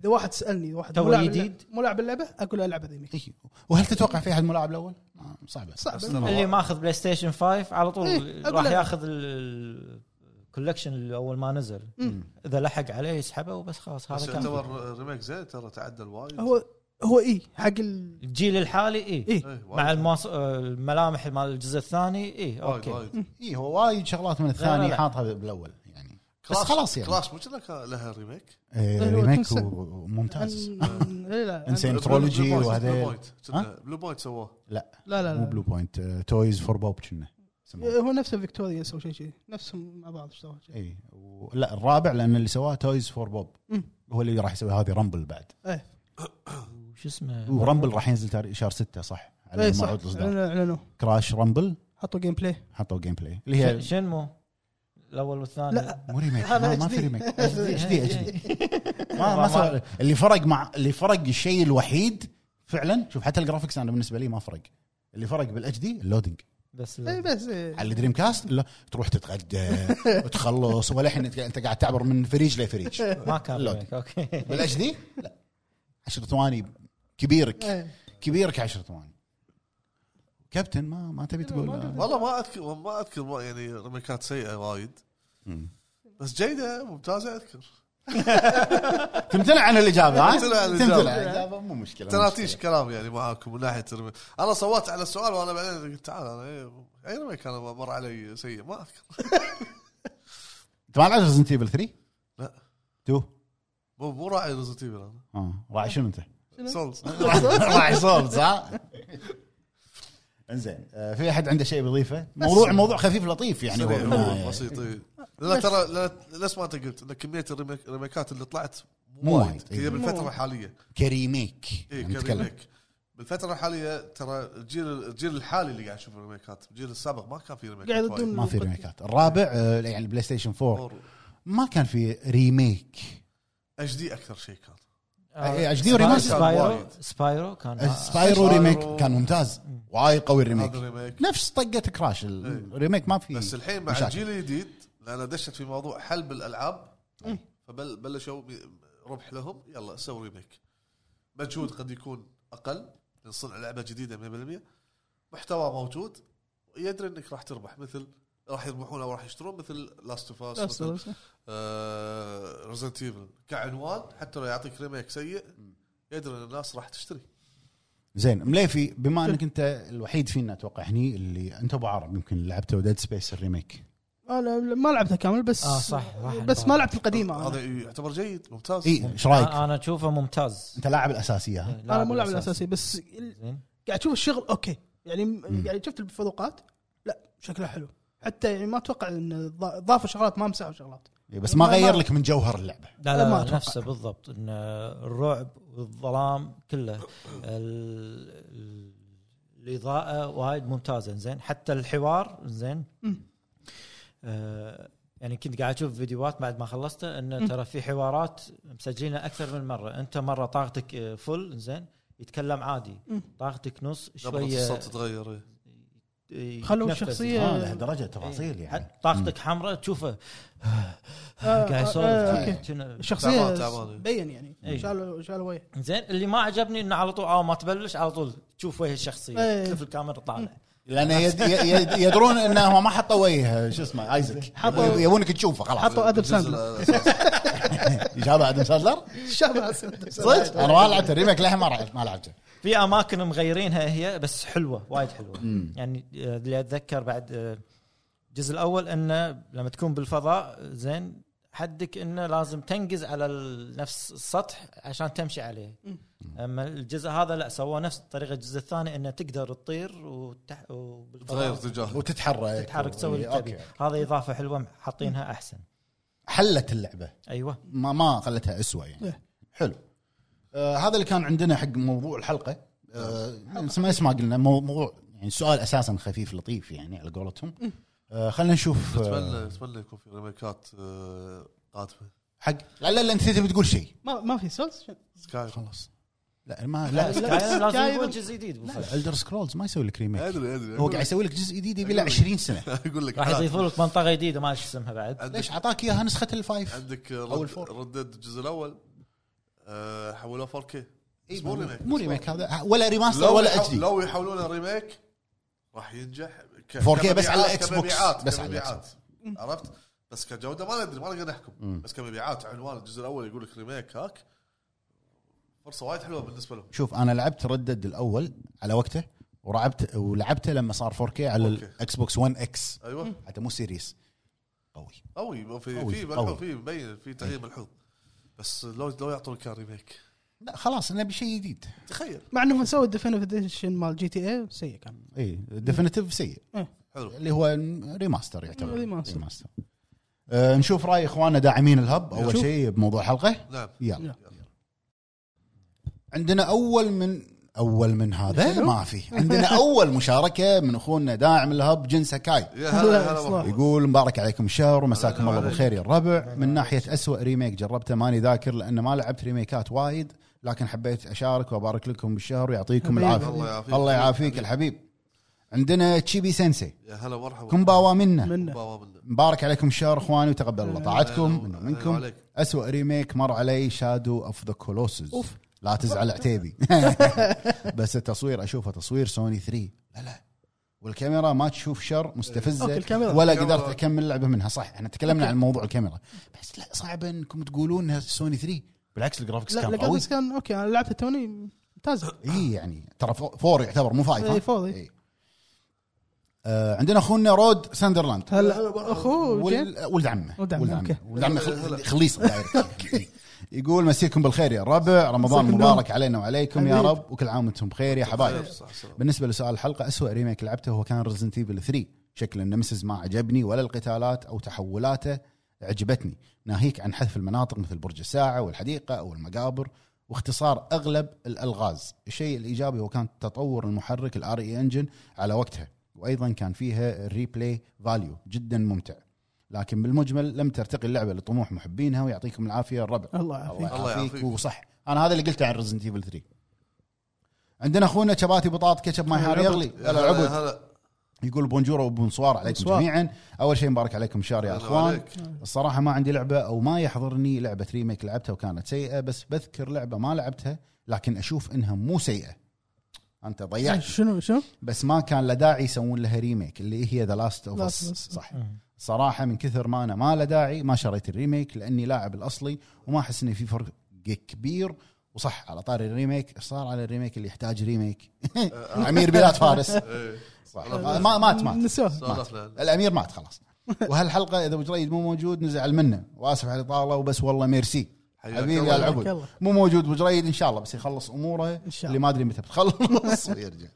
[SPEAKER 3] اذا واحد سالني واحد
[SPEAKER 2] تو
[SPEAKER 3] مو لاعب
[SPEAKER 2] جديد؟
[SPEAKER 3] اللعبة- مو لاعب اللعبه اقول العب ريميك
[SPEAKER 1] إيه. وهل تتوقع في احد ملاعب الاول؟ آه، صعبه
[SPEAKER 3] صعب
[SPEAKER 2] اللي ماخذ بلاي ستيشن 5 على طول
[SPEAKER 3] إيه، أقول
[SPEAKER 2] راح
[SPEAKER 3] لك.
[SPEAKER 2] ياخذ ال- الكولكشن اللي اول ما نزل
[SPEAKER 3] مم.
[SPEAKER 2] اذا لحق عليه يسحبه وبس خلاص
[SPEAKER 4] بس
[SPEAKER 2] هذا كان
[SPEAKER 4] يعتبر ريميك زين ترى تعدل وايد
[SPEAKER 3] هو هو اي حق ال...
[SPEAKER 2] الجيل الحالي ايه
[SPEAKER 3] اي
[SPEAKER 4] إيه،
[SPEAKER 2] مع
[SPEAKER 4] وايد.
[SPEAKER 2] المواص... الملامح مال الجزء الثاني ايه
[SPEAKER 4] وايد
[SPEAKER 2] اوكي
[SPEAKER 4] وايد
[SPEAKER 1] اي إيه، هو وايد شغلات من الثاني
[SPEAKER 2] لا.
[SPEAKER 1] حاطها بالاول يعني بس
[SPEAKER 4] كراش-
[SPEAKER 1] خلاص يعني
[SPEAKER 4] كراش مو كنا كان لها ريميك
[SPEAKER 1] إيه،
[SPEAKER 3] هو
[SPEAKER 1] ريميك
[SPEAKER 3] تنسى.
[SPEAKER 1] و- وممتاز
[SPEAKER 3] عن- إيه، لا عن-
[SPEAKER 1] انسان.
[SPEAKER 4] بلو-
[SPEAKER 1] ترولوجي
[SPEAKER 4] بلو بوينت-
[SPEAKER 1] وهذيل.
[SPEAKER 4] بلو بوينت كنا.
[SPEAKER 1] ها؟
[SPEAKER 4] بلو بوينت سووه
[SPEAKER 3] لا لا
[SPEAKER 1] مو آه،
[SPEAKER 3] لا
[SPEAKER 1] بلو بوينت تويز فور بوب كنا
[SPEAKER 3] إيه، هو نفسه فيكتوريوس او شيء شيء نفسهم مع بعض اشتغلوا شيء
[SPEAKER 1] اي إيه، و- لا الرابع لان اللي سواه تويز فور بوب
[SPEAKER 3] مم.
[SPEAKER 1] هو اللي راح يسوي هذه رامبل بعد
[SPEAKER 2] وش اسمه
[SPEAKER 1] ورامبل راح ينزل تاريخ شهر 6 صح على
[SPEAKER 3] اي إيه، صح
[SPEAKER 1] موعد الاصدار
[SPEAKER 3] اعلنوا اعلنوا
[SPEAKER 1] كراش رامبل
[SPEAKER 3] حطوا إيه، جيم بلاي
[SPEAKER 1] حطوا جيم بلاي اللي
[SPEAKER 2] ش-
[SPEAKER 1] هي
[SPEAKER 2] شنمو الاول والثاني
[SPEAKER 3] لا.
[SPEAKER 1] مو ريميك
[SPEAKER 3] إيه. هذا إيه،
[SPEAKER 1] ما, ما
[SPEAKER 3] HD.
[SPEAKER 1] في إيه، ريميك
[SPEAKER 3] HD.
[SPEAKER 1] اتش دي اتش دي
[SPEAKER 3] إيه.
[SPEAKER 1] [LAUGHS] ما ما صار اللي فرق مع اللي فرق الشيء الوحيد فعلا شوف حتى الجرافكس انا بالنسبه لي ما فرق اللي فرق بالاتش دي اللودنج
[SPEAKER 2] بس
[SPEAKER 3] اي
[SPEAKER 2] لا.
[SPEAKER 3] بس إيه.
[SPEAKER 1] على الدريم كاست لا تروح
[SPEAKER 3] [LAUGHS]
[SPEAKER 1] تتغدى وتخلص ولا الحين انت أنت قاعد تعبر من فريج لفريج
[SPEAKER 2] ما كان
[SPEAKER 1] اللود.
[SPEAKER 2] ريميك، اوكي
[SPEAKER 1] بالاتش دي لا 10 ثواني كبيرك
[SPEAKER 3] إيه.
[SPEAKER 1] كبيرك 10 ثواني كابتن ما ما تبي تقول [LAUGHS] آه.
[SPEAKER 4] والله إيه، ما اذكر ما اذكر ما- يعني ريميكات سيئه وايد بس جيده ممتازه اذكر
[SPEAKER 1] تمتنع عن الاجابه ها
[SPEAKER 4] تمتنع عن الإجابة.
[SPEAKER 1] تمتنع عن الاجابه مو مشكله
[SPEAKER 4] تناتيش كلام يعني معاكم من ناحيه الريميك انا صوت على السؤال وانا بعدين قلت تعال انا إيه، اي ريميك انا مر علي سيء ما اذكر
[SPEAKER 1] انت ما لعبت ريزنت ايفل 3؟
[SPEAKER 4] لا.
[SPEAKER 1] 2
[SPEAKER 4] مو مو راعي ريزنت ايفل انا
[SPEAKER 1] اه راعي شنو
[SPEAKER 4] [LAUGHS]
[SPEAKER 1] انت؟
[SPEAKER 4] سولز
[SPEAKER 1] راعي صوب صح؟ انزين آه، في احد عنده شيء بيضيفه؟ موضوع موضوع خفيف لطيف يعني هو بالنهاية.
[SPEAKER 4] بسيط إيه. لا ترى لا- نفس ما انت قلت ان كميه الريميك- الريميكات اللي طلعت
[SPEAKER 1] مو وايد.
[SPEAKER 4] هي إيه،
[SPEAKER 1] إيه.
[SPEAKER 4] بالفتره الحاليه
[SPEAKER 1] كريميك
[SPEAKER 4] اي
[SPEAKER 1] يعني نتكلم.
[SPEAKER 4] كريميك بالفتره الحاليه ترى الجيل الجيل الحالي اللي قاعد يشوف الريميكات الجيل السابق ما كان في ريميكات
[SPEAKER 3] قاعد
[SPEAKER 4] وايد.
[SPEAKER 3] يدون
[SPEAKER 1] ما في ريميكات الرابع آه، يعني البلاي ستيشن 4 ما كان في ريميك
[SPEAKER 4] اتش دي اكثر شيء كان
[SPEAKER 1] إيه، HD وريماستر.
[SPEAKER 2] آه، سبايرو
[SPEAKER 4] وايد.
[SPEAKER 2] سبايرو
[SPEAKER 3] إيه،
[SPEAKER 2] كان آه،
[SPEAKER 1] سبايرو ريميك كان ممتاز وايد قوي الريميك
[SPEAKER 4] هذا ريميك
[SPEAKER 1] نفس طقه كراش الريميك ما في
[SPEAKER 4] بس الحين مع
[SPEAKER 1] مشاكل.
[SPEAKER 4] الجيل الجديد لان دشت في موضوع حلب الالعاب
[SPEAKER 1] إيه.
[SPEAKER 4] فبلشوا ربح لهم يلا سووا ريميك مجهود قد يكون اقل نصنع لعبه جديده 100% محتوى موجود يدري انك راح تربح مثل راح يربحون او راح يشترون مثل لاست اوف اس مثل ريزنت ايفل كعنوان حتى لو يعطيك ريميك سيء يدري ان الناس راح تشتري
[SPEAKER 1] زين مليفي بما انك انت الوحيد فينا اتوقع هني اللي انت ابو عرب يمكن لعبته ديد سبيس الريميك
[SPEAKER 3] انا ما لعبتها كامل بس
[SPEAKER 2] آه، صح، راح
[SPEAKER 3] بس ما لعبت القديمه
[SPEAKER 4] هذا
[SPEAKER 3] انا,
[SPEAKER 4] يعتبر جيد ممتاز
[SPEAKER 1] اي ايش رايك؟
[SPEAKER 2] انا آه، أنا اشوفه ممتاز
[SPEAKER 1] إيه، انت لاعب الاساسيه
[SPEAKER 2] إيه.
[SPEAKER 1] ها؟
[SPEAKER 3] أنا مو لاعب الاساسي بس ال-
[SPEAKER 2] زين
[SPEAKER 3] قاعد اشوف الشغل اوكي يعني يعني شفت الفضوقات لا شكلها حلو حتى يعني ما اتوقع ان ضا- ضافوا شغلات ما مسحوا
[SPEAKER 1] [LAUGHS]
[SPEAKER 3] شغلات
[SPEAKER 1] إي إيه، بس ما
[SPEAKER 3] ما- ما-
[SPEAKER 1] غير لك من جوهر اللعبه
[SPEAKER 2] لا
[SPEAKER 3] أنا ما
[SPEAKER 2] لا,
[SPEAKER 3] أتوقع.
[SPEAKER 2] لا نفسه بالضبط ان الرعب والظلام كله ال- ال- الاضاءه وايد ممتازه زين حتى الحوار زين
[SPEAKER 3] مم.
[SPEAKER 2] آه، يعني كنت قاعد اشوف فيديوهات بعد ما خلصته انه
[SPEAKER 3] مم.
[SPEAKER 2] ترى في حوارات مسجلينها اكثر من مره انت مره طاقتك آه، فل زين يتكلم عادي
[SPEAKER 3] مم.
[SPEAKER 2] طاقتك نص
[SPEAKER 4] نبرة
[SPEAKER 2] شويه
[SPEAKER 4] الصوت تتغير إيه.
[SPEAKER 3] خلوا
[SPEAKER 2] يتنفس.
[SPEAKER 3] الشخصية-
[SPEAKER 1] اه لهالدرجه تفاصيل يعني
[SPEAKER 2] إيه. حتى طاقتك حمراء تشوفه
[SPEAKER 3] آه،
[SPEAKER 2] قاعد
[SPEAKER 3] آه،
[SPEAKER 1] أوكي. إيه.
[SPEAKER 2] يسولف شنو-
[SPEAKER 3] الشخصيه
[SPEAKER 4] تعبان- تعبان.
[SPEAKER 3] بين يعني
[SPEAKER 2] إي.
[SPEAKER 3] شالوا شالوا وجهه
[SPEAKER 2] زين اللي ما عجبني انه على طول اول ما تبلش على طول تشوف وجه الشخصيه
[SPEAKER 3] إيه.
[SPEAKER 2] تلف الكاميرا طالع
[SPEAKER 1] لان يد يد يدرون انهم ما حطوا وجه شو اسمه ايزك
[SPEAKER 3] حطوا-
[SPEAKER 1] يبونك تشوفه خلاص
[SPEAKER 3] حطوا ادم
[SPEAKER 4] الجزء
[SPEAKER 3] ساندلر
[SPEAKER 4] الأساسي.
[SPEAKER 1] ايش هذا ادم ساندلر؟
[SPEAKER 3] [LAUGHS] شابه أدم ساندلر.
[SPEAKER 1] صدق انا ما لعبت الريميك للحين ما لعبت- ما لعبته
[SPEAKER 2] في اماكن مغيرينها هي بس حلوه وايد حلوه يعني آه، اللي اتذكر بعد آه، الجزء الاول انه لما تكون بالفضاء زين حدك انه لازم تنقز على ال- نفس السطح عشان تمشي عليه
[SPEAKER 3] مم.
[SPEAKER 2] اما الجزء هذا لا سووه نفس طريقه الجزء الثاني انه تقدر تطير وتح...
[SPEAKER 4] تغير
[SPEAKER 1] [LAUGHS]
[SPEAKER 2] وبالفضاء
[SPEAKER 4] اتجاه
[SPEAKER 1] وتتحرك
[SPEAKER 2] تتحرك تسوي اللي
[SPEAKER 1] اوكي
[SPEAKER 2] تبي هذا اضافه حلوه حاطينها احسن
[SPEAKER 1] حلت اللعبه
[SPEAKER 2] ايوه
[SPEAKER 1] ما ما خلتها اسوء يعني
[SPEAKER 3] إيه.
[SPEAKER 1] حلو آه هذا اللي كان عندنا حق موضوع الحلقه آه نفس ما اسمع قلنا مو- موضوع يعني سؤال اساسا خفيف لطيف يعني على قولتهم آه خلينا نشوف آه
[SPEAKER 4] اتمنى اتمنى يكون في ريميكات آه، قادمه
[SPEAKER 1] حق لا لا لا انت تبي تقول شيء
[SPEAKER 3] ما ما في سولز شنو؟
[SPEAKER 4] سكاي
[SPEAKER 1] خلاص لا ما لا
[SPEAKER 2] لا
[SPEAKER 1] لا,
[SPEAKER 2] سكايرم لازم
[SPEAKER 3] سكايرم-
[SPEAKER 2] يقول جزء جديد أبو فهد.
[SPEAKER 1] الدر سكرولز ما يسوي لك ريميك
[SPEAKER 4] ادري ادري [LAUGHS]
[SPEAKER 1] هو قاعد يسوي لك جزء جديد يبي له 20 سنه
[SPEAKER 4] اقول لك
[SPEAKER 2] راح
[SPEAKER 4] عاد.
[SPEAKER 2] يضيفوا لك منطقه جديده ما ادري شو اسمها
[SPEAKER 3] [LAUGHS]
[SPEAKER 2] بعد
[SPEAKER 1] ليش
[SPEAKER 4] عندك
[SPEAKER 1] اعطاك اياها نسخه الفايف
[SPEAKER 4] عندك
[SPEAKER 1] أول
[SPEAKER 4] رد
[SPEAKER 1] فور.
[SPEAKER 4] ردد الجزء الاول آه، حولوه 4K
[SPEAKER 1] إيه،
[SPEAKER 4] بس مو ريميك
[SPEAKER 1] مو ريميك هذا ولا ريماستر
[SPEAKER 4] لو
[SPEAKER 1] ولا
[SPEAKER 4] يحو-
[SPEAKER 1] اتش دي
[SPEAKER 4] لو يحولونه ريميك راح ينجح ك-
[SPEAKER 1] 4K بس على
[SPEAKER 4] كمبيعات-
[SPEAKER 1] الإكس بوكس.
[SPEAKER 4] كمبيعات-
[SPEAKER 1] بس على
[SPEAKER 4] كمبيعات.
[SPEAKER 1] الإكس
[SPEAKER 4] عرفت بس كجوده ما ندري ما نقدر نحكم
[SPEAKER 1] مم.
[SPEAKER 4] بس كمبيعات عنوان الجزء الاول يقول لك ريميك هاك فرصه وايد حلوه بالنسبه لهم
[SPEAKER 1] شوف انا لعبت ردد الاول على وقته ورعبت ولعبته لما صار 4K على
[SPEAKER 4] أوكي.
[SPEAKER 1] الاكس بوكس 1 اكس
[SPEAKER 4] ايوه
[SPEAKER 1] حتى مو سيريس قوي
[SPEAKER 4] قوي ما في
[SPEAKER 1] قوي،
[SPEAKER 4] في
[SPEAKER 1] قوي.
[SPEAKER 4] ملحوظ في مبين في تغيير ملحوظ بس لو لو يعطونك كان ريميك
[SPEAKER 1] لا خلاص نبي شيء جديد
[SPEAKER 4] تخيل
[SPEAKER 3] مع انهم سووا الديفينيف اديشن مال جي تي اي سيء كان
[SPEAKER 1] اي ديفينيتيف سيء
[SPEAKER 4] حلو
[SPEAKER 1] اللي هو ريماستر يعتبر
[SPEAKER 3] ريماستر.
[SPEAKER 1] ريماستر. أه نشوف راي اخواننا داعمين الهب اول
[SPEAKER 3] شوف.
[SPEAKER 1] شيء بموضوع الحلقه
[SPEAKER 4] نعم
[SPEAKER 1] يلا
[SPEAKER 4] يلا.
[SPEAKER 1] عندنا اول من اول من هذا
[SPEAKER 3] حلو.
[SPEAKER 1] ما في عندنا اول مشاركه من اخونا داعم الهب جن سكاي
[SPEAKER 4] يا
[SPEAKER 3] الله
[SPEAKER 4] هلا هلا
[SPEAKER 3] يصلح.
[SPEAKER 4] مرحبا.
[SPEAKER 1] يقول مبارك عليكم الشهر ومساكم
[SPEAKER 4] الله
[SPEAKER 1] الله
[SPEAKER 4] عليك.
[SPEAKER 1] بالخير يا الربع من ناحيه أسوأ ريميك جربته ماني ذاكر لان ما لعبت ريميكات وايد لكن حبيت اشارك وابارك لكم بالشهر ويعطيكم
[SPEAKER 3] حبيبي.
[SPEAKER 1] العافيه
[SPEAKER 4] الله يعافيك.
[SPEAKER 1] الله يعافيك الحبيب عندنا تشيبي سensei
[SPEAKER 4] يا هلا مرحبا
[SPEAKER 1] كومباوا منا
[SPEAKER 3] منه
[SPEAKER 4] كومباوا منا.
[SPEAKER 1] مبارك عليكم الشهر اخواني وتقبل الله طاعتكم
[SPEAKER 4] أهلا
[SPEAKER 1] منه منكم
[SPEAKER 4] وعليك.
[SPEAKER 1] أسوأ ريميك مر علي شادو اوف ذا كولوسز
[SPEAKER 3] أوف.
[SPEAKER 1] لا تزعل
[SPEAKER 3] [LAUGHS]
[SPEAKER 1] عتيبي بس التصوير اشوفه تصوير سوني 3 لا لا والكاميرا ما تشوف شر
[SPEAKER 3] أوكي،
[SPEAKER 1] مستفزه
[SPEAKER 3] الكاميرا.
[SPEAKER 1] ولا
[SPEAKER 4] الكاميرا.
[SPEAKER 1] قدرت اكمل اللعبه منها صح احنا تكلمنا عن موضوع الكاميرا بس لا صعب انكم تقولون انها سوني 3 بالعكس الجرافكس
[SPEAKER 3] لا
[SPEAKER 1] كان قوي
[SPEAKER 3] الجرافكس كان اوكي انا لعبته توني ممتازه
[SPEAKER 1] اي يعني ترى فو- فور يعتبر مو فايف ها؟
[SPEAKER 3] إي، فور، إي.
[SPEAKER 1] إي. آه عندنا اخونا رود ساندرلاند
[SPEAKER 3] هلا اخوه جيم
[SPEAKER 1] ول- ولد عمه
[SPEAKER 3] ولد عمه، أوكي.
[SPEAKER 1] ولد عمه خل- خليص [LAUGHS] يقول مسيكم بالخير يا ربع رمضان
[SPEAKER 3] مساك
[SPEAKER 1] مبارك علينا وعليكم يا
[SPEAKER 3] حبيب.
[SPEAKER 1] رب وكل عام وانتم بخير يا حبايب
[SPEAKER 4] صح، صح.
[SPEAKER 1] بالنسبه لسؤال الحلقه أسوأ ريميك لعبته هو كان ريزنت ايفل 3 شكل النمسز ما عجبني ولا القتالات او تحولاته عجبتني ناهيك عن حذف المناطق مثل برج الساعه والحديقه او المقابر واختصار اغلب الالغاز الشيء الايجابي هو كان تطور المحرك E الار اي انجن على وقتها وايضا كان فيها الريبلاي فاليو جدا ممتع لكن بالمجمل لم ترتقي اللعبه لطموح محبينها ويعطيكم العافيه الربع
[SPEAKER 3] الله
[SPEAKER 1] الله
[SPEAKER 3] يعافيك
[SPEAKER 4] الله
[SPEAKER 1] يعافيك
[SPEAKER 4] يعافيك.
[SPEAKER 1] وصح انا هذا اللي قلته عن ريزنت ايفل 3 عندنا اخونا شباتي بطاط كتشب ماي هار يغلي
[SPEAKER 4] يا
[SPEAKER 1] هلا عبد
[SPEAKER 4] هلا
[SPEAKER 1] يقول بونجور وبونسوار عليكم
[SPEAKER 3] بونسوار.
[SPEAKER 1] جميعا اول شيء مبارك عليكم شهر يا
[SPEAKER 4] هلا
[SPEAKER 1] اخوان
[SPEAKER 4] عليك.
[SPEAKER 1] الصراحه ما عندي لعبه او ما يحضرني لعبه ريميك لعبتها وكانت سيئه بس بذكر لعبه ما لعبتها لكن اشوف انها مو سيئه انت ضيعت
[SPEAKER 3] إيه، شنو شنو؟
[SPEAKER 1] بس ما كان له داعي يسوون لها ريميك اللي هي ذا لاست اوف اس
[SPEAKER 3] Last of Us.
[SPEAKER 1] صح صراحه من كثر ما انا ما له داعي ما شريت الريميك لاني لاعب الاصلي وما احس ان في فرق كبير وصح على طاري الريميك إيش صار على الريميك اللي يحتاج ريميك
[SPEAKER 4] [LAUGHS]
[SPEAKER 1] امير بلاد فارس
[SPEAKER 4] إيه. [LAUGHS]
[SPEAKER 1] صح ما ما- مات مات
[SPEAKER 3] نسوه
[SPEAKER 4] سولفنا
[SPEAKER 1] الامير مات خلاص وهالحلقه اذا ابو جريد مو موجود نزعل منه واسف على الاطاله وبس والله ميرسي
[SPEAKER 4] حياك
[SPEAKER 1] حبيبي
[SPEAKER 4] الله.
[SPEAKER 1] يا العبد
[SPEAKER 3] يلا.
[SPEAKER 1] مو موجود ابو جريد ان شاء الله بس يخلص اموره
[SPEAKER 3] إن شاء
[SPEAKER 1] اللي ما ادري متى بتخلص [LAUGHS] ويرجع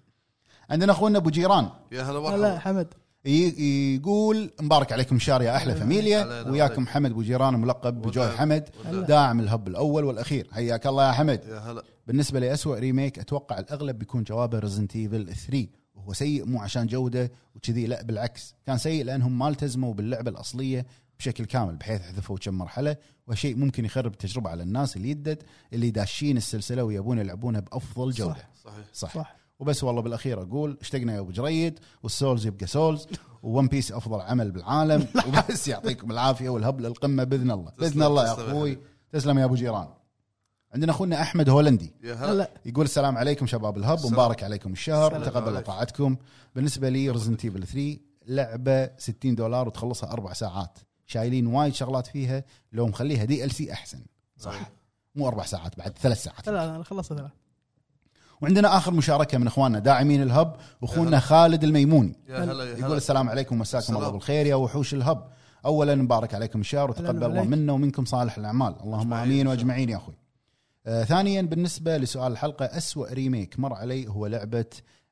[SPEAKER 1] عندنا اخونا ابو جيران
[SPEAKER 4] يا هلا
[SPEAKER 3] هلا
[SPEAKER 4] مرحبا
[SPEAKER 3] حمد
[SPEAKER 1] ي- يقول مبارك عليكم شار يا احلى فاميليا
[SPEAKER 4] علينا
[SPEAKER 1] وياكم
[SPEAKER 4] عليك.
[SPEAKER 1] محمد بو جيران ملقب بجوي حمد داعم الهب الاول والاخير حياك الله يا حمد
[SPEAKER 4] يا هلا
[SPEAKER 1] بالنسبه لاسوء ريميك اتوقع الاغلب بيكون جوابه ريزنت ايفل 3 وهو سيء مو عشان جوده وكذي لا بالعكس كان سيء لانهم ما التزموا باللعبه الاصليه بشكل كامل بحيث حذفوا كم مرحله وهالشيء ممكن يخرب التجربه على الناس اللي يدد اللي داشين السلسله ويبون يلعبونها بافضل جوده
[SPEAKER 4] صحيح
[SPEAKER 1] صح, صح.
[SPEAKER 3] صح.
[SPEAKER 1] وبس والله بالاخير اقول اشتقنا يا ابو جريد والسولز يبقى سولز وون بيس افضل عمل
[SPEAKER 4] [LAUGHS]
[SPEAKER 1] بالعالم وبس يعطيكم العافيه والهب للقمه باذن الله باذن
[SPEAKER 4] تسلم،
[SPEAKER 1] الله يا
[SPEAKER 4] تسلم يا
[SPEAKER 1] اخوي
[SPEAKER 4] حبيبي.
[SPEAKER 1] تسلم يا ابو جيران عندنا اخونا احمد هولندي
[SPEAKER 4] يا هلا
[SPEAKER 3] هلا
[SPEAKER 1] يقول السلام عليكم شباب الهب
[SPEAKER 4] السلام.
[SPEAKER 1] ومبارك عليكم الشهر
[SPEAKER 3] السلام
[SPEAKER 1] تقبل
[SPEAKER 4] عليكم.
[SPEAKER 1] طاعتكم بالنسبه لي ريزنت ايفل 3 لعبه 60 دولار وتخلصها اربع ساعات شايلين وايد شغلات فيها لو مخليها دي ال سي احسن صح مو اربع ساعات بعد ثلاث ساعات
[SPEAKER 3] لا لا انا خلصت لا
[SPEAKER 1] وعندنا اخر مشاركه من اخواننا داعمين الهب اخونا خالد الميموني
[SPEAKER 4] يا هلا يا
[SPEAKER 1] يقول
[SPEAKER 4] هلا
[SPEAKER 1] السلام عليكم مساكم الله
[SPEAKER 4] السلام.
[SPEAKER 1] بالخير يا وحوش الهب اولا مبارك عليكم الشهر وتقبل
[SPEAKER 3] أهلاً
[SPEAKER 1] الله
[SPEAKER 3] وعليك.
[SPEAKER 1] منا ومنكم صالح الاعمال اللهم
[SPEAKER 4] أجمعين
[SPEAKER 1] امين
[SPEAKER 4] إن شاء
[SPEAKER 1] واجمعين يا اخوي آه ثانيا بالنسبه لسؤال الحلقه أسوأ ريميك مر علي هو لعبه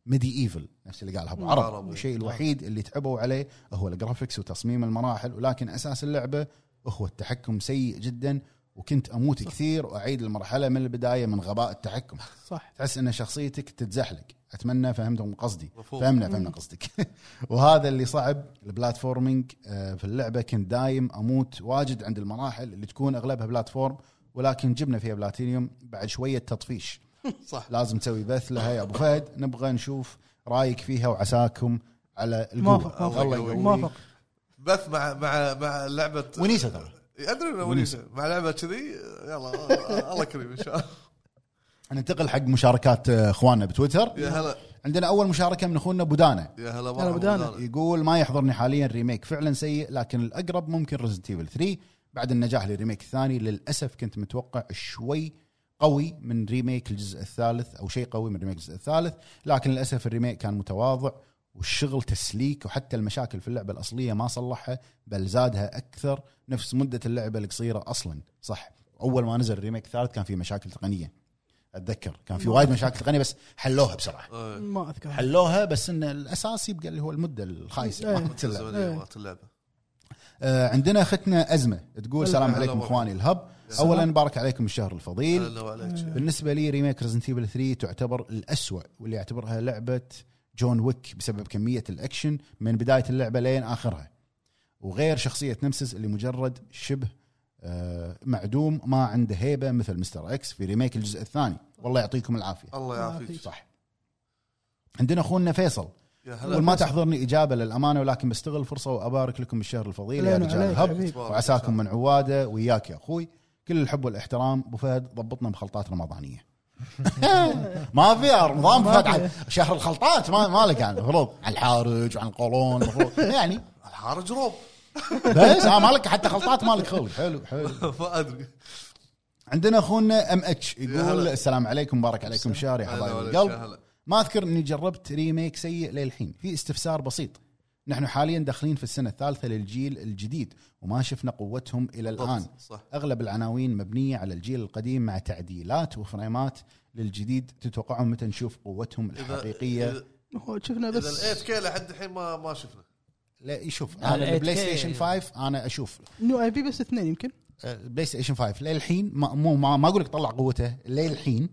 [SPEAKER 1] ميدي ايفل نفس اللي قالها ابو عرب
[SPEAKER 4] عربي.
[SPEAKER 1] الشيء الوحيد اللي تعبوا عليه هو الجرافكس وتصميم المراحل ولكن اساس اللعبه هو التحكم سيء جدا وكنت اموت كثير واعيد المرحله من البدايه من غباء التحكم
[SPEAKER 3] صح
[SPEAKER 1] تحس ان شخصيتك تتزحلق اتمنى فهمتم قصدي
[SPEAKER 4] مفهوم.
[SPEAKER 1] فهمنا فهمنا قصدك [LAUGHS] وهذا اللي صعب البلاتفورمينج آه، في اللعبه كنت دايم اموت واجد عند المراحل اللي تكون اغلبها بلاتفورم ولكن جبنا فيها بلاتينيوم بعد شويه تطفيش
[SPEAKER 4] صح
[SPEAKER 1] لازم تسوي بث لها يا ابو فهد نبغى نشوف رايك فيها وعساكم على
[SPEAKER 3] موافق
[SPEAKER 1] الجوجل
[SPEAKER 4] موافق.
[SPEAKER 1] الله يقويك
[SPEAKER 3] موافق
[SPEAKER 4] بث مع مع مع لعبه
[SPEAKER 1] ونيسه ترى
[SPEAKER 4] ادري انه ونيسه مع لعبه كذي يلا آه، الله كريم ان شاء الله
[SPEAKER 1] ننتقل حق مشاركات آه، اخواننا بتويتر
[SPEAKER 4] يا هلا
[SPEAKER 1] عندنا اول مشاركه من اخونا بودانه
[SPEAKER 4] يا هلا مرحبا
[SPEAKER 3] بدانا.
[SPEAKER 4] بدانا.
[SPEAKER 1] يقول ما يحضرني حاليا ريميك فعلا سيء لكن الاقرب ممكن ريزنت ايفل 3 بعد النجاح للريميك الثاني للاسف كنت متوقع شوي قوي من ريميك الجزء الثالث او شيء قوي من ريميك الجزء الثالث لكن للاسف الريميك كان متواضع والشغل تسليك وحتى المشاكل في اللعبه الاصليه ما صلحها بل زادها اكثر نفس مده اللعبه القصيره اصلا صح اول ما نزل الريميك الثالث كان في مشاكل تقنيه اتذكر كان في وايد مشاكل تقنيه بس حلوها بسرعه
[SPEAKER 4] آه،
[SPEAKER 3] ما اذكر
[SPEAKER 1] حلوها بس ان الاساس يبقى اللي هو المده الخايسه
[SPEAKER 3] إيه.
[SPEAKER 1] مالت اللعبة.
[SPEAKER 4] الزمنية
[SPEAKER 3] إيه.
[SPEAKER 4] مالت اللعبه
[SPEAKER 1] آه، عندنا اختنا ازمه تقول السلام
[SPEAKER 4] هلا
[SPEAKER 1] عليكم
[SPEAKER 4] والله.
[SPEAKER 1] اخواني الهب
[SPEAKER 3] السلام.
[SPEAKER 1] اولا مبارك عليكم الشهر الفضيل
[SPEAKER 4] هلا وعليك
[SPEAKER 1] بالنسبه لي ريميك ريزنت ايفل 3 تعتبر الاسوء واللي يعتبرها لعبه جون ويك بسبب كميه الاكشن من بدايه اللعبه لين اخرها وغير شخصيه نمسس اللي مجرد شبه آه، معدوم ما عنده هيبه مثل مستر اكس في ريميك الجزء الثاني والله يعطيكم العافيه
[SPEAKER 4] الله يعافيك
[SPEAKER 1] صح عندنا اخونا فيصل
[SPEAKER 4] يا
[SPEAKER 1] اقول ما
[SPEAKER 4] هلا
[SPEAKER 1] تحضرني اجابه للامانه ولكن بستغل الفرصه وابارك لكم بالشهر الفضيل يا
[SPEAKER 3] علينا
[SPEAKER 1] رجال
[SPEAKER 3] عليك
[SPEAKER 1] الهب
[SPEAKER 3] حبيبي.
[SPEAKER 1] وعساكم من عواده وياك يا اخوي كل الحب والاحترام ابو فهد ضبطنا بخلطات رمضانيه [LAUGHS] ما في رمضان أبو فهد عاد شهر الخلطات ما مالك يعني المفروض عن الحارج وعن القولون المفروض يعني
[SPEAKER 4] الحارج روب [LAUGHS]
[SPEAKER 1] بس آه مالك حتى خلطات مالك خلق حلو حلو
[SPEAKER 4] ما ادري
[SPEAKER 1] عندنا اخونا ام اتش يقول
[SPEAKER 4] هلا.
[SPEAKER 1] السلام عليكم مبارك عليكم شهر يا
[SPEAKER 4] هلا
[SPEAKER 1] حبايب
[SPEAKER 4] وعليك،
[SPEAKER 1] القلب
[SPEAKER 4] يا هلا.
[SPEAKER 1] ما اذكر اني جربت ريميك سيء للحين في استفسار بسيط نحن حاليا داخلين في السنه الثالثه للجيل الجديد وما شفنا قوتهم الى الان
[SPEAKER 4] صح
[SPEAKER 1] اغلب العناوين مبنيه على الجيل القديم مع تعديلات وفريمات للجديد تتوقعون متى نشوف قوتهم الحقيقيه
[SPEAKER 4] اذا
[SPEAKER 3] هو شفنا بس
[SPEAKER 4] الايت كي لحد الحين ما ما شفنا
[SPEAKER 1] لا يشوف
[SPEAKER 2] على
[SPEAKER 1] انا البلاي
[SPEAKER 2] 8K
[SPEAKER 1] ستيشن 5 انا اشوف
[SPEAKER 3] نيو اي إيه، بي بس اثنين يمكن
[SPEAKER 1] البلاي ستيشن 5 آه، للحين ما مو ما, ما اقول لك طلع قوته للحين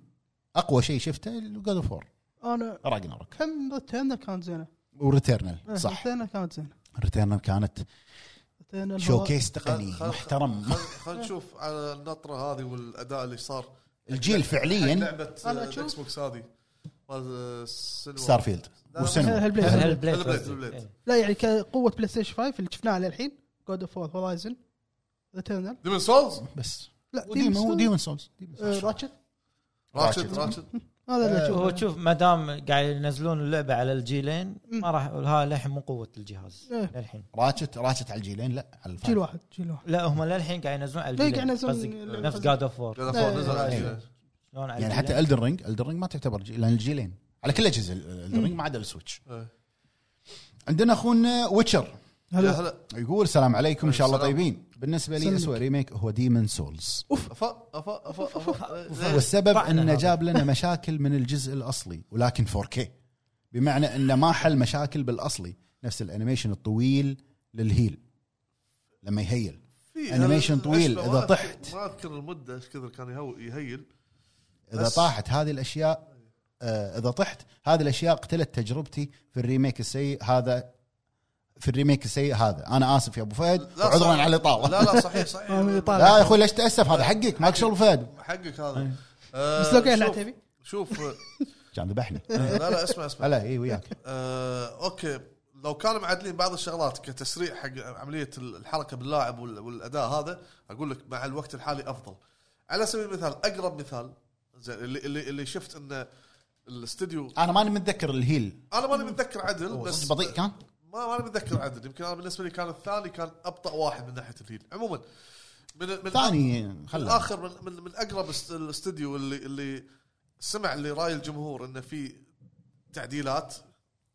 [SPEAKER 1] اقوى شيء شفته جود اوف وور
[SPEAKER 3] انا إيه.
[SPEAKER 1] راجناروك
[SPEAKER 3] كم ريتيرنر كانت زينه
[SPEAKER 1] وريتيرنال
[SPEAKER 3] إيه،
[SPEAKER 1] صح
[SPEAKER 3] ريتيرنر كانت زينه
[SPEAKER 1] ريتيرنر كانت
[SPEAKER 3] أتينا الهواء.
[SPEAKER 1] شوكيس تقني
[SPEAKER 4] خل- خل-
[SPEAKER 1] يعني محترم
[SPEAKER 4] خل- خلينا نشوف على النطره هذه والاداء اللي صار
[SPEAKER 1] الجيل
[SPEAKER 4] حق
[SPEAKER 1] فعليا
[SPEAKER 4] لعبه
[SPEAKER 3] أنا
[SPEAKER 4] آه،
[SPEAKER 3] أشوف.
[SPEAKER 4] الاكس بوكس هذه مال سيلفر
[SPEAKER 1] ستارفيلد
[SPEAKER 4] لا،
[SPEAKER 1] وسنو
[SPEAKER 3] هل- هل بلاي-
[SPEAKER 2] هل
[SPEAKER 3] هل-
[SPEAKER 2] البليد
[SPEAKER 4] البليد،
[SPEAKER 2] قصدي.
[SPEAKER 4] البليد.
[SPEAKER 2] إيه.
[SPEAKER 3] لا يعني كقوه بلاي ستيشن 5 اللي شفناها للحين جود اوف وور هورايزن اترنال
[SPEAKER 4] ديمن سولز
[SPEAKER 1] بس
[SPEAKER 3] لا
[SPEAKER 1] وديمون
[SPEAKER 3] ديمون
[SPEAKER 1] ديمون سولز
[SPEAKER 3] آه، راتشت
[SPEAKER 4] راشد راشد
[SPEAKER 3] هذا اللي
[SPEAKER 2] إيه، هو
[SPEAKER 3] اشوفه
[SPEAKER 2] تشوف ما دام قاعد ينزلون اللعبه على الجيلين
[SPEAKER 3] مم.
[SPEAKER 2] ما راح ها للحين مو قوه الجهاز
[SPEAKER 3] إيه.
[SPEAKER 2] للحين
[SPEAKER 1] راتشت راتشت على الجيلين لا على الفايف.
[SPEAKER 3] جيل واحد جيل واحد
[SPEAKER 2] لا هم للحين قاعد ينزلون على
[SPEAKER 3] لا، قاعد
[SPEAKER 2] الجيلين
[SPEAKER 3] ينزلون
[SPEAKER 2] قصدي
[SPEAKER 3] اللعبة.
[SPEAKER 2] نفس جاد اوف وور
[SPEAKER 4] قال أفور نزل على
[SPEAKER 3] إيه.
[SPEAKER 4] الجيل.
[SPEAKER 2] شلون على
[SPEAKER 1] يعني حتى
[SPEAKER 2] الجيلين؟
[SPEAKER 1] الدن رينج الدن رينج ما تعتبر جيل لان الجيلين على كل اجهزه الدن رينج ما عدا السويتش
[SPEAKER 4] إيه.
[SPEAKER 1] عندنا اخونا ويتشر
[SPEAKER 4] يا
[SPEAKER 3] هلا
[SPEAKER 4] هلا
[SPEAKER 1] يقول السلام عليكم ان شاء الله
[SPEAKER 4] السلام.
[SPEAKER 1] طيبين بالنسبه لي
[SPEAKER 3] سلمك.
[SPEAKER 1] اسوء ريميك هو ديمن سولز
[SPEAKER 4] افا افا افا افا إيه.
[SPEAKER 1] والسبب
[SPEAKER 2] طعنة
[SPEAKER 1] انه
[SPEAKER 2] هذا.
[SPEAKER 1] جاب لنا مشاكل من الجزء الاصلي ولكن 4K بمعنى انه ما حل مشاكل بالاصلي نفس الانيميشن الطويل للهيل لما يهيل
[SPEAKER 4] في
[SPEAKER 1] أنيميشن
[SPEAKER 4] أنا
[SPEAKER 1] طويل،
[SPEAKER 4] أشبه ما
[SPEAKER 1] إذا
[SPEAKER 4] أذكر-
[SPEAKER 1] طحت.
[SPEAKER 4] ما اذكر المده ايش كثر كان يهو- يهيل
[SPEAKER 1] اذا
[SPEAKER 4] بس-
[SPEAKER 1] طاحت هذه الاشياء آه، اذا طحت هذه الاشياء قتلت تجربتي في الريميك السيء هذا في الريميك السيء هذا انا اسف يا ابو فهد
[SPEAKER 4] لا،
[SPEAKER 1] عذرا
[SPEAKER 4] صح.
[SPEAKER 1] على
[SPEAKER 4] لا
[SPEAKER 1] الاطاله لا
[SPEAKER 4] لا صحيح صحيح
[SPEAKER 3] آه، من الإطار.
[SPEAKER 1] يا اخوي ليش تاسف هذا حقك ما شغل فهد
[SPEAKER 4] حقك
[SPEAKER 1] إيه.
[SPEAKER 4] هذا آه،
[SPEAKER 3] بس لو قاعد لا
[SPEAKER 4] شوف-
[SPEAKER 3] تبي
[SPEAKER 4] شوف آه،
[SPEAKER 1] كان ذبحني
[SPEAKER 4] لا لا اسمع اسمع
[SPEAKER 1] هلا اي وياك
[SPEAKER 4] آه، اوكي لو كانوا معدلين بعض الشغلات كتسريع حق عمليه الحركه باللاعب وال- والاداء هذا اقول لك مع الوقت الحالي افضل على سبيل المثال اقرب مثال زين، اللي اللي, اللي شفت انه الاستديو
[SPEAKER 1] انا ماني متذكر الهيل
[SPEAKER 4] انا ماني متذكر عدل بس
[SPEAKER 1] صدق بطيء كان
[SPEAKER 4] ما ماني متذكر عدل يمكن انا بالنسبه لي كان الثاني كان ابطا واحد من ناحيه الهيل عموما من من
[SPEAKER 1] ثاني خله
[SPEAKER 4] اخر من من, من اقرب است- الاستديو اللي اللي سمع اللي راي الجمهور انه في تعديلات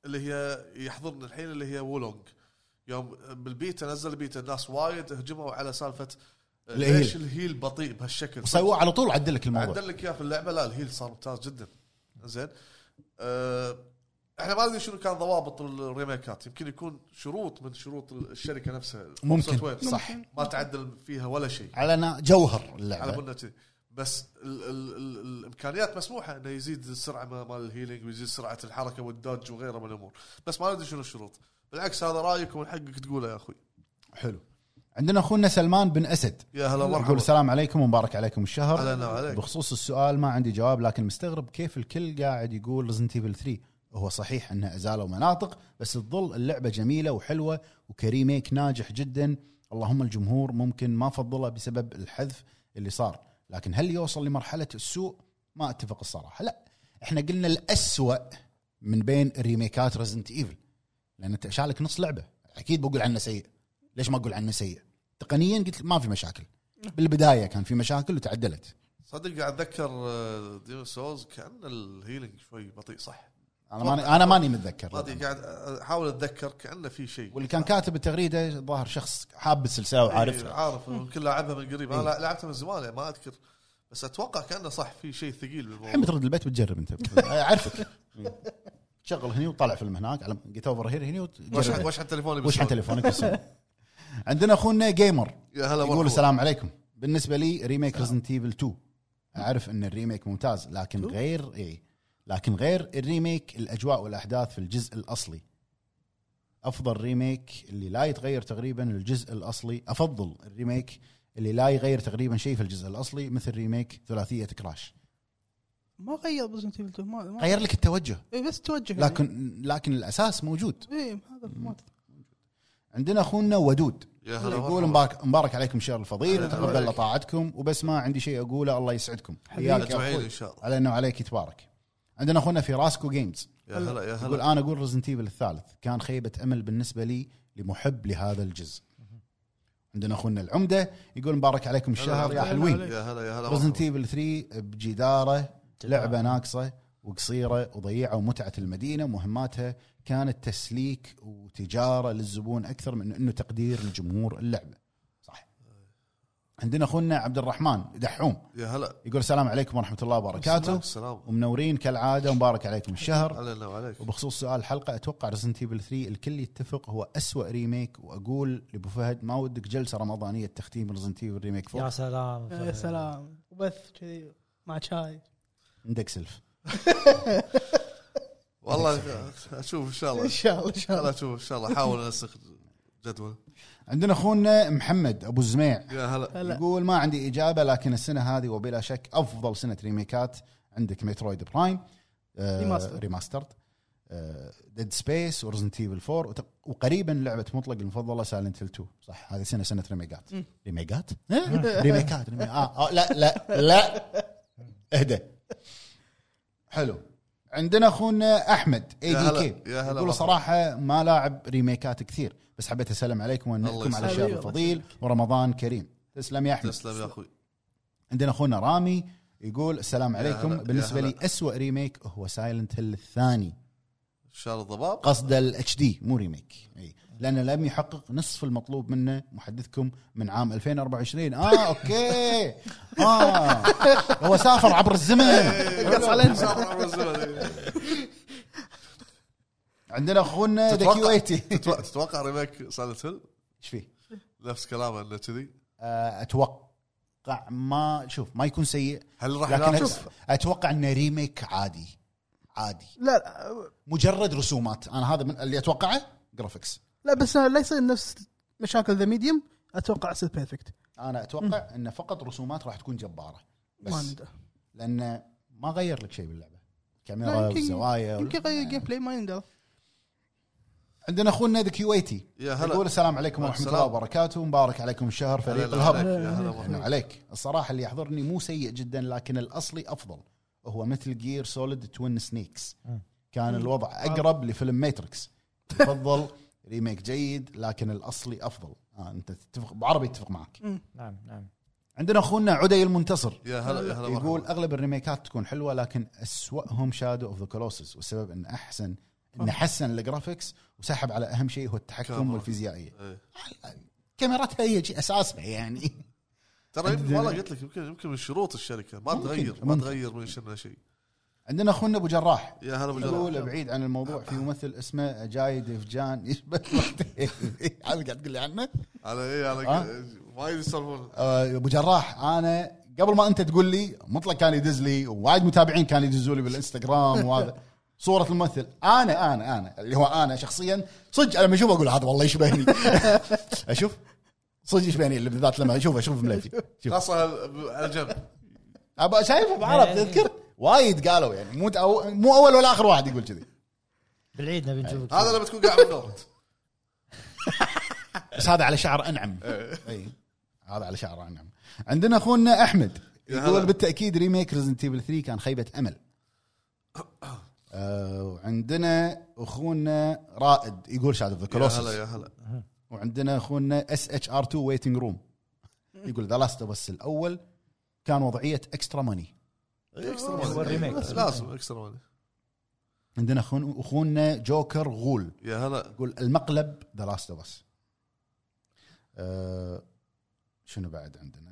[SPEAKER 4] اللي هي يحضرنا الحين اللي هي وولونج يوم بالبيتا نزل البيتا الناس وايد هجموا على سالفه
[SPEAKER 1] الهيل.
[SPEAKER 4] ليش الهيل بطيء بهالشكل
[SPEAKER 1] وسووه على طول عدل لك الموضوع
[SPEAKER 4] عدل لك اياه في اللعبه لا الهيل صار ممتاز جدا زين أه احنا ما ندري شنو كان ضوابط الريميكات يمكن يكون شروط من شروط الشركه نفسها
[SPEAKER 1] ممكن
[SPEAKER 4] Software.
[SPEAKER 1] صح
[SPEAKER 4] ما تعدل فيها ولا شيء
[SPEAKER 1] على نا- جوهر
[SPEAKER 4] على
[SPEAKER 1] اللعبه
[SPEAKER 4] قولنا كذي بس ال ال ال الامكانيات مسموحه انه يزيد السرعه ما- مال الهيلينج ويزيد سرعه الحركه والدوج وغيره من الامور بس ما ندري شنو الشروط بالعكس هذا رايك ومن حقك تقوله يا اخوي
[SPEAKER 1] حلو عندنا اخونا سلمان بن اسد
[SPEAKER 4] يا هلا
[SPEAKER 1] يقول
[SPEAKER 4] مرحبا
[SPEAKER 1] السلام عليكم ومبارك عليكم الشهر
[SPEAKER 4] أهلاً وعليك.
[SPEAKER 1] بخصوص السؤال ما عندي جواب لكن مستغرب كيف الكل قاعد يقول ريزنت ايفل 3 هو صحيح انه ازالوا مناطق بس تظل اللعبه جميله وحلوه وكريميك ناجح جدا اللهم الجمهور ممكن ما فضله بسبب الحذف اللي صار لكن هل يوصل لمرحله السوء ما اتفق الصراحه لا احنا قلنا الأسوأ من بين ريميكات ريزنت ايفل لان انت شالك نص لعبه اكيد بقول عنه سيء ليش ما اقول عنه سيء تقنيا قلت ما في مشاكل بالبدايه كان في مشاكل وتعدلت
[SPEAKER 4] صدق قاعد آه، اتذكر ديمون سولز كان الهيلينج شوي بطيء صح
[SPEAKER 1] انا ماني انا ماني متذكر
[SPEAKER 4] ما ادري قاعد احاول اتذكر كانه في شيء
[SPEAKER 1] واللي كان كاتب التغريده ظاهر شخص حاب السلسله
[SPEAKER 4] إيه،
[SPEAKER 1] وعارفها [LAUGHS]
[SPEAKER 4] عارف يمكن لاعبها من قريب
[SPEAKER 1] إيه.
[SPEAKER 4] انا لعبتها من زمان يعني ما اذكر بس اتوقع كانه صح في شيء ثقيل
[SPEAKER 1] الحين
[SPEAKER 4] بالموضوع
[SPEAKER 1] بترد البيت بتجرب [LAUGHS] انت اعرفك شغل هني وطلع فيلم هناك على جيت اوفر هير هني
[SPEAKER 4] وش-
[SPEAKER 1] وتجرب
[SPEAKER 4] وش على تليفوني
[SPEAKER 1] وش على
[SPEAKER 4] بالصوت.
[SPEAKER 1] تليفونك [LAUGHS] بالصوت. عندنا اخونا جيمر
[SPEAKER 4] يا هلا
[SPEAKER 1] يقول
[SPEAKER 4] مرحبا.
[SPEAKER 1] السلام عليكم بالنسبه لي ريميك ريزنت ايفل 2 اعرف ان الريميك ممتاز لكن غير اي لكن غير الريميك الاجواء والاحداث في الجزء الاصلي افضل ريميك اللي لا يتغير تقريبا الجزء الاصلي افضل الريميك اللي لا يغير تقريبا شيء في الجزء الاصلي مثل ريميك ثلاثيه كراش
[SPEAKER 3] ما غير ريزنت ايفل 2 ما- ما
[SPEAKER 1] غير لك التوجه
[SPEAKER 3] إيه، بس توجه يعني.
[SPEAKER 1] لكن لكن الاساس موجود
[SPEAKER 3] ايه هذا ما تدري.
[SPEAKER 1] عندنا اخونا ودود
[SPEAKER 4] يا هلا
[SPEAKER 1] يقول
[SPEAKER 4] مرحبا.
[SPEAKER 1] مبارك مبارك عليكم شهر الفضيل
[SPEAKER 4] هلا
[SPEAKER 1] وتقبل
[SPEAKER 4] عليك.
[SPEAKER 1] طاعتكم وبس ما عندي شيء اقوله الله يسعدكم حياك يا
[SPEAKER 4] اجمعين
[SPEAKER 1] أخوي.
[SPEAKER 4] ان شاء الله
[SPEAKER 1] على انه عليك تبارك عندنا اخونا في راسكو جيمز
[SPEAKER 4] يا هلا يا
[SPEAKER 1] يقول آه،
[SPEAKER 4] هلا
[SPEAKER 1] انا اقول ريزنت ايفل الثالث كان خيبه امل بالنسبه لي لمحب لهذا الجزء عندنا اخونا العمده يقول مبارك عليكم الشهر يا
[SPEAKER 4] هلا.
[SPEAKER 1] حلوين
[SPEAKER 4] يا هلا يا هلا
[SPEAKER 1] ريزنت
[SPEAKER 4] مرحبا.
[SPEAKER 1] ايفل 3 بجداره لعبه ناقصه وقصيره وضيعوا متعه المدينه ومهماتها كانت تسليك وتجاره للزبون اكثر من انه تقدير لجمهور اللعبه صح عندنا اخونا عبد الرحمن دحوم
[SPEAKER 4] يا هلا
[SPEAKER 1] يقول السلام عليكم ورحمه الله وبركاته
[SPEAKER 4] السلام
[SPEAKER 1] ومنورين كالعاده ومبارك عليكم الشهر
[SPEAKER 4] علينا وعليك
[SPEAKER 1] وبخصوص سؤال الحلقه اتوقع ريزنت ايفل 3 الكل يتفق هو أسوأ ريميك واقول لابو فهد ما ودك جلسه رمضانيه تختيم ريزنت ايفل ريميك 4
[SPEAKER 2] يا سلام
[SPEAKER 3] يا سلام وبث كذي مع شاي
[SPEAKER 1] عندك سلف
[SPEAKER 4] والله اشوف ان شاء الله
[SPEAKER 3] ان
[SPEAKER 4] ان
[SPEAKER 3] شاء الله ان شاء
[SPEAKER 4] شاء الله
[SPEAKER 3] الله
[SPEAKER 4] اشوف ان شاء الله احاول انسخ جدول
[SPEAKER 1] عندنا اخونا محمد ابو الزميع
[SPEAKER 4] يا هلا
[SPEAKER 3] هلا
[SPEAKER 1] يقول ما عندي اجابه لكن السنه هذه وبلا شك افضل سنه ريميكات عندك مترويد برايم آه،
[SPEAKER 3] ريماستر.
[SPEAKER 1] ريماسترد آه، ديد سبيس ورزنت ايفل 4 وت- وقريبا لعبه مطلق المفضله سايلنت هيل 2 صح هذه سنه سنه ريميكات
[SPEAKER 3] [LAUGHS]
[SPEAKER 1] ريميكات؟ آه، ريميكات ريمي- آه آه، لا لا لا اهدى حلو عندنا اخونا احمد اي
[SPEAKER 4] يا
[SPEAKER 1] دي
[SPEAKER 4] هلا،
[SPEAKER 1] كي
[SPEAKER 4] يا هلا
[SPEAKER 1] يقول
[SPEAKER 4] مرحبا.
[SPEAKER 1] صراحه ما لاعب ريميكات كثير بس حبيت اسلم عليكم وانكم على
[SPEAKER 4] يسلمك.
[SPEAKER 1] الشهر
[SPEAKER 3] حبيبي، الله
[SPEAKER 1] الفضيل
[SPEAKER 3] يسلمك.
[SPEAKER 1] ورمضان كريم تسلم يا احمد
[SPEAKER 4] تسلم يا اخوي
[SPEAKER 1] عندنا اخونا رامي يقول السلام عليكم
[SPEAKER 4] هلا، يا
[SPEAKER 1] بالنسبه لي
[SPEAKER 4] هلا.
[SPEAKER 1] أسوأ ريميك هو سايلنت هيل الثاني
[SPEAKER 4] شال الضباب
[SPEAKER 1] قصده الاتش دي مو ريميك اي لانه لم يحقق نصف المطلوب منه محدثكم من عام 2024 اه اوكي اه هو سافر عبر الزمن
[SPEAKER 3] قص علينا.
[SPEAKER 4] إيه. سافر عبر الزمن.
[SPEAKER 1] عندنا اخونا ذكي
[SPEAKER 4] تتوقع-
[SPEAKER 1] ويتي
[SPEAKER 4] تتوقع- تتوقع ريميك سايلنت هيل
[SPEAKER 1] ايش فيه؟
[SPEAKER 4] نفس كلامه انه كذي
[SPEAKER 1] آه، اتوقع ما شوف ما يكون سيء
[SPEAKER 4] هل راح
[SPEAKER 1] لكن
[SPEAKER 4] ينافس؟
[SPEAKER 1] أت- اتوقع انه ريميك عادي عادي
[SPEAKER 3] لا
[SPEAKER 1] مجرد رسومات انا هذا من اللي اتوقعه جرافيكس
[SPEAKER 3] لا بس لا يصير نفس مشاكل ذا ميديوم اتوقع اصير بيرفكت
[SPEAKER 1] انا اتوقع انه فقط رسومات راح تكون جباره
[SPEAKER 3] ما
[SPEAKER 1] بس
[SPEAKER 3] ندري
[SPEAKER 1] لان ما غير لك شيء باللعبه
[SPEAKER 3] لا،
[SPEAKER 1] كاميرا
[SPEAKER 3] يمكن-
[SPEAKER 1] والزوايا وال-
[SPEAKER 3] يمكن غير جيم بلاي ما يندرى
[SPEAKER 1] عندنا اخونا ذا كويتي
[SPEAKER 4] يا هلا.
[SPEAKER 1] يقول السلام عليكم ورحمه
[SPEAKER 4] السلام.
[SPEAKER 1] الله وبركاته مبارك عليكم الشهر
[SPEAKER 4] هلا
[SPEAKER 1] فريق
[SPEAKER 4] هلا
[SPEAKER 1] الهب
[SPEAKER 4] عليك، يا
[SPEAKER 1] احنا
[SPEAKER 4] هلا مرحبا.
[SPEAKER 1] عليك الصراحه اللي يحضرني مو سيء جدا لكن الاصلي افضل هو مثل جير سوليد توين سنيكس كان الوضع
[SPEAKER 3] آه.
[SPEAKER 1] اقرب لفيلم ماتريكس تفضل [LAUGHS] ريميك جيد لكن الاصلي افضل آه انت تتفق بعربي اتفق معك
[SPEAKER 2] نعم نعم
[SPEAKER 1] عندنا اخونا عدي المنتصر
[SPEAKER 4] يا هلا يا هلا
[SPEAKER 1] يقول
[SPEAKER 4] يقول
[SPEAKER 1] اغلب الريميكات تكون حلوه لكن اسواهم شادو اوف ذا كولوسس والسبب ان احسن انه حسن الجرافكس وسحب على اهم شيء هو التحكم
[SPEAKER 4] كاميرا.
[SPEAKER 1] والفيزيائيه
[SPEAKER 4] إيه.
[SPEAKER 1] كاميراتها هي شيء اساسها يعني [LAUGHS]
[SPEAKER 4] ترى يمكن
[SPEAKER 1] عندنا-
[SPEAKER 4] والله قلت لك يمكن يمكن من شروط الشركه ما
[SPEAKER 1] ممكن،
[SPEAKER 4] تغير ما
[SPEAKER 1] ممكن.
[SPEAKER 4] تغير من شنو شيء
[SPEAKER 1] عندنا اخونا ابو جراح
[SPEAKER 4] يا هلا ابو
[SPEAKER 1] يقول
[SPEAKER 4] جرار
[SPEAKER 1] بعيد عن الموضوع في ممثل اسمه جاي ديفجان [LAUGHS] يشبه [LAUGHS] هذا قاعد تقول لي عنه
[SPEAKER 4] على ايه على
[SPEAKER 1] ها؟
[SPEAKER 4] وايد يسولفون
[SPEAKER 1] آه، ابو جراح انا قبل ما انت تقول لي مطلق كان يدز لي ووايد متابعين كانوا يدزوا لي بالانستغرام وهذا صوره الممثل انا انا انا اللي هو انا شخصيا صدق لما اشوفه اقول هذا والله يشبهني اشوف صدق يشبهني اللي بالذات لما اشوفه اشوف مليفي شوف
[SPEAKER 4] خاصه هال- على جنب
[SPEAKER 1] أبا شايفه بعرب تذكر وايد قالوا يعني مو أو- مو اول ولا اخر واحد يقول كذي
[SPEAKER 2] بالعيد نبي نشوفك
[SPEAKER 4] هذا لما تكون قاعد بالنوم
[SPEAKER 1] بس هذا على شعر انعم اي إيه. هذا على شعر انعم عندنا اخونا احمد
[SPEAKER 4] يا هلا.
[SPEAKER 1] يقول بالتاكيد ريميك ريزنت ايفل 3 كان خيبه امل آه، وعندنا اخونا رائد يقول شاد اوف ذا
[SPEAKER 4] يا هلا يا
[SPEAKER 1] كلوسس
[SPEAKER 4] هلا
[SPEAKER 1] وعندنا اخونا اس اتش ار 2 ويتنج روم يقول ذا لاست بس الاول كان وضعيه اكسترا ماني
[SPEAKER 4] اكسترا
[SPEAKER 2] هو الريميك.
[SPEAKER 4] ماني إيه، بس لازم اكسترا ماني
[SPEAKER 1] عندنا أخون- اخونا جوكر غول
[SPEAKER 4] يا هلا
[SPEAKER 1] يقول المقلب ذا لاست اوف اس أه، شنو بعد عندنا؟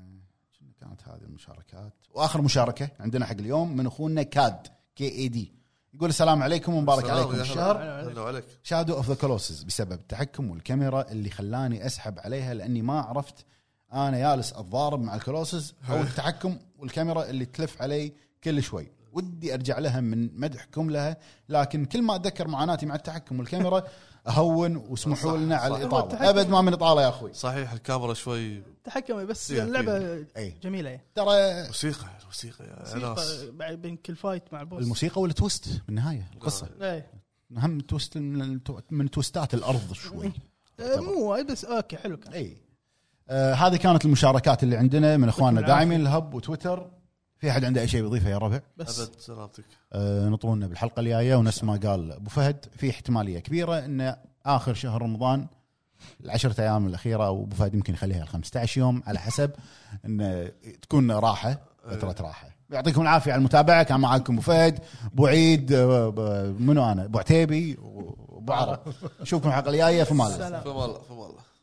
[SPEAKER 1] شنو كانت هذه المشاركات؟ واخر مشاركه عندنا حق اليوم من اخونا كاد كي اي دي يقول السلام عليكم ومبارك
[SPEAKER 4] سلام،
[SPEAKER 1] عليكم
[SPEAKER 4] يا هلا.
[SPEAKER 1] الشهر
[SPEAKER 4] هلا عليك
[SPEAKER 1] شادو اوف ذا كولوسز بسبب التحكم والكاميرا اللي خلاني اسحب عليها لاني ما عرفت انا يالس اتضارب مع الكولوسز او التحكم والكاميرا اللي تلف علي كل شوي ودي ارجع لها من مدحكم لها لكن كل ما اتذكر معاناتي مع التحكم والكاميرا اهون واسمحوا
[SPEAKER 4] صح،
[SPEAKER 1] لنا على
[SPEAKER 4] صح.
[SPEAKER 3] التحكم-
[SPEAKER 1] الاطاله ابد ما من اطاله يا اخوي
[SPEAKER 4] صحيح الكاميرا شوي
[SPEAKER 3] تحكمي بس
[SPEAKER 4] فيها-
[SPEAKER 3] اللعبه
[SPEAKER 1] اي
[SPEAKER 3] جميله يعني
[SPEAKER 1] ترى
[SPEAKER 4] موسيقى الموسيقى يا ناس
[SPEAKER 3] موسيقى بعد بين كل فايت مع البوس
[SPEAKER 1] الموسيقى والتويست بالنهايه القصه
[SPEAKER 3] إيه.
[SPEAKER 1] اهم تويست من من تويستات الارض شوي
[SPEAKER 3] آه، مو وايد بس اوكي حلو كان
[SPEAKER 1] اي آه هذه كانت المشاركات اللي عندنا من اخواننا
[SPEAKER 3] بالعافية.
[SPEAKER 1] داعمين الهب وتويتر في احد عنده اي شيء يضيفه يا ربع
[SPEAKER 3] بس
[SPEAKER 4] ابد سلامتك
[SPEAKER 1] آه نطرونا بالحلقه الجايه ونفس ما قال ابو فهد في احتماليه كبيره ان اخر شهر رمضان العشرة ايام الاخيره او ابو فهد يمكن يخليها ال 15 يوم على حسب ان تكون راحه فتره راحه يعطيكم العافيه على المتابعه كان معاكم ابو فهد ابو عيد آه، ب- منو انا ابو عتيبي وابو عرب نشوفكم الحلقه الجايه في مال
[SPEAKER 3] سلام
[SPEAKER 4] فما الله فما الله